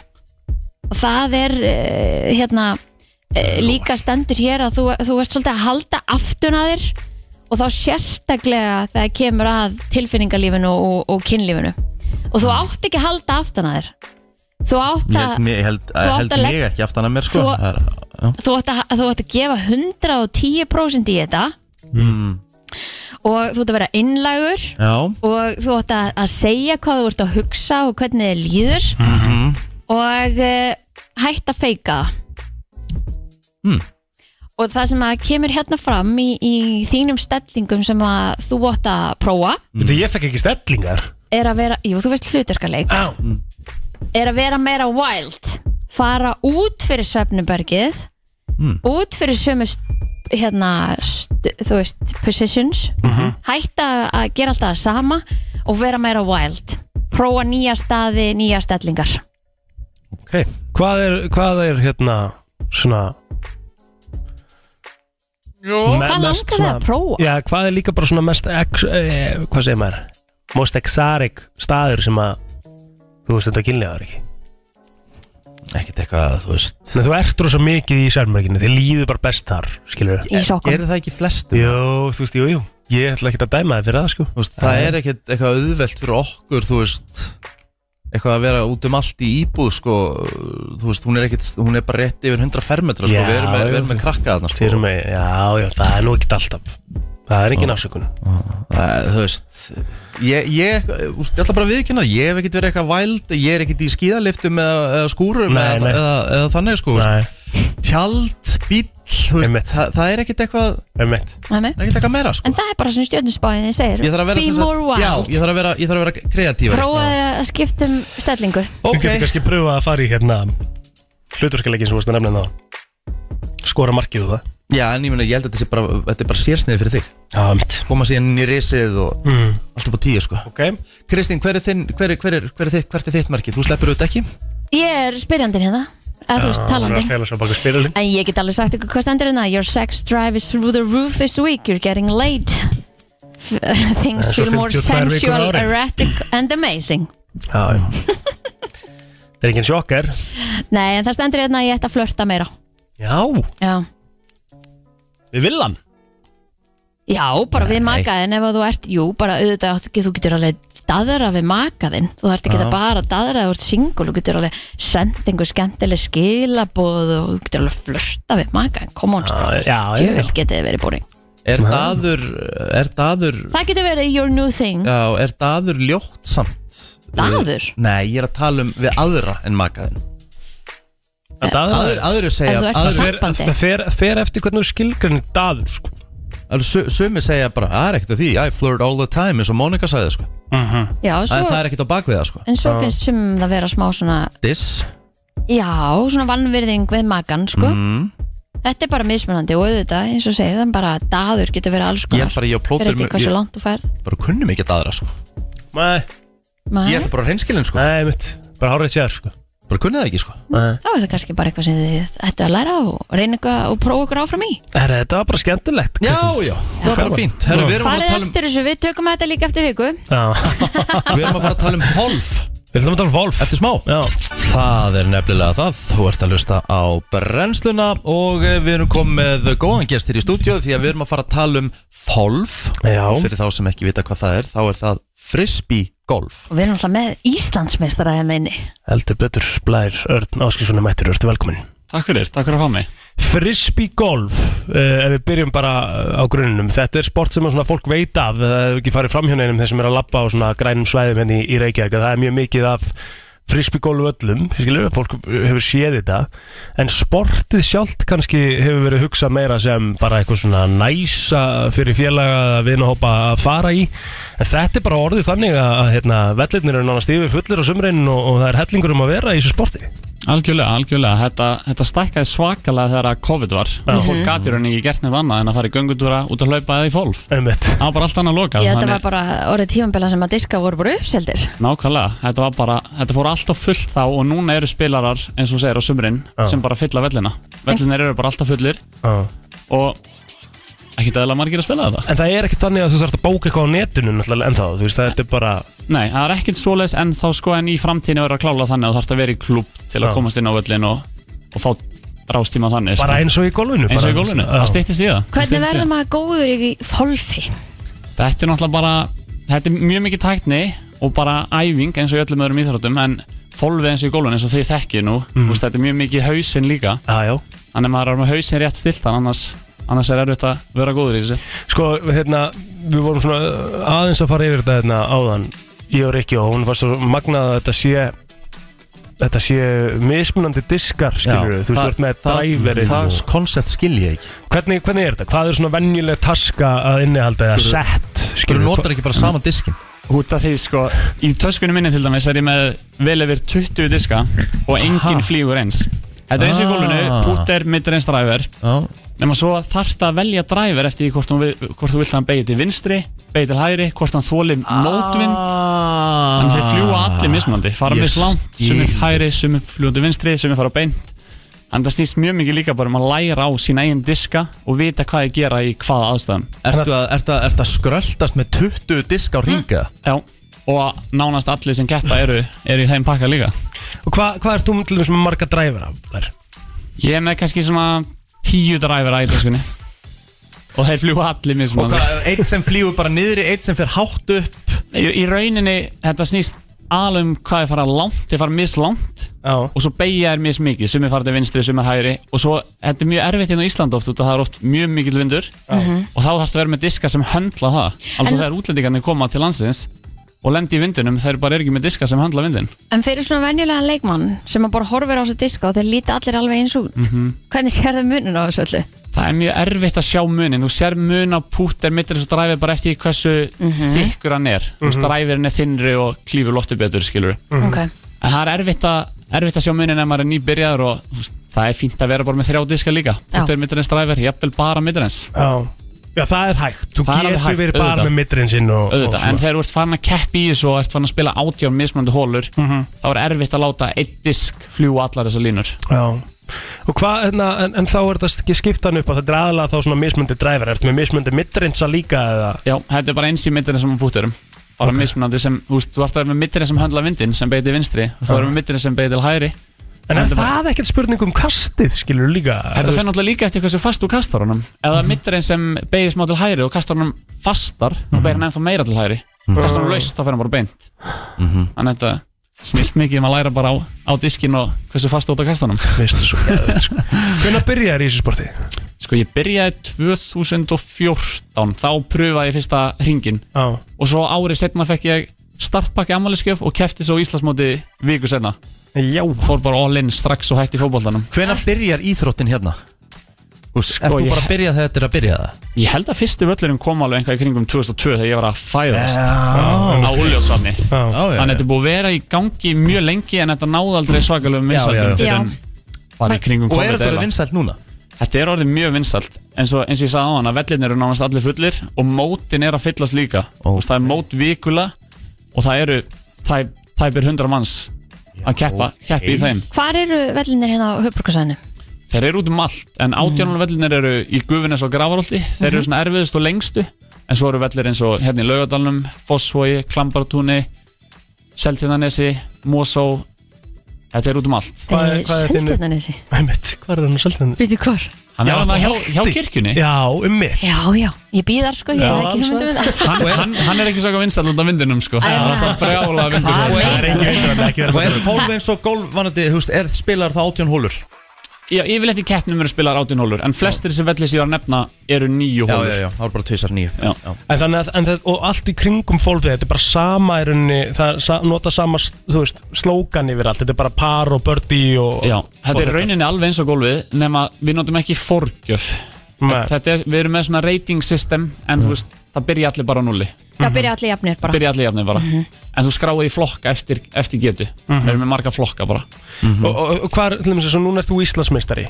B: og það er uh, hérna uh, líka stendur hér að þú, þú ert svolítið að halda aftun að þér og þá sérstaklega þegar kemur að tilfinningalífinu og, og kynlífinu og þú átt ekki að halda aftun að þér þú átt
A: Ég
B: að
A: held, ég held,
B: átt
A: held
B: að legg-
A: mig ekki aftan að mér sko
B: Þú-
A: Það er- já.
B: þú ætti að, þú ætti að gefa 110% í þetta og þú ætti að vera innlægur
A: Já
B: og þú ætti að, að segja hvað þú ert að hugsa og hvernig þið líður -hmm. og uh, hætt að feika það og það sem að kemur hérna fram í, í þínum stellingum sem að þú átt að prófa
C: veitu, ég fekk ekki stellingar
B: er að vera, jú þú veist hlutarkaleik
C: Á,
B: er að vera meira wild fara út fyrir svefnubergið
A: Hmm.
B: út fyrir sömu st- hérna, st þú veist positions,
A: Mhm.
B: hætta að gera alltaf það sama og vera meira wild prófa nýja staði, nýja stellingar
A: Ok
C: hvað er, hvað er hérna, svona
A: Jó
C: me-
B: Hvað
C: mest
B: langar þig að
C: svona-
B: prófa?
C: Já, hvað er líka bara svona mest ex, eh, hvað segir maður, most exotic staður sem að þú veist þetta kynlegaður ekki
A: Ekkert eitthvað, þú veist
C: Nei, þú ert rosa mikið í sérmörginu, þið líður bara best þar, skilur við.
B: í sokkum
A: Gerir það ekki flestum?
C: Jú, þú veist, jú, jú, ég ætla ekki að dæma þið fyrir það, sko.
A: Þú veist, það er ekkert eitthvað auðvelt fyrir okkur þú veist eitthvað að vera út um allt í íbúð sko, þú veist, hún er, ekkert, hún er bara rétt yfir 100 fermetra sko,
C: Já,
A: við erum með, við
C: já,
A: erum með
C: þú-
A: krakka þarna
C: Þið
A: sko.
C: eru með, já, já, það er nú ekkert alltaf. Það er engin ásökun.
A: Æ, þú veist ég, ég, þú veist, ég ætla bara að viðkynna ég hef ekkert verið eitthvað væld, ég er ekkert í skíðaliftum eða, eða skúrum
C: Nei,
A: eða,
C: nei.
A: Eða, eða þannig sko, þú veist.
C: Nei,
A: tjald, bíl þú
C: Einmitt.
A: veist, það, það er ekkit eitthvað það
C: Emmett
A: er
B: Nei.
A: ekkit eitthvað meira sko.
B: En það er bara svona stjórnusbáðið þið segir
A: Ég þarf að vera
B: Be
A: sem sagt-
B: more
A: Já,
B: wild
A: ég þarf að vera, ég þarf að vera kreatívar
B: Prófaði að skipta um stellingu
C: Þú
A: Ok,
C: getur kannski pröfað að fara í hérna hlutverkaleikin sem þú veist að nefna þá skora markið og það
A: já, en ég meina, ég held að þetta sé bara, þetta er bara sérsniði fyrir þig
C: Já, mitt
A: Koma síðan inn í risið og
C: mm.
A: allt upp á tíu, sko
C: Ok
A: Kristín, hver er þinn, hver er, hver er, hver er þitt, hvert er þitt markið? Þú sleppur auðvitað ekki?
B: Ég er spyrjandinn hérna Eða þú veist, talandi
C: Það fæla svo baka spyrilin
B: En ég get alveg sagt ykkur hvað stendur hérna Your sex drive is through the roof this week You're getting laid F- [LAUGHS] Things
C: Það er svo
B: feel more
C: 52 vikur á
B: sensual,
C: ári.
B: erratic and amazing
C: Já, já Það er enginn sjokkar
B: Nei, en það stendur hérna að ég ætti að flörta meira
C: Já
B: Já,
C: Við villan
B: Já bara við makaðin ef að þú ert Jú, bara auðvitað átt ekki, þú getur alveg daðra við makaðin Þú þarft ekki að bara daðra Þú ert single, þú getur alveg send einhver skemmtileg skilaboð og þú getur alveg flörta við makaðin Come on,
C: Já,
B: strákar.
C: já, já
B: Djöfull getið þið verið boring
A: Er daður, er daður,
B: Það getur verið your new thing
A: já, er daður ljótt samt?
B: Daður?
A: Nei, ég er að tala um við aðra en makaðin
C: En daður-
A: Aður, aðru segja,
B: En þú ert
A: aður,
C: fer-
B: Sambandi.
C: Það fer, fer eftir hvernig þú skilgrinn daður sko
A: aður, sumi segja bara, það er ekkert að því, I flirt all the time eins og Monika sagði, sko
C: Mhm.
B: Já, svo,
A: En það er ekkert á bakvið það, sko
B: en svo finnst sumum það vera smá svona
A: Diss,
B: Já, svona vannvirðing við makan sko.
A: Mm.
B: Þetta er bara mismunandi og auðvitað, eins og segir, þannig bara daður getur verið alls
A: ég
B: konar
A: er bara, ég og
B: Fyrir
A: plótur
B: eftir hversu langt þú færð
A: bara kunnum ekki að aðra, sko
C: Nei,
A: Ég
B: Maður,
A: ætla bara hreinskilin, sko
C: nei, mitt Bara hárið sér sko
A: Bara kunnið það ekki, sko
C: Nei
B: Þá er það kannski bara eitthvað sem þið ættu að læra og reyna eitthvað og prófa okkur áfram í
C: Herra, þetta var bara skemmtilegt
A: Já,
C: Kristín.
A: já, það var bara fínt Herru, við erum að fara
B: Farið
A: að tala um,
B: eftir þessu, við tökum þetta líka eftir viku
C: já [LAUGHS]
A: við erum að fara að tala um Wolf
C: Við ætlum að tala um Wolf
A: Eftir smá
C: Já
A: Það er nefnilega það, þú ert að lusta á brennsluna og eh, við erum komið með góðan gest hér í stúdíu því að við erum að fara að tala um Folf
C: Já.
A: Fyrir þá sem ekki vita hvað það er, þá er það frisbee golf
B: Og við erum alltaf með Íslandsmeistara hérna inni
C: Heldur betur Blær Örn Áskilsson er mættur Örtu velkomin
G: Takk fyrir, takk fyrir að fá mig
C: Frisbee golf uh, Ef við byrjum bara eh, á grunnum Þetta er sport sem að svona fólk veit af Það hefur ekki farið framhjá neinum þeir sem er að labba á svona grænum svæðum henni í, í Reykjavík að Það er mjög mikið af frisbee golf öllum skilur, Fólk eh, hefur séð þetta En sportið sjálft kannski hefur verið hugsað meira sem bara eitthvað svona næsa fyrir félaga að vinahópa að fara í En þetta er bara orðið þannig að hérna, vellirnir eru nánast yfir fullir á sumrin og, og það er hellingur um að vera í þessu sporti
G: Algjörlega, algjörlega, þetta, þetta stækkaði svakalega þegar að COVID var
C: Já. Mhm.
G: Fólk gati rauninni ekki gert nefn annað en að fara í göngutúra út að hlaupa eða í fólf
C: Einmitt.
G: Það var bara allt annað lokað
B: Ég, Þetta
G: þannig-
B: var bara orðið tímambela sem að diska voru bara uppseldir
G: Nákvæmlega, þetta var bara, þetta fór alltaf fullt þá og núna eru spilarar, eins og þú segir, á sumrin
C: Já.
G: sem bara fylla vellina Vellinir eru bara alltaf fullir
C: Já.
G: og ekki dæðilega margir að spila þetta
C: En það er ekki þannig að þú þarfst að bóka eitthvað á netinu náttúrulega ennþá, þú veist, þetta er bara
G: Nei, það er ekkert svoleiðis en þá sko en í framtíðinu verður að klála þannig að þú þarf að vera í klub til að
C: Já.
G: komast inn á völlin og, og fá rástíma þannig sko.
C: bara eins og í golfinu
G: eins og í
C: bara-
G: gólfinu,
C: Já.
G: það stýttist í það Það
B: Hvernig
G: styttist í
B: verður
G: það.
B: maður góður í fólfi?
G: Þetta er náttúrulega bara, þetta er mjög mikið tækni og bara æfing eins og í öllum öðrum íþróttum en fólfið eins og í gólfinu eins og þið þekkið nú mm. veist, þetta er mjög mikið hausinn líka
C: Já, já,
G: þannig að maður er með hausinn rétt stiltan annars, annars er erfitt að vera góður í þessu
C: sko, hérna við vorum svona uh, aðeins að fara yfir þetta hérna áðan, ég og Rikki og hún var svo magnað að þetta sé þetta sé mismunandi diskar skilur við, þú veist, þú ert með driverinn
A: Það
C: og...
A: koncept skil ég ekki
C: hvernig, hvernig er þetta? Hvað er svona venjuleg taska að innihalda eða sett?
A: Þú
C: skilurðu?
A: notar ekki bara sama diskin
G: Út af því sko Í töskunni minni til dæmis er ég með vel yfir 20 diska og enginn flýgur eins Þetta er eins og í gólfinu,
A: Ah.
G: putter, middur eins driver
A: Já,
G: Nefna svo þarft að velja driver eftir því hvort, hún, vi- hvort þú vilt að hann beigja til vinstri beigja til hægri, hvort hann þóli mótvind Þannig þeir fljúa allir mismandi, fara
A: Ah, Ég
G: yes. mislangt sumir
A: skil.
G: hægri, sumir fljúa til vinstri, sumir fara beint En það snýst mjög mikið líka bara um að læra á sína eigin diska og vita hvað ég gera í hvaða aðstæðum
A: Ertu að, ertu að, ertu að skröltast með 20 disk á ringa?
G: Já, og nánast allir sem keppa eru, eru í þeim pakka líka
C: og hvað, hvað er þú til þessum marga drivera?
G: Ég er með kannski svona tíu dræfara í töskunni Og þeir fljúa allir
A: Og
G: mismunandi
A: hvað, eitt sem flýgur bara niðri, eitt sem fer hátt upp
G: í, í rauninni, þetta snýst alveg um hvað þeir fara langt Þeir fara mislangt
C: Já,
G: Og svo beigja þeir mismikið Sumir fara til vinstri, sumir hægri Og svo, þetta er mjög erfitt hérna á Ísland oft út af Það er oft mjög mikill vindur Og þá þarfst að vera með diska sem höndla það Alveg þegar útlendingarnir koma til landsins og lendi í vindinum þeir bara er ekki með diska sem handla vindin
B: En fyrir svona venjulegan leikmann sem að bara horfir á þessu diska og þeir líti allir alveg eins út
C: Mhm.
B: Hvernig sér það munun á þessu öllu?
G: það er mjög erfitt að sjá munin þú sér mun á púter mittir þessu dræfi bara eftir því hversu þykkur hann er mm -hmm. dræfirinn er þinnri og klífur lofti betur skilur
C: Mhm.
B: Ok,
G: en það er erfitt, a, erfitt að sjá munin ef maður er nýbyrjaður og þú veist, það er fínt að vera bara með þrjá diska líka púter mittir hans dræfir, jafnvel bara mittir hans
C: Já. Já, það er hægt, þú
G: Það er alveg
C: getur
G: hægt,
C: verið bara
G: auðvitað.
C: með middrin sinn og, og
G: auðvitað, en þegar þú ert farin að keppi í þessu og ert farin að spila átján mismunandi hólur
C: Mhm.
G: þá er erfitt að láta eitt disk fljú allar þessar línur
C: Já. Og hvað, hérna, en, en þá er þetta ekki skiptan upp að þetta er aðalega þá svona mismundi dræfar, ertu með mismundi middrinsa líka eða?
G: já, þetta er bara eins í mittirinn sem á púterum bara mismunandi sem, þú veist, þú ert að vera með mittirinn sem höndla vindin sem beiti vinstri og þú ert að vera með mittirinn sem beiti til hægri
C: En er
G: Þetta bara-
C: það ekkert spurning um kastið, skilur líka?
G: Þetta fer náttúrulega líka eftir hversu fast þú kastar honum
C: Mhm.
G: Eða mitturinn sem beigir smá til hægri og kastar honum fastar þá
C: Mhm.
G: beigir hann ennþá meira til hægri Kastar honum laust, þá fer hann bara beint
C: Mhm.
G: Þannig að þetta snýst mikið um að læra bara á, á diskin og hversu fast þú út á kastar honum
C: Veistu svo geðvægt, sko. Hvernig byrjaði í þessu sporti?
G: Sko ég byrjaði 2014 þá pröfaði ég fyrsta ringin
C: Já.
G: og svo árið setna fekk ég startpakki ammæliskef og kefti svo á Íslandsmóti viku setna
C: Já.
G: Fór bara all in strax og hætti fótboltanum
A: Hvenær byrjar íþróttin hérna? Ert
G: Og
A: þú
G: sko, ég-
A: bara að byrja þegar þetta er að byrja það?
G: Ég held að fyrsti völlurinn kom alveg einhvað í kringum 2002 þegar ég var að fæðast á Úljóðsvanni
A: Já,
C: Já.
A: já,
G: Þannig að
A: já.
G: þetta er búið að vera í gangi mjög lengi en þetta náði aldrei svakalögum
A: Já, já, já.
G: vinsældum
B: Já.
G: fyrir en bara í kringum
A: Og
G: COVID
A: er þetta
G: eiginlega.
A: orðið vinsælt núna?
G: Þetta er orðið mjög vinsælt eins og, eins og ég sagði á hann að vellinir eru nánast allir fullir og mótin er að fyllast líka
A: Ó.
G: oh. það er mót vikula og það eru tæp, tæpir hundra manns að keppa,
A: ok.
G: keppa í þeim
B: hvar eru vellinir hérna á höfbrukarsæðinu?
G: Þeir eru út um allt en átjánum
C: Mm.
G: vellinir eru í Gufinnes og Gravarholti Þeir
C: Mhm.
G: eru svona erfiðust og lengstu en svo eru vellir eins og hérna í Laugadalnum Fossvogi, Klambartúni Seltjarnanesi, Mosó Þetta er út um allt
C: Hvað
B: Eh,
C: er- hvað er þínu-
B: Seltjarnanessi
C: Einmitt, hvað er hann að selta hann?
B: Býtu hvar?
G: Hann
C: Já,
G: er hann hjá,
C: Holti.
G: hjá kirkjunni
C: Já, um ummitt.
B: Já, já, ég býð þar sko, ég
C: Já,
B: er ekki
C: alls
B: hugmynd um þetta
G: hann, hann, hann er ekki svo vinsall út af vindinum sko
B: Æ,
G: Það er það brjála vindinum
C: Það er engin veitur að um þetta ekki
A: Og
C: verið.
A: er fólk eins og golf vanandi, þú veist, er spilar það átjón hólur?
G: Já, yfirleitt í keppnum eru spilaðar átján hólur En flestir sem vellir sér að nefna eru nýju
A: Já, já,
G: hólur
A: já, það er bara tvisar nýju
G: Já.
C: En þannig að, en það, og allt í kringum fólfið, þetta er bara sama í rauninni, það er sa, nota sama, þú veist, slókan yfir allt, þetta er bara par og bördi og...
G: Já, þetta
C: og
G: er í rauninni alveg eins og gólfið Nefna við notum ekki forgjöf
C: Nei.
G: Þetta er, Við erum með svona rating system En þú veist, það byrja allir bara á nulli
B: [LAUGHS] Já, byrja allir jafnir bara
G: Byrja allir jafnir bara
C: Mhm.
G: En þú skráði í flokka eftir, eftir getu Við erum með marga flokka bara
C: Og, og, og hvar, til dæmis, eins og núna ert þú Íslandsmeistari.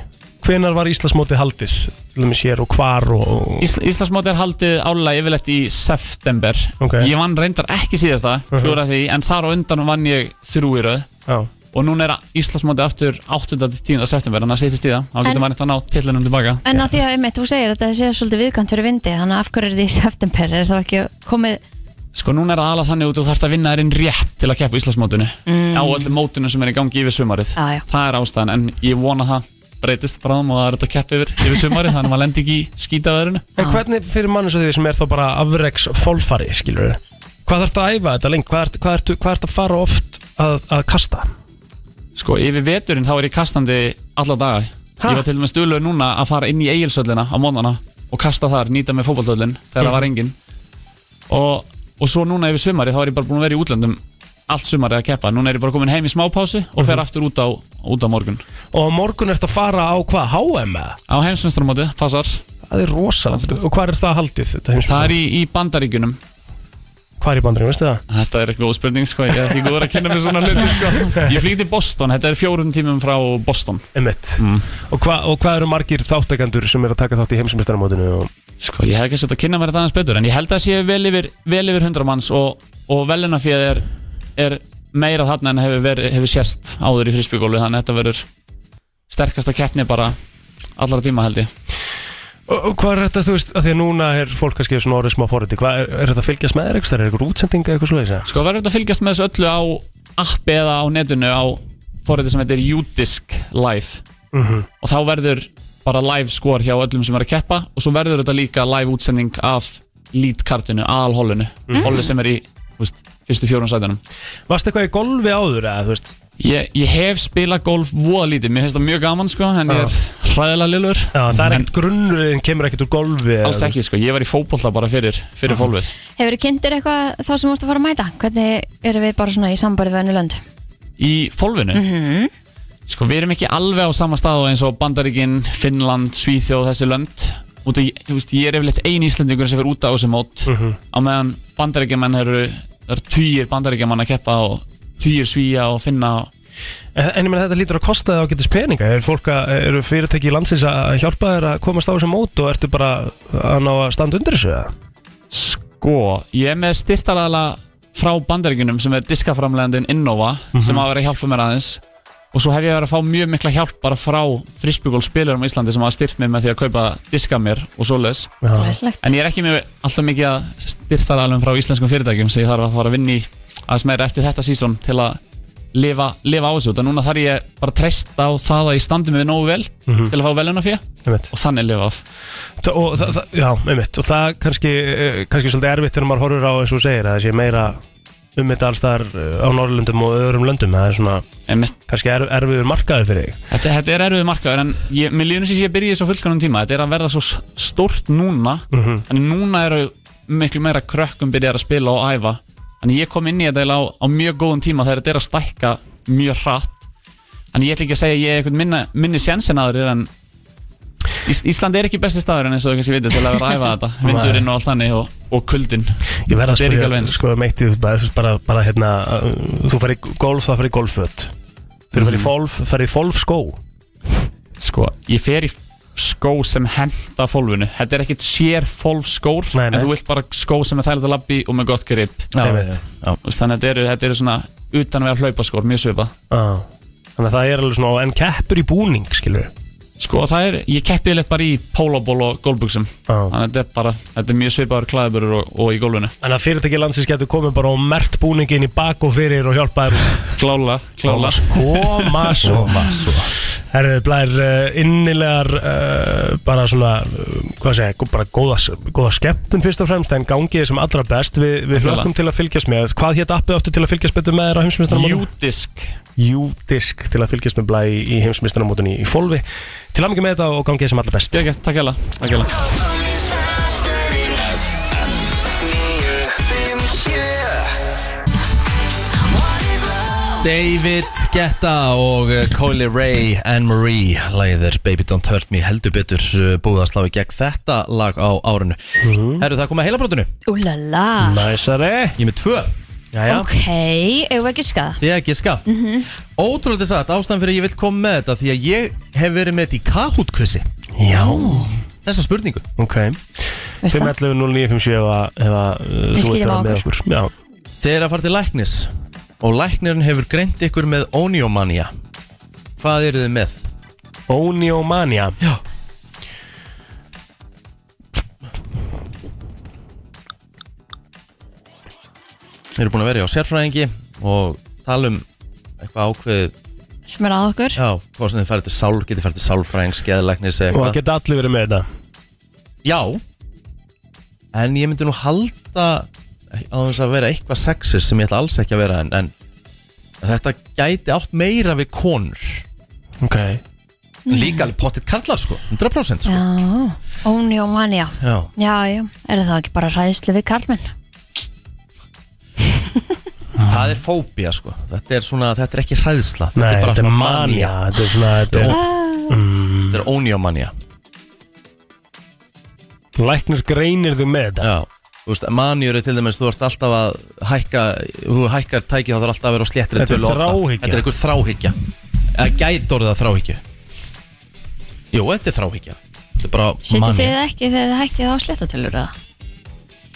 C: Hvenar var Íslandsmótið haldið, til dæmis hér og hvar og...
G: Ísl, Íslandsmóti er haldið álega yfirleitt í september
C: Ok.
G: Ég vann reyndar ekki síðasta uh
C: Mhm.
G: því, En þar á undan vann ég þrjú í röð
C: Já.
G: Og núna er Íslandsmóti aftur 8. til 10. september Þannig að sýttist í það Þá
B: En-
G: getum maður þetta að ná tillinum tilbaka
B: En að því að, einmitt, þú segir að þetta sé svolítið viðkant fyrir vindi Þannig að af hverju er þetta í september? Er það ekki komið
G: Sko núna er það alveg þannig út og þú þarfst að vinna þér inn rétt til að keppa í Íslandsmótinu á öllum mótunum sem er í gangi yfir sumarið
B: Mm. Já, já.
G: það er ástæðan en ég vona það breytist bráðum og það er þetta að keppa yfir, yfir sumarið þannig að maður lendi ekki í skítaverðinu
C: En hvernig fyrir mann sem því sem er þá bara afreks fólfari, skilur Hvað þarf að æfa þetta lengi? Hvað ert- hvað ertu hvað ertu að fara oft að, að kasta?
G: Sko yfir veturinn þá er ég kastandi alla daga
C: Ha?
G: Ég var til dæmis stuðlöð núna að fara inn í eigilsöllina á mónana og kasta þar, nýta með fótballtöllin þegar það var engin og, og svo núna yfir sumarið þá er ég bara búin að vera í útlöndum allt sumarið að keppa Núna er ég bara komin heim í smápási og fer aftur út á, út á morgun
C: Og á morgun ertu að fara á hvað? HM? eða?
G: Á heimsmestramóti, passar
C: Það er rosalegt. Og hvað er það haldið? Þetta
G: Það er í, í bandaríkunum
C: Hvað er í bandringum, veistu það?
G: Þetta er góð spurning sko, ég er ekki góður að kynna mér svona hluti sko Ég flýg til Boston, þetta er fjórum tímum frá Boston
C: Emmett.
G: Mm.
C: Og, hva, og hvað eru margir þáttakendur sem eru að taka þátt í heimsmyndstarmótinu? Og...
G: Sko, ég hef ekki sett að kynna mér þetta aðeins betur En ég held að sé vel yfir, vel yfir 100 manns Og, og velunafið er, er meira þarna en hefur, verið, hefur sést áður í frisbygólu Þannig að þetta verður sterkasta keppni bara allra tíma held ég
C: Og, og hvað er þetta, þú veist, að því að núna er fólk kannski svona orðið smá forriti. Hvað er, er þetta að fylgjast með þér eitthvað? Er eitthvað útsendinga eitthvað svo leiðis?
G: Sko, verður þetta að fylgjast með þessu öllu á appi eða á netinu Á forriti sem heitir Udisk Live Og þá verður bara live skor hjá öllum sem er að keppa Og svo verður þetta líka live útsending af lítkartinu, alholinu mm. Holli sem er í þú veist, fyrstu fjórun sætunum
C: Varst eitthvað í golfi áður, eða, þú veist?
G: Ég, ég hef spilað golf voða lítið, mér finnst það mjög gaman sko, en ég er hræðilega lillur
C: Já, en það er ekkert grunnurinn, kemur ekkert úr golfi eða-
G: Alls ekki sko, ég var í fótbolta bara fyrir, fyrir fólfið
B: Hefur þið kynntir eitthvað þá sem þú ert að fara að mæta? Hvernig eru við bara svona í sambarið við önnu lönd?
G: Í fólfinu? Sko, við erum ekki alveg á sama stað og eins og Bandaríkin, Finnland, Svíþjóð, þessi lönd Út af, ég, veist, ég er yfirleitt ein Íslendingur sem fyrir út á þessu mót
C: Mhm.
G: Á meðan Bandaríkjamenn eru, það eru týjir Bandaríkjamann að keppa og týjir Svíja og Finna og
C: En en ég meina þetta lítur að kosta það á getist peninga Er fólk að, eru fyrirtæki í landsins að hjálpa þér að komast á þessu mót og ertu bara að ná að standa undir þessu? eða?
G: Sko, ég er með styrtaraðala frá bandaríkunum sem er diskaframlegandinn Innova sem hafa verið að hjálpa mér aðeins og svo hef ég verið að fá mjög mikla hjálp bara frá frisbygólspilurum á Íslandi sem hafa styrt mig með því að kaupa diska mér og svoleiðis
B: Glæslegt.
G: en ég er ekki með alltaf mikið að styrtaraðalum frá íslenskum fyrirtækjum sem ég þarf að fara að vinna í aðeins meira eftir þetta sísón til að lifa, lifa á þessu og núna þarf ég bara að treysta á það að ég standi mig nógu vel til að fá veluna
C: Einmitt.
G: og þannig lifa af
C: Þa- Og það, það, já, einmitt Og það kannski, eh, kannski svolítið erfitt þegar maður horfir á eins og þú segir að það sé meira um þetta alls þar á Norrlöndum og öðrum löndum Það er svona
G: Einmitt.
C: kannski er, erfiður markaður fyrir þig
G: Þetta, þetta er erfið markaður en ég, mér líður sem sé ég byrja í þessu fullkanum tíma þetta er að verða svo stort núna mm -hmm. en núna eru miklu meira krökkum byrjar að spila og æfa en ég kom inn í þetta eiginlega á, á mjög góðum tíma þegar þetta er að stækka mjög hratt en ég ætla ekki að segja að ég er einhvern minna, minni sjensin aður en Ís, Ísland er ekki besti staður en eins og þú kannski veitir til að vera að æfa þetta vindurinn og allt þannig og, og kuldinn
C: Ég verð að
G: Þetta er ekki
C: spyrja,
G: alveg eins.
C: sko, meitt ég bara, bara, bara hérna, uh, þú fer í golf, það fer í golfföt Þegar þú
G: Mhm.
C: fer í golf, fer í golf skó
G: sko, ég fer í skó sem henda fólfinu þetta er ekkit sér fólf skór
C: Nei, nei.
G: en þú vilt bara skó sem er þægilegt að labbi og með gott grip
C: Einmitt.
G: Þú veist, þannig að þetta eru, þetta eru svona utan að vera hlaupaskór, mjög svipa
C: Já. Þannig að það er alveg svona, en keppur í búning, skilur
G: sko, það er, ég keppi leitt bara í pólóból og gólbuksum þannig að þetta er bara, þetta er mjög svipaður klæðburur og, og í gólfinu
C: En að fyrirtæki landsins getur komið bara og mert búningin í bak og fyrir og hjálpa þér út.
G: klála, klála
C: Koma svo Herðu, blær uh, innilegar uh, bara svona, uh, hvað segja, gó- bara góða, góða skemmtun fyrst og fremst en gangið sem allra best, Vi, við
G: Takk
C: hlökkum til að fylgjast með Hvað hétt appið áttu til að fylgjast betur með þér á heimsmyndstarmótum?
G: júdisk
C: Júdisk til að fylgjast með blæ í, í heimsmyndstarmótum í, í fólfi Til að mikið með þetta og gangið sem allra best
G: Gekk, takk hella, takk hella
A: David Guetta og uh, Coley Ray and Marie læðir Baby Don't Hurt Me heldur betur uh, búið að slá í gegn þetta lag á árinu Herru það komið að heilabrótinu
B: Úlala.
C: Næsari
A: Ég er með tvö,
C: Jæja
B: Ok, eigum við ekki skaða?
A: ég ekki ska mm -hmm. Ótrúlega þess að ástæðan fyrir að ég vil koma með þetta því að ég hef verið með þetta í kahútkvissi
C: Já
A: Þessa spurningu
C: Ok
B: Veist það?
C: 511 0957 ef að- ef að uh,
B: Við
C: þú ert að
B: skiljum
C: vera
B: á
C: með okkur Já
A: Þeir eru að fara til læknis og læknirinn hefur greint ykkur með oniomanía Hvað eru þið með?
C: Oniomania
A: Já Við erum búin að vera hjá sérfræðingi og tala um eitthvað ákveðið
B: Sem er að okkur?
A: Já, hvað sem þið farið til sál, getið farið til sálfræðing, skeðlæknis eða
C: Og
A: eitthvað
C: það geta allir verið með þetta
A: Já En ég myndi nú halda á þess að vera eitthvað sexist sem ég ætla alls ekki að vera en, en þetta gæti átt meira við konur
C: Ok
A: mm. Líka alveg pottitt karlar sko, 100% sko
B: Já. Óni og manja.
A: Já.
B: Já, já. Er það ekki bara ræðislu við karlmenn?
A: Það er fóbía sko Þetta er svona, þetta er ekki hræðsla Þetta
C: Nei,
A: er bara
C: þetta er
A: svona
C: mania
A: mania
C: Þetta er svona, þetta er
A: Þetta er ónjómania
C: Læknir greinir þig með þetta
A: Já Þú veist, manjur er til dæmis, þú ert alltaf að hækka Þú hækkar tæki þá þarf alltaf að vera á sléttri
C: Þetta er
A: tölu átta.
C: þráhyggja.
A: Þetta er einhver þráhyggja Eða gætur það þráhyggju Jú, þetta er þráhyggja Þetta er bara
B: Setið
A: mania
B: þið ekki þegar þið hækkið á sléttatölur eða?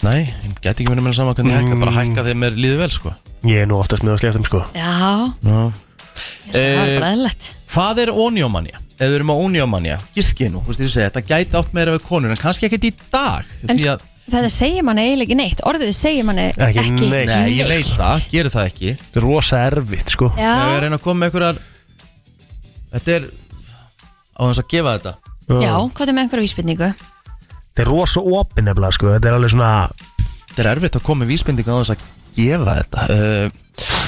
A: Nei, ég gæti ekki verið meina saman hvernig ég hækka
C: Mm.
A: Bara hækka þegar mér líður vel sko
C: Ég er nú oftast með að sléttum sko
B: Já,
A: Já
B: það er
A: Eh,
B: bara eðlægt.
A: Hvað er onjómanja? Ef við erum á onjómanja, giski nú, þú veist ég segi, þetta gæti átt meira við konur, en kannski ekkert í dag.
B: En sko,
A: því að-
B: þetta segir manni eiginlega ekki neitt. Orðið segir manni
C: Ekki
B: ekki,
C: neitt.
A: Nei, ég veit það, gerir það ekki
C: Þetta er rosa erfitt sko
B: Já,
A: Þegar við reyna að koma með einhverjar Þetta er á þess að gefa þetta
B: já, hvað er með einhverja vísbyrningu?
C: Þetta er rosa opin nefnilega sko Þetta er alveg svona
A: Þetta er erfitt að koma með vísbendingu á þess að gefa þetta uh,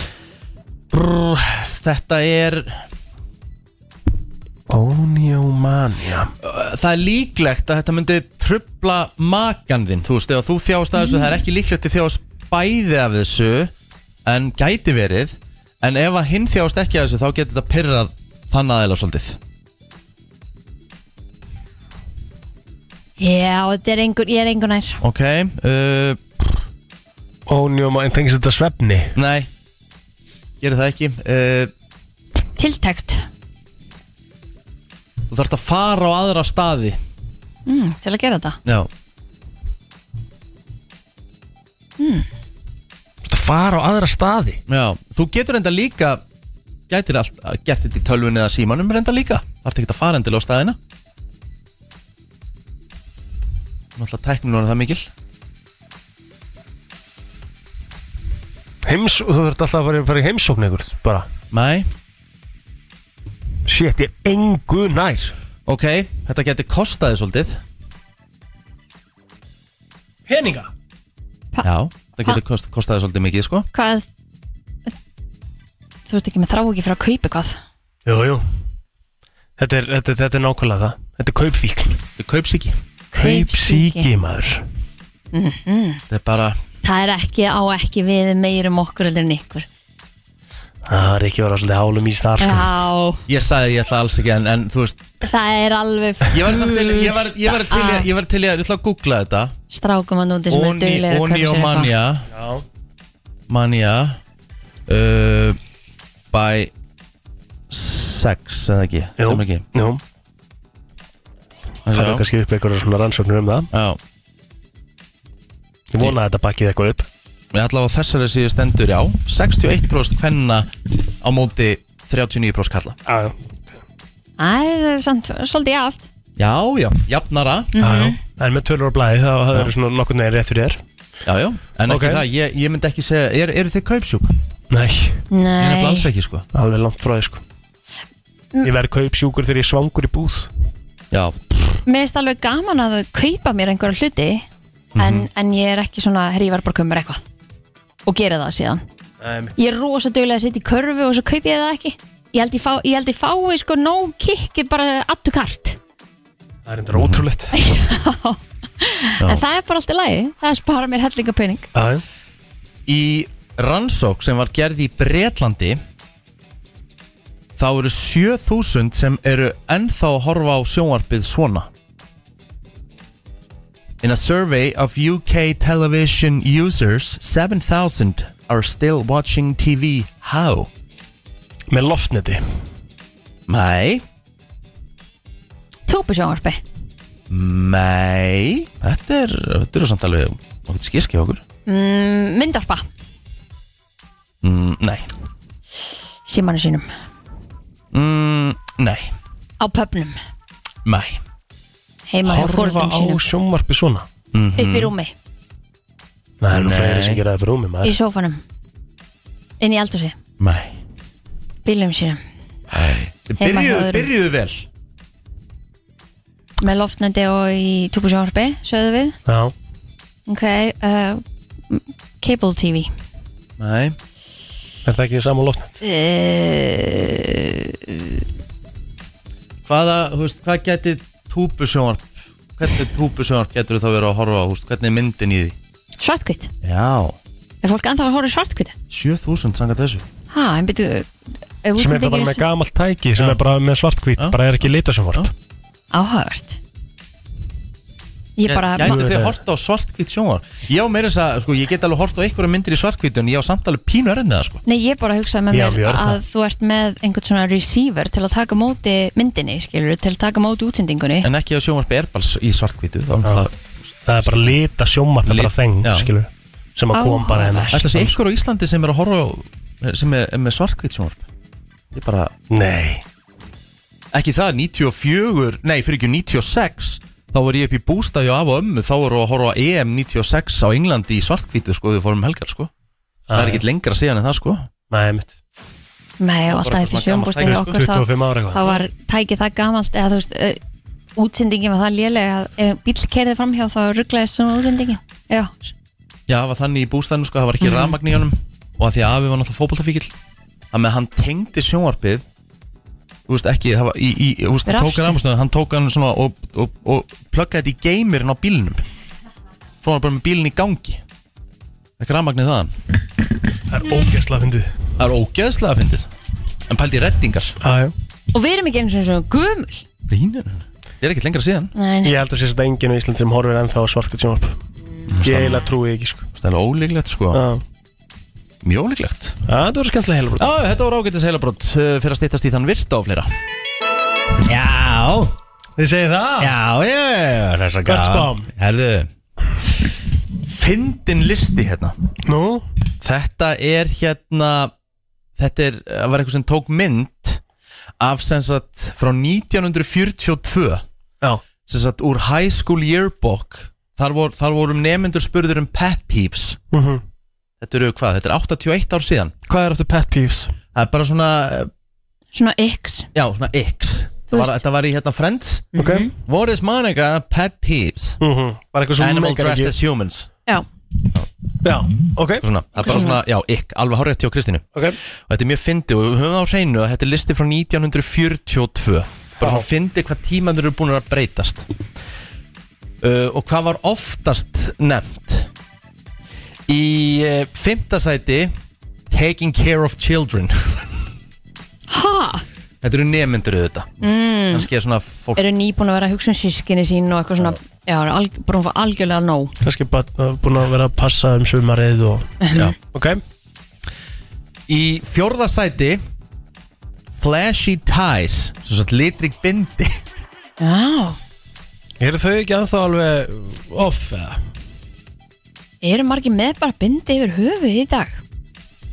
C: brr,
A: þetta er
C: Onjómania
A: það er líklegt að þetta myndi trubla makan þinn, þú veist, ef þú þjáast að þessu, það er ekki líklegt að þjáast bæði af þessu, en gæti verið, en ef að hinn þjáast ekki af þessu, þá getur þetta pyrrað þann aðeila svolítið.
B: Já, þetta er einhver, ég er einhver nær
A: Ok, uh,
C: Onjómania, tengist þetta svefni?
A: nei, gerir það ekki. Uh,
B: Tiltækt
A: þú þarfst að fara á aðra staði.
B: mm, Til að gera þetta
A: Já,
C: Þetta fara á aðra staði
A: já, þú getur enda líka, gætir allt, gert þetta í tölvunni eða símanum enda líka, þarfst ekki að fara endilega á staðina. Náttúrulega tæknir núna það mikil.
C: Heims, og þú þurft alltaf að fara, fara í heimsókn einhvern bara
A: Nei,
C: Shit, ég er engu nær
A: ok, þetta getur kostaði svolítið
C: Peninga
A: Já, þetta getur kost, kostaði svolítið mikið sko
B: Hvað Þú ert ekki með þrá ekki fyrir að kaupa eitthvað
C: Jú, jú Þetta er, þetta, þetta er nákvæmlega það Þetta er kaupfíkn
A: Þetta er kaupsíki
C: Kaupsíki maður
A: Þetta er bara,
B: Það er ekki á ekki við meirum okkur heldur en ykkur
C: Það er ekki verið svolítið hálum í þar sko.
B: Já,
A: ég sagði ég ætla alls ekki en, en þú veist,
B: það er alveg
A: ég var samt til Ég var, ég var til í að, ég var til í að, ég ætla að googla þetta
B: Strákum að núti sem er
A: Oni,
B: duglegir að kaupa
A: Oni
B: sér
A: og
B: eitthvað
A: Manja
C: Já.
A: Manja uh, By Sex, eða ekki,
C: Jú,
A: sem ekki
C: jú Það er
A: Já,
C: kannski upp einhverjar svona rannsóknir um það
A: já
C: Ég vona að þetta bakkið eitthvað upp
A: Ég ætla að þessari síðu stendur, já 61% hvenna á móti 39% kalla
B: Æ,
C: Já,
B: það er samt svolítið jaft
A: Já, já, jafnara
C: já En með tölur og blæði þá það eru svona nokkur neginn rétt fyrir þér
A: Já, já, en
C: Ok.
A: ekki það, ég, ég myndi ekki segja, er, eru þið kaupsjúk? Ég
C: Nei,
A: er nefnilega alls
B: Nei,
A: ekki, sko
C: alveg langt frá þér sko Ég verð kaupsjúkur þegar ég er svangur í búð
A: Já,
B: mér finnst alveg gaman að kaupa mér einhverja hluti en,
A: Mhm.
B: en ég er ekki svona, herri, ég var bara að kaupa mér eitthvað og gera það síðan
C: Nei,
B: Ég er rosa duglega að sitja í körfu og svo kaupi ég það ekki Ég held ég, fá, ég, held ég fái sko no kick bara addu kart
C: það er endur ótrúlegt
A: Já.
B: En það er bara allt í lagi, það er spara mér hellinga pening
C: Já, já
A: Í rannsók sem var gerð í Bretlandi þá eru 7000 sem eru ennþá að horfa á sjónvarpið svona In a survey of UK television users 7000 are still watching TV How?
C: Með loftneti
A: Nei,
B: Tópusjónvarpi
A: nei Þetta er, þetta er samt alveg okkur skíski okkur
B: mm, Myndarpa,
A: mm, Nei,
B: símanu sínum
A: mm, nei,
B: Á pöpnum,
A: nei
B: heima hjá
C: Horfa
B: fóröldum
C: á
B: sínum
C: sjónvarpi svona Mm.
B: Upp í rúmi,
C: Nei, það eru
A: Nei.
C: fleiri sem gera það fyrir rúmi
B: í
C: maður
B: sófanum Inn í eldhúsi,
A: Nei
B: bílum sínum
A: Þið
B: Heima hjá
A: Byrjuðu,
B: öðrum.
A: byrjuðu vel
B: Með loftnendi og í tópusjónvarpi, sögðu við
C: Já,
B: Ok, uh, cable tv
A: Nei
C: er það ekki saman loftnet?
B: uh,
A: hvaða, þú veist, hvað geti túpusjónvarp, hvernig túpusjónvarp getur þá verið að horfa á, þú veist, hvernig er myndin í því?
B: Svartkvitt,
A: Já,
B: er fólk ennþá að horfa svartkvitt?
A: 7000 sanga þessu.
B: Ha, en byrju ef
C: Sem er bara
B: útlendingur
C: með gamalt tæki sem
A: Já.
C: er bara með svartkvít
A: Já.
C: bara er ekki litasjónvarp
B: áhugavert Ég bara
A: Gætu
B: ma-
A: þið horta á svartkvít sjónvarp? Já, meira þess að, sko, ég get alveg horta á einhverja myndir í svartkvít en ég á samtalið pínu erinn með það, sko.
B: Nei, ég bara hugsaði með
C: Já,
B: mér
C: við erum
B: að þú ert með einhvern svona receiver til að taka á móti myndinni, skilur, til að taka á móti útsendingunni
A: En ekki á sjónvarpi erbals í svartkvítu, þá er það...
C: Það er bara litasjónvarp, það er
A: Lit-
C: bara þeng
A: já.
C: skilur, sem að kom bara hérna. hennar
A: Ætla sé einhver á Íslandi sem er að horfa á, sem er, er með svartkvít sjónvarp? Ég bara,
C: Nei,
A: ekki það, 94, nei, fyrir ekki 96, þá var ég upp í bústæði og af og ömmu, þá voru að horfa á EM 96 á Englandi í svartkvítu, sko, við fórum um helgar, sko. Það er
C: Já,
A: ekkert lengra síðan en það sko
C: Ah, nei, mitt
B: Nei, og alltaf
A: bara
B: eftir sjömbústæði
A: gamalt
B: okkur þá,
C: 25 ára
B: þá
C: eitthvað
B: var tækið það gamalt eða þú veist, uh, útsendingin var það lélega að ef bíl kerði framhjá þá rugglaði svona útsendingin Já,
A: Já, það var þannig í bústæðinu sko, það var ekki mm. rafmagn í honum Og að því að afi var náttúrulega fótboltafíkil að með hann tengdi sjónvarpið þú veist ekki, það var í, í, þú veist, hann tók
B: Rafstu.
A: hann ámstöðu, hann tók hann svona og, og, og pluggaði þetta í geimirinn á bílnum svo var hann bara með bílinn í gangi ekki rafmagnið þaðan
C: Það er ógeðslega fyndið
A: það er ógeðslega að fyndið en pældi í reddingar
C: Aðjó
B: Og við erum ekki eins og svona gumul
A: Línur, það er ekkert lengra síðan
B: Nei, nei.
C: Ég held að sé þetta enginn á Íslandi sem horfir ennþá á svartkvæmt sjónvarp Ég eiginlega trúi ekki sko
A: það er ólíklegt sko,
C: Já.
A: mjög ólíklegt
C: Já, Þetta voru skemmtilega heilabrót
A: Já, þetta voru ágætis heilabrótt uh, fyrir að stýttast í þann virta og fleira Já,
C: Þið segir það?
A: já, já Þess að
C: Hvert spám?
A: Herðu Fyndin listi hérna
C: Nú?
A: Þetta er hérna Þetta er, það var eitthvað sem tók mynd af sem sagt frá 1942
C: Já
A: sem sagt úr High School Yearbook þar, vor, þar vorum nemyndur spurður um pet peeves
C: Mhm.
A: Þetta eru hvað, þetta er 81 ár síðan
C: Hvað er aftur pet peeves?
A: Það er bara svona, eh,
B: Svona yks
A: já, svona X
B: Þú
A: Þetta var,
B: veist.
A: þetta var í hérna Friends
C: Ok
A: What is Monica? Pet peeves
C: Mhm. Bara eitthvað svona
A: Animal dressed as humans
B: Já,
C: Já, ok
A: svona, Það er bara svona, já, ikk, alveg hárétt hjá Kristínu
C: Ok
A: Og þetta er mjög fyndi og við höfum á hreinu að þetta er listi frá 1942 Bara svona fyndi hvað tímanur eru búin að breytast uh, Og hvað var oftast nefnt Í uh, fymta sæti Taking care of children
B: ha,
A: Þetta eru nemyndur auðvitað mm. Kannski er svona fólk
B: eru nýbúin að vera að hugsa um sískinni sín og eitthvað svona Já, eru alg, búin að fá algjörlega nóg
C: Kanski bara uh, búin að vera að passa um sumarið og
A: já.
C: Ok
A: Í fjórða sæti Flashy ties Svo svo litrig bindi
B: Já,
C: Eru þau ekki ennþá alveg off eða?
B: eru margir með bara bindi yfir höfuð í dag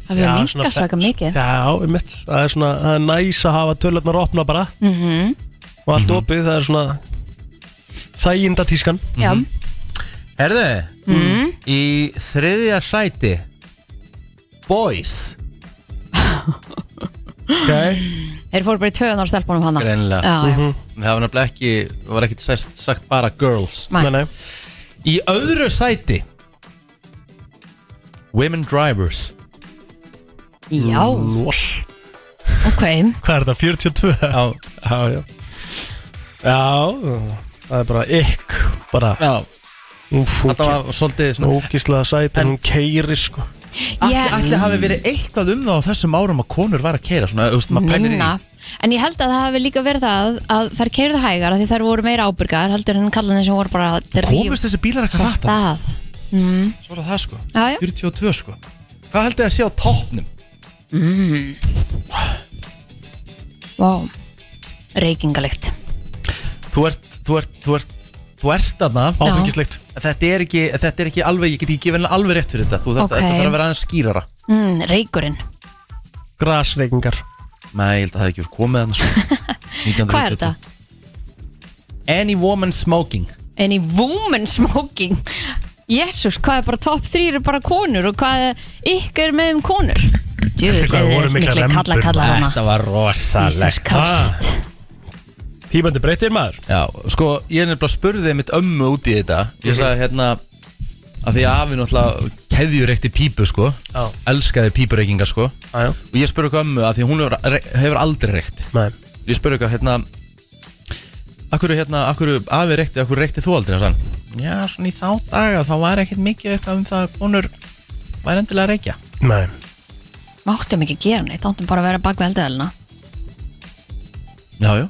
B: Það við minka svaka mikið
C: Já, um mitt Það er svona, það er næs að hafa tölunar opna bara -hmm.
B: Mhm.
C: Og allt opið, það er svona Þæginda tískan
B: Já,
A: Mhm. Herðu mm. Í þriðja sæti Boys
C: okay.
B: þeir fóru bara í töðunar stelpunum hana
A: Greinilega.
B: Já, já,
A: Það var nefnilega ekki það var ekkit sagt, sagt bara girls
B: Mæ.
C: Nei, nei
A: Í öðru sæti Women drivers
B: já,
C: Lól
B: ok
C: Hvað er þetta, 42?
A: Já.
C: Já, já Já, það er bara ykk Bara,
A: Já,
C: úf,
A: þetta var svolítið svona
C: Ógíslega sæt en hún keiri sko
A: Ætli,
B: Ég-
A: ætli hafi verið eitthvað um það á þessum árum að konur var að keira svona, þú veist, maður pælir í
B: Minna En ég held að það hafi líka verið það að þær keirðu hægar af því þær voru meira ábyrgar heldur en kallan sem voru bara að drífa
A: Komist þessi bílar
B: sig
A: eitthvað
B: af
A: rætt
B: stað
A: Svo er það sko
B: Já, já.
A: 42 sko Hvað heldur þið að sé á toppnum?
B: Vá, reykingalikt
A: Þú ert, þú ert, þú ert Þú ert þarna
C: Áfengislegt
A: Þetta er ekki, þetta er ekki alveg, ég get ekki gefið henni alveg rétt fyrir þetta Þú þarft
B: Ok.
A: þetta þarf að vera aðeins skýrara
B: mm, Reykurinn
C: Grasreikingar
A: Nei, ég held að það hef ekki verið komið
B: [LAUGHS]
A: hann sko.
B: Hvað er þetta?
A: 1922. Any woman smoking
B: En í woman smoking Jésús, hvað er bara top 3 eru bara konur og hvað er ykkar með um konur? Djöfull, eh,
C: Eftir hvað
B: þið
C: voru
B: er
C: miklar
B: mikli
C: rembur.
B: kalla kalla hana
A: Þetta var Ah.
B: Jesus
A: rosalegt
B: Christ
C: Tímandi breytir maður
A: Já, sko, ég er nefnilega spurðið mitt ömmu út í þetta Ég sagði hérna að því að afi náttúrulega keðjur eitt í pípu sko
C: Já.
A: Elskaði pípureikingar sko
C: Aðjá
A: Og ég spurði eitthvað ömmu að því að hún hefur, hefur aldrei reykt
C: Nei
A: Ég spurði eitthvað, hérna Akkur, hérna, akkur, afi reykti, akkur reykti þú aldrei sann? Já, svona í þá daga þá var ekkert mikið eitthvað um það að konur væri endilega að reykja
C: Nei
B: Máttum ekki gera neitt, áttum bara að vera bak við eldavelina
A: Já, já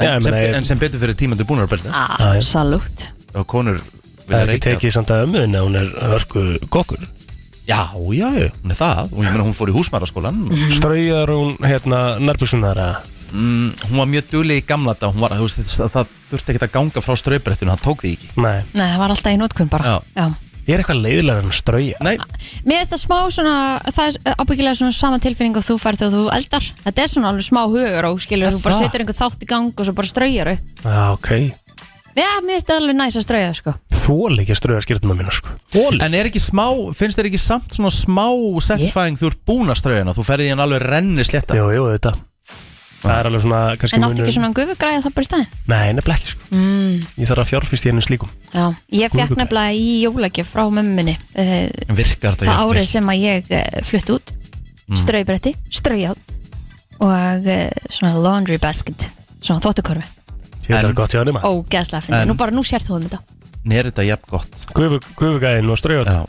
A: En,
C: Já, ég
A: sem,
C: meina, ég-
A: en sem betur fyrir tímandi búnar að byrja
B: Absolutt
A: og konur
C: Það
A: vilja
C: er ekki
A: reykja Mhm.
C: tekið samt að ömmuðin að hún er hörku kokkur
A: Já, já, já, hún er það og ég meina hún fór í húsmaraskólan og
C: Ströyjar hún hérna nærbúksunar að
A: mm, hún var mjög dugleg í gamla þetta hún var, þú veist, það, það þurfti ekkert að ganga frá ströybrettinu hann tók því ekki
C: Nei
B: Nei, það var alltaf í nótkun bara
A: Já.
C: Ég er eitthvað leiðilega en ströyja
A: Nei,
B: Mér finnst það smá svona, það er ábyggilega svona sama tilfinning og þú færð þegar þú eldar Þetta er svona alveg smá hugur og skilur, þú bara
C: það?
B: setur einhver þátt í gang og svo bara ströyjar upp
C: Já ok
B: Já, mér finnst það alveg næs að ströyja sko
C: Þól ekki að ströyja skýrtuna mína sko Þól
A: en er ekki smá, finnst þér ekki samt svona smá satisfying þú ert búin að ströybina þú ferði í hann alveg renni sletta
C: Jú, jú, þetta
A: Ah.
C: Það er alveg svona kannski
B: En áttu
C: munurinn-
B: ekki svona gufugræða það bara í staðinn?
C: Nei, nefnilega ekki sko mm. Ég þarf að fjárfist í hennu slíkum
B: Já, ég fekk
C: Gufugræði.
B: nefnilega í jólagjöf frá mömminni uh,
A: En virkar þetta
B: það
A: jafnvel?
B: árið sem að ég uh, flutt eh, út
A: Mm.
B: ströybretti, ströyjál og eh, svona laundry basket svona þóttukörfi,
C: Þetta er gott hjá henni maður
B: ógeðslega fyndið,
A: En-
B: nú bara nú sér þú um þetta
A: er þetta jafn gott
C: Gufu- Gufugæðin og ströðjótt
A: Já.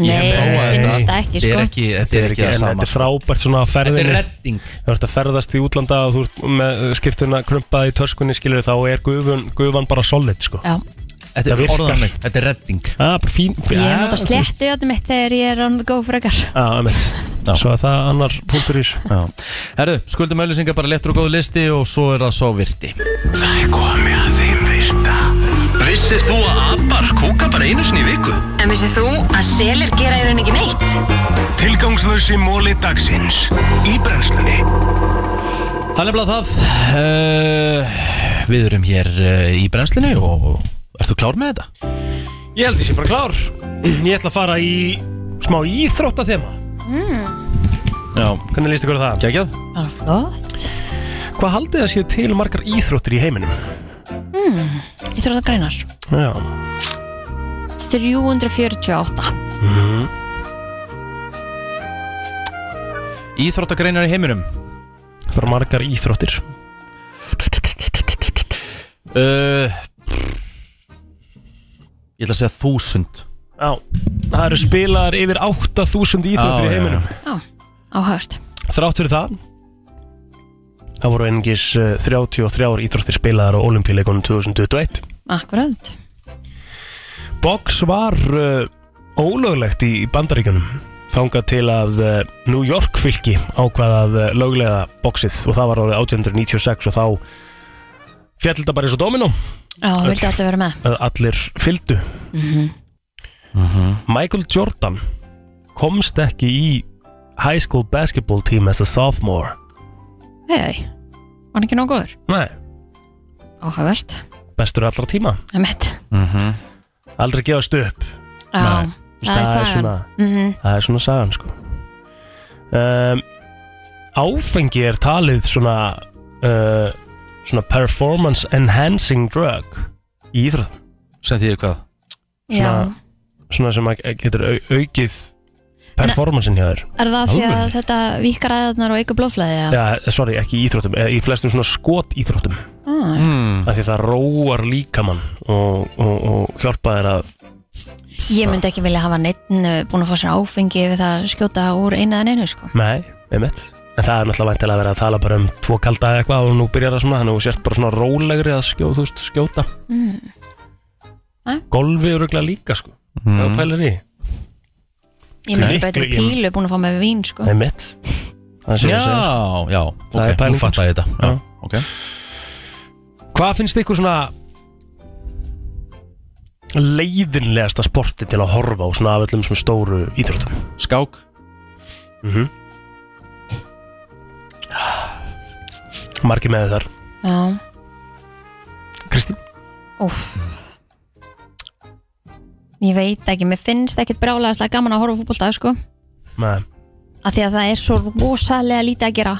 B: Nei,
A: Prófaðu
B: finnst
A: þetta.
B: það ekki
A: Þetta
B: sko
A: er ekki, þetta er ekki það
C: Þetta
A: sama sko.
C: er frábært svona að
A: Þetta er
C: ferðinni
A: redding
C: Þú ert að ferðast í útlanda og þú ert með skiptuna krumpaði í törskunni skilur þá er gufun, gufan bara solid sko
B: Já,
A: Þetta
C: Það
A: er
C: virkar.
A: orðan Þetta er redding
C: Það er bara fín
B: ég er
C: Já,
B: náttúrulega sléttu í öllum mitt þegar ég er on the go frekar
C: Já, einmitt.
A: Já.
C: Svo að það er annar punktur í þessu.
A: Já. Herru, skuldum auðlýsingar bara lettur og góð listi og svo er það svo virti
E: Það er komið að þeim virta Vissir þú að abar kúka bara einu sinni í viku?
H: En vissið þú að selir gera í rauninni ekki neitt?
E: Tilgangslösi móli dagsins Í brennslunni
A: Það er nefnilega það uh, Við erum hér uh, í brennslinu og ert þú klár með þetta?
C: Ég held þessi bara klár Ég ætla að fara í smá íþrótta þema
A: Mm. Já,
C: Hvernig líst ykkur á það?
A: geggjað
B: Það er Ah, flott
C: Hvað haldið það séu til margar íþróttir í heiminum?
B: Ég þurfa það grænar
C: Já
B: 348
C: Mhm.
A: Íþróttagreinar í heiminum
C: Bara margar íþróttir
A: uh, Ég ætla að segja þúsund
C: Já Það eru spilaðar yfir 8000
A: Já,
C: íþróttir í heiminum
B: Áhægt
C: Þrátt fyrir það Það voru eh, engis 33 íþróttir spilaðar á olimpíuleikunum 2021
B: Akkurat
C: Box var uh, ólöglegt í bandaríkjunum þangað til að uh, New York fylki ákvað að uh, löglega boxið og það var árið 1896 og þá fjall þetta bara eins og domino
B: Já, það vildi allir vera með
C: að allir fylgdu
B: Mhm.
C: Michael Jordan komst ekki í high school basketball team as a sophomore
B: Hei, var hann ekki nóg góður?
C: Nei,
B: Áhægt
C: bestur allra tíma
B: Það er mitt
C: aldrei gefast upp
B: Já, það er sagan
C: svona,
B: Mhm.
C: það er svona sagan sko um, áfengi er talið svona uh, svona performance enhancing drug í íþróttum
A: Sem því hvað?
B: Já,
C: svona- svona sem að getur au aukið performancein hjá þér
B: er það því að
A: Alvöru?
B: þetta vikar aðeðnar og eigur blóflæði? Já,
C: ja, eh, sorry, ekki í íþróttum, eða í flestum svona skot íþróttum
B: Ah,
A: Mm.
C: af því það róar líkamann og, og, og hjálpa þér að
B: Ég myndi ekki vilja hafa neittn búin að fá sér áfengi við það að skjóta úr eina en einu sko.
C: nei, einmitt en það er náttúrulega væntilega að vera að tala bara um tvo kalda eða eitthvað og nú byrjar það svona þannig að þú sért bara svona rólegri að skjóta, þú veist, skjóta
B: mm.
C: golfi eru örugglega líka sko mm. það pælir í,
B: Ég myndi
C: Miklu-
B: betur
C: ég-
B: pílu búin að fá með vín sko.
C: það er mitt það
A: Já,
C: sé ég að segja
A: já,
C: Það er
A: ok,
C: pæling,
A: nú fattar ég þetta já,
C: Já.
A: ok.
C: hvað finnst ykkur svona leiðinlegasta sporti til að horfa á svona af öllum svona stóru íþróttum Mhm.
A: Skák
C: margir með þar,
B: Já,
C: Kristín
B: úff Ég veit ekki, mér finnst ekkit brálega gaman að horfa á fútbolta sko.
C: Nei.
B: að því að það er svo rosalega lítið að gera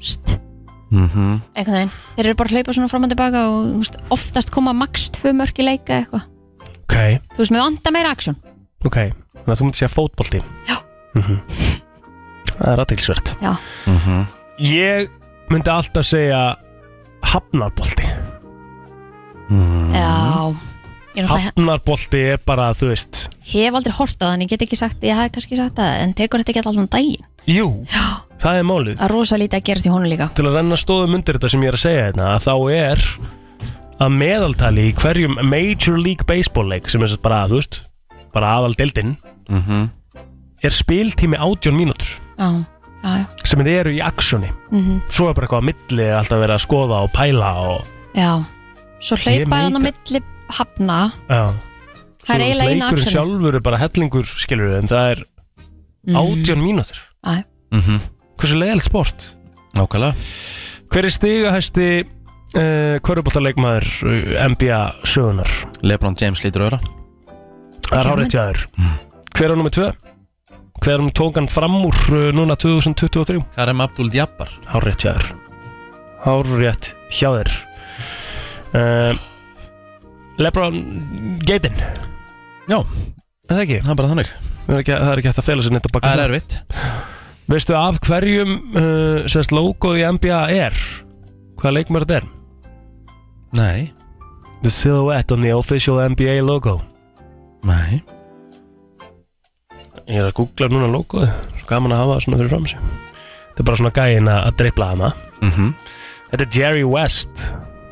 B: St.
A: Mhm.
B: einhvern veginn þeir eru bara að hlaupa svona fram og tilbaka og þú veist, oftast koma max tvö mörk í leika eða eitthvað
C: ok,
B: þú veist, mér vantar meira aksjón
C: ok þannig að þú myndir segja fótbolti
B: Já.
C: Mhm. það er aðtilsvert
B: Já.
C: ég myndi alltaf segja hafnarbolti Mhm.
B: já, ég náttúrulega
C: hafnarbolti er bara, þú veist
B: hef aldrei hort á það en ég get ekki sagt, ég hef kannski sagt það en tekur þetta ekki allan daginn
C: jú,
B: já,
C: það er málið
B: það er rosalega lítið að gerast í honum líka
C: til að renna stóðum undir þetta sem ég er að segja hérna að þá er að meðaltali í hverjum Major League Baseball leik sem er sem sagt bara, þú veist, bara aðal deildin er spiltími átjón mínútur
B: já, já, já,
C: sem þeir eru í aksjóni
B: mhm,
C: svo er bara eitthvað á milli alltaf verið að skoða og pæla og
B: já. svo
C: Ég
B: hlaupa hann á
C: meika-
B: milli hafna
C: já,
B: það er eiginlega eina
C: leikurinn
B: aksjón
C: sjálfur er bara hellingur skilur en það er
B: Mm.
C: átjón mínútur
B: Æ.
A: Mhm.
C: hversu leiðilegt sport
A: Nákvæmlega
C: hver er stigahæsti eh, uh, kvörubóttaleikmaður NBA sögunar
A: Lebron James lítur Mm. öra
C: Það er hárið tjáður Hver er nummer 2? Hver um tók hann fram úr uh, núna 2023?
A: Karim Abdul Jabbar
C: Hárið tjáður Hárið tjáður uh, Lebron Geitin
A: Já.
C: Er Það ekki,
A: Það er bara þannig
C: það er ekki, það er ekki hægt að fela sér neitt á baka
A: Það er erfitt
C: Veistu af hverjum uh, sérst logoð í NBA er? Hvaða leikmur þetta er?
A: Nei,
C: The silhouette on the official NBA logo
A: nei
C: Ég er að googla núna logoð Svo gaman að hafa það svona fyrir fram sig Þetta er bara svona gæin að að dribla hana
A: mm
C: Þetta er Jerry West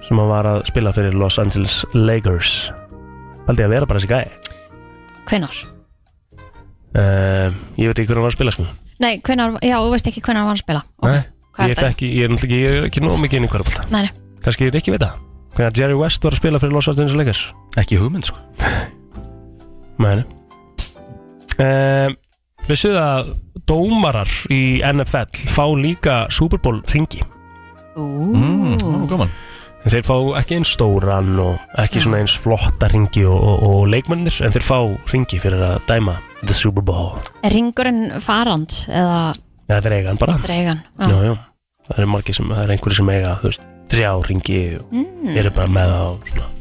C: sem að var að spila fyrir Los Angeles Lakers Haldi að vera bara þessi gæi
B: Hvenar?
C: uh, Ég veit ekki hvernig hann var að spila sko
B: Nei, hvenar, já, þú veist ekki hvenar hann var að spila Ok,
C: Nei,
B: hvað
C: Ég
B: er
C: er
B: þetta?
C: ekki, ég er náttúrulega ekki, ég er ekki nóg mikið inn í hverjabólta
B: Nei, nei,
C: Kannski er ekki vita Hvernig Jerry West var að spila fyrir Los Angeles Lakers
A: Ekki hugmynd
C: [LAUGHS]
A: sko
C: Mæni um, Vissið að dómarar í NFL fá líka Super Bowl ringi
A: mm, Gaman
C: En þeir fá ekki eins stóran og ekki svona eins flotta ringi og, og, og leikmennir En þeir fá ringi fyrir að dæma The Super Bowl
B: er ringurinn farand eða
C: Já, þetta er eigan bara
B: dreigan?
C: Já, já Það eru margir sem, það eru einhverjir sem eiga, þú veist, þrjá ringi og
B: Mm.
C: eru bara með það og svona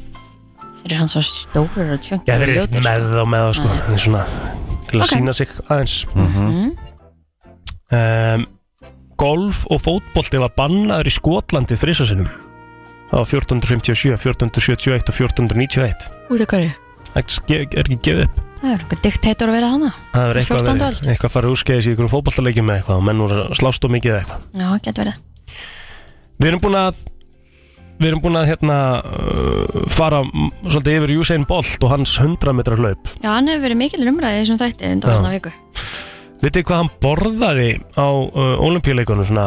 B: Þeir eru hann svo stórir og tjöngir
C: Já, þeir eru
B: ljótir,
C: ekkert með
B: sko.
C: það og með það, sko Það er svona til að
B: Ok. Mm-hmm.
C: sína sig aðeins um, Golf og fótbolti var bannaður í Skotlandi þrisasinum Það var 1457, 1471 og 1491
B: Út af hverju?
C: Það er ekki- er ekki gefið upp
B: Það er eitthvað diktator að vera þannig
C: Það er eitthvað,
B: 14.
C: verið- eitthvað farið úrskeiðis í einhverjum fótboltaleikjum með eitthvað og menn voru að slást og mikið eða eitthvað
B: Já, getur verið
C: Við erum búin að Við erum búin að hérna uh, fara mm, svolítið yfir Usain Bolt og hans 100 metrar hlaup
B: Já, hann hefur verið mikil umræðið þessum þætti undan
C: Já.
B: hann viku
C: Vitið þið hvað hann borðaði á uh, olimpíuleikunum svona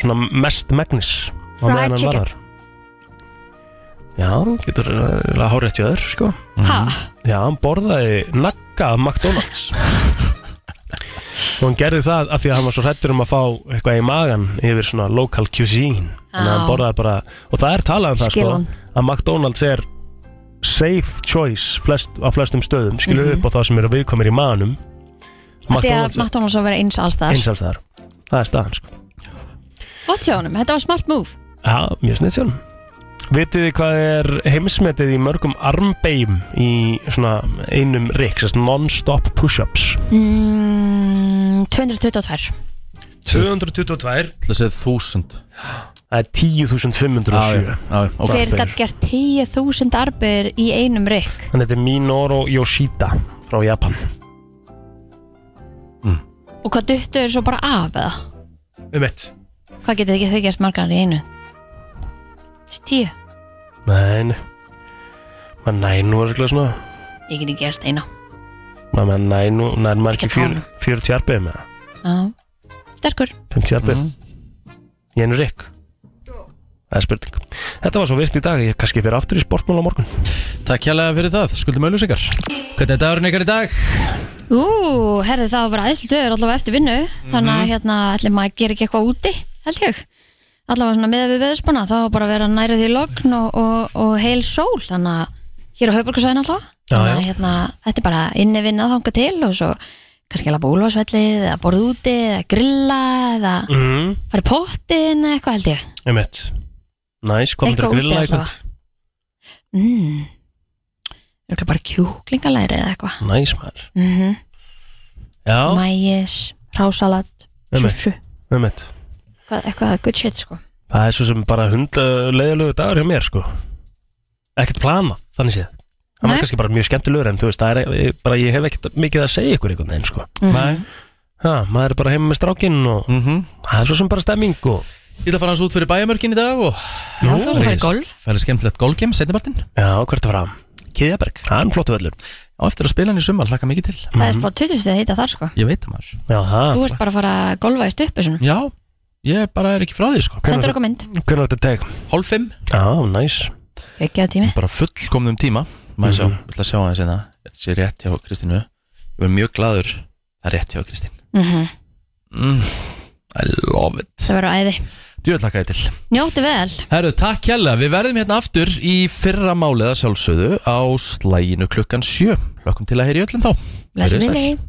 C: svona mest megnis á
B: Fried
C: meðan hann
B: chicken.
C: var þar? Já, þú getur uh, hárétt í öður, sko
B: Ha?
C: Já, hann borðaði nakka af McDonalds og hann gerði það af því að hann var svo hrættur um að fá eitthvað í magan yfir svona local cuisine þannig að hann
B: Já.
C: borðaði bara og það er talað um það
B: Skil
C: sko
B: hann.
C: að McDonalds er safe choice flest, á flestum stöðum skilur upp á það sem eru viðkomir í maganum
B: Mhm. Af Því að McDonalds á að vera eins alls þar
C: einsæls þar það er staðan sko
B: Gott hjá honum, þetta var smart move
C: já, mjög snitt sjálfum vitið þið hvað er heimsmetið í mörgum armbeim í svona einum rygg sérst non-stop push-ups
B: mm, 222
C: 222
A: Það segði þúsund
C: það er 10.507
A: ok
B: Hver gætt gert 10.000 arbeidir í einum rygg
C: þannig þetta er Minoru Yoshida frá Japan
B: Og hvað duttu er svo bara af eða?
C: um ett
B: Hvað getið ekki þau gert margar í einu? 10
C: nei nei. maður næ nú er eitthvað svona
B: Ég geti gert eina
C: maður maður næ nú nær maður
B: Ekki
C: ekki fjör-
B: tala.
C: 40 arbeim eða
B: Já. Sterkur
C: 50 arbeim ég er nú rygg það er spurning þetta var svo virt í dag ég kannski fyrir aftur í sportmál á morgun
A: Takk hérlega fyrir það, skuldum auðlýsingar Hvernig er dagurinn ykkar í dag?
B: Ú, herði það var aðeinslu dögur allavega eftir vinnu Þannig að hérna, allir maður gerir ekki eitthvað úti, held ég Allavega svona með við veðspana Þá var bara að vera nærið í logn og, og, og heil sól Þannig að hér á höfbörgarsvæðin allavega Þannig að hérna, þetta er bara inni vinna þanga til Og svo kannski alveg búlvarsvellið Eða borða úti, eða grilla Eða
C: mm.
B: fara í pottin eða eitthvað held ég
C: um ett næs komið til
B: Eitthvað
C: að grilla
B: úti
C: í kvöld
B: allavega. mm. Örugglega bara kjúklingalæri eða eitthvað
C: næs maður
B: mm
C: já
B: Mægis, rásalat,
C: Nei, nei.
B: súsu
C: um ett
B: Hvað- Eitthvað good shit sko
C: það er svo sem bara hund leiðilegu dagur hjá mér sko ekkert planað þannig séð það var
B: Nei.
C: kannski bara mjög skemmtilegur en þú veist það er ég- bara ég hef ekkert mikið að segja ykkur einhvern veginn sko
B: Mhm.
A: Nei
C: ha, maður er bara heima með strákinn og það er svo sem bara stemming og
A: Ég ætla að fara hans út fyrir bæjarmörkin í dag og
B: Já, þú ert að fara í golf
A: færi skemmtilegt golfgame setnibartinn
C: já, hvert er fram
A: Kiðaberg
C: það er en flottu völlur
A: Á eftir að spila hann í sumar, hlakka mikið til
B: Það er bara 20 stið að hýta þar sko
A: Ég veit það maður
C: Mhm. já, það
B: Þú ert bara að fara að golfa í stuppu svona
A: Já, ég bara er ekki frá því sko
B: Sendur okkur mynd,
C: hvernig er þetta teg
A: Hálf fimm
C: já, næs
B: ekki á tími
A: Bara fullkomnum tíma Má ég sjá, mm. ætla að sjá aðeins hérna Þetta sé rétt hjá Kristínu Ég var mjög gladur Það er rétt hjá Kristín
B: Mhm.
A: mm. I love it
B: Það verður æði
A: Djöð hlakka ég til
B: Njóttu vel
A: Herru, takk hella, við verðum hérna aftur í fyrra máliða sjálfsögðu á slæginu klukkan sjö Hlökkum til að heyri öllum þá
B: Bless
A: Verið þið sæl.
B: minni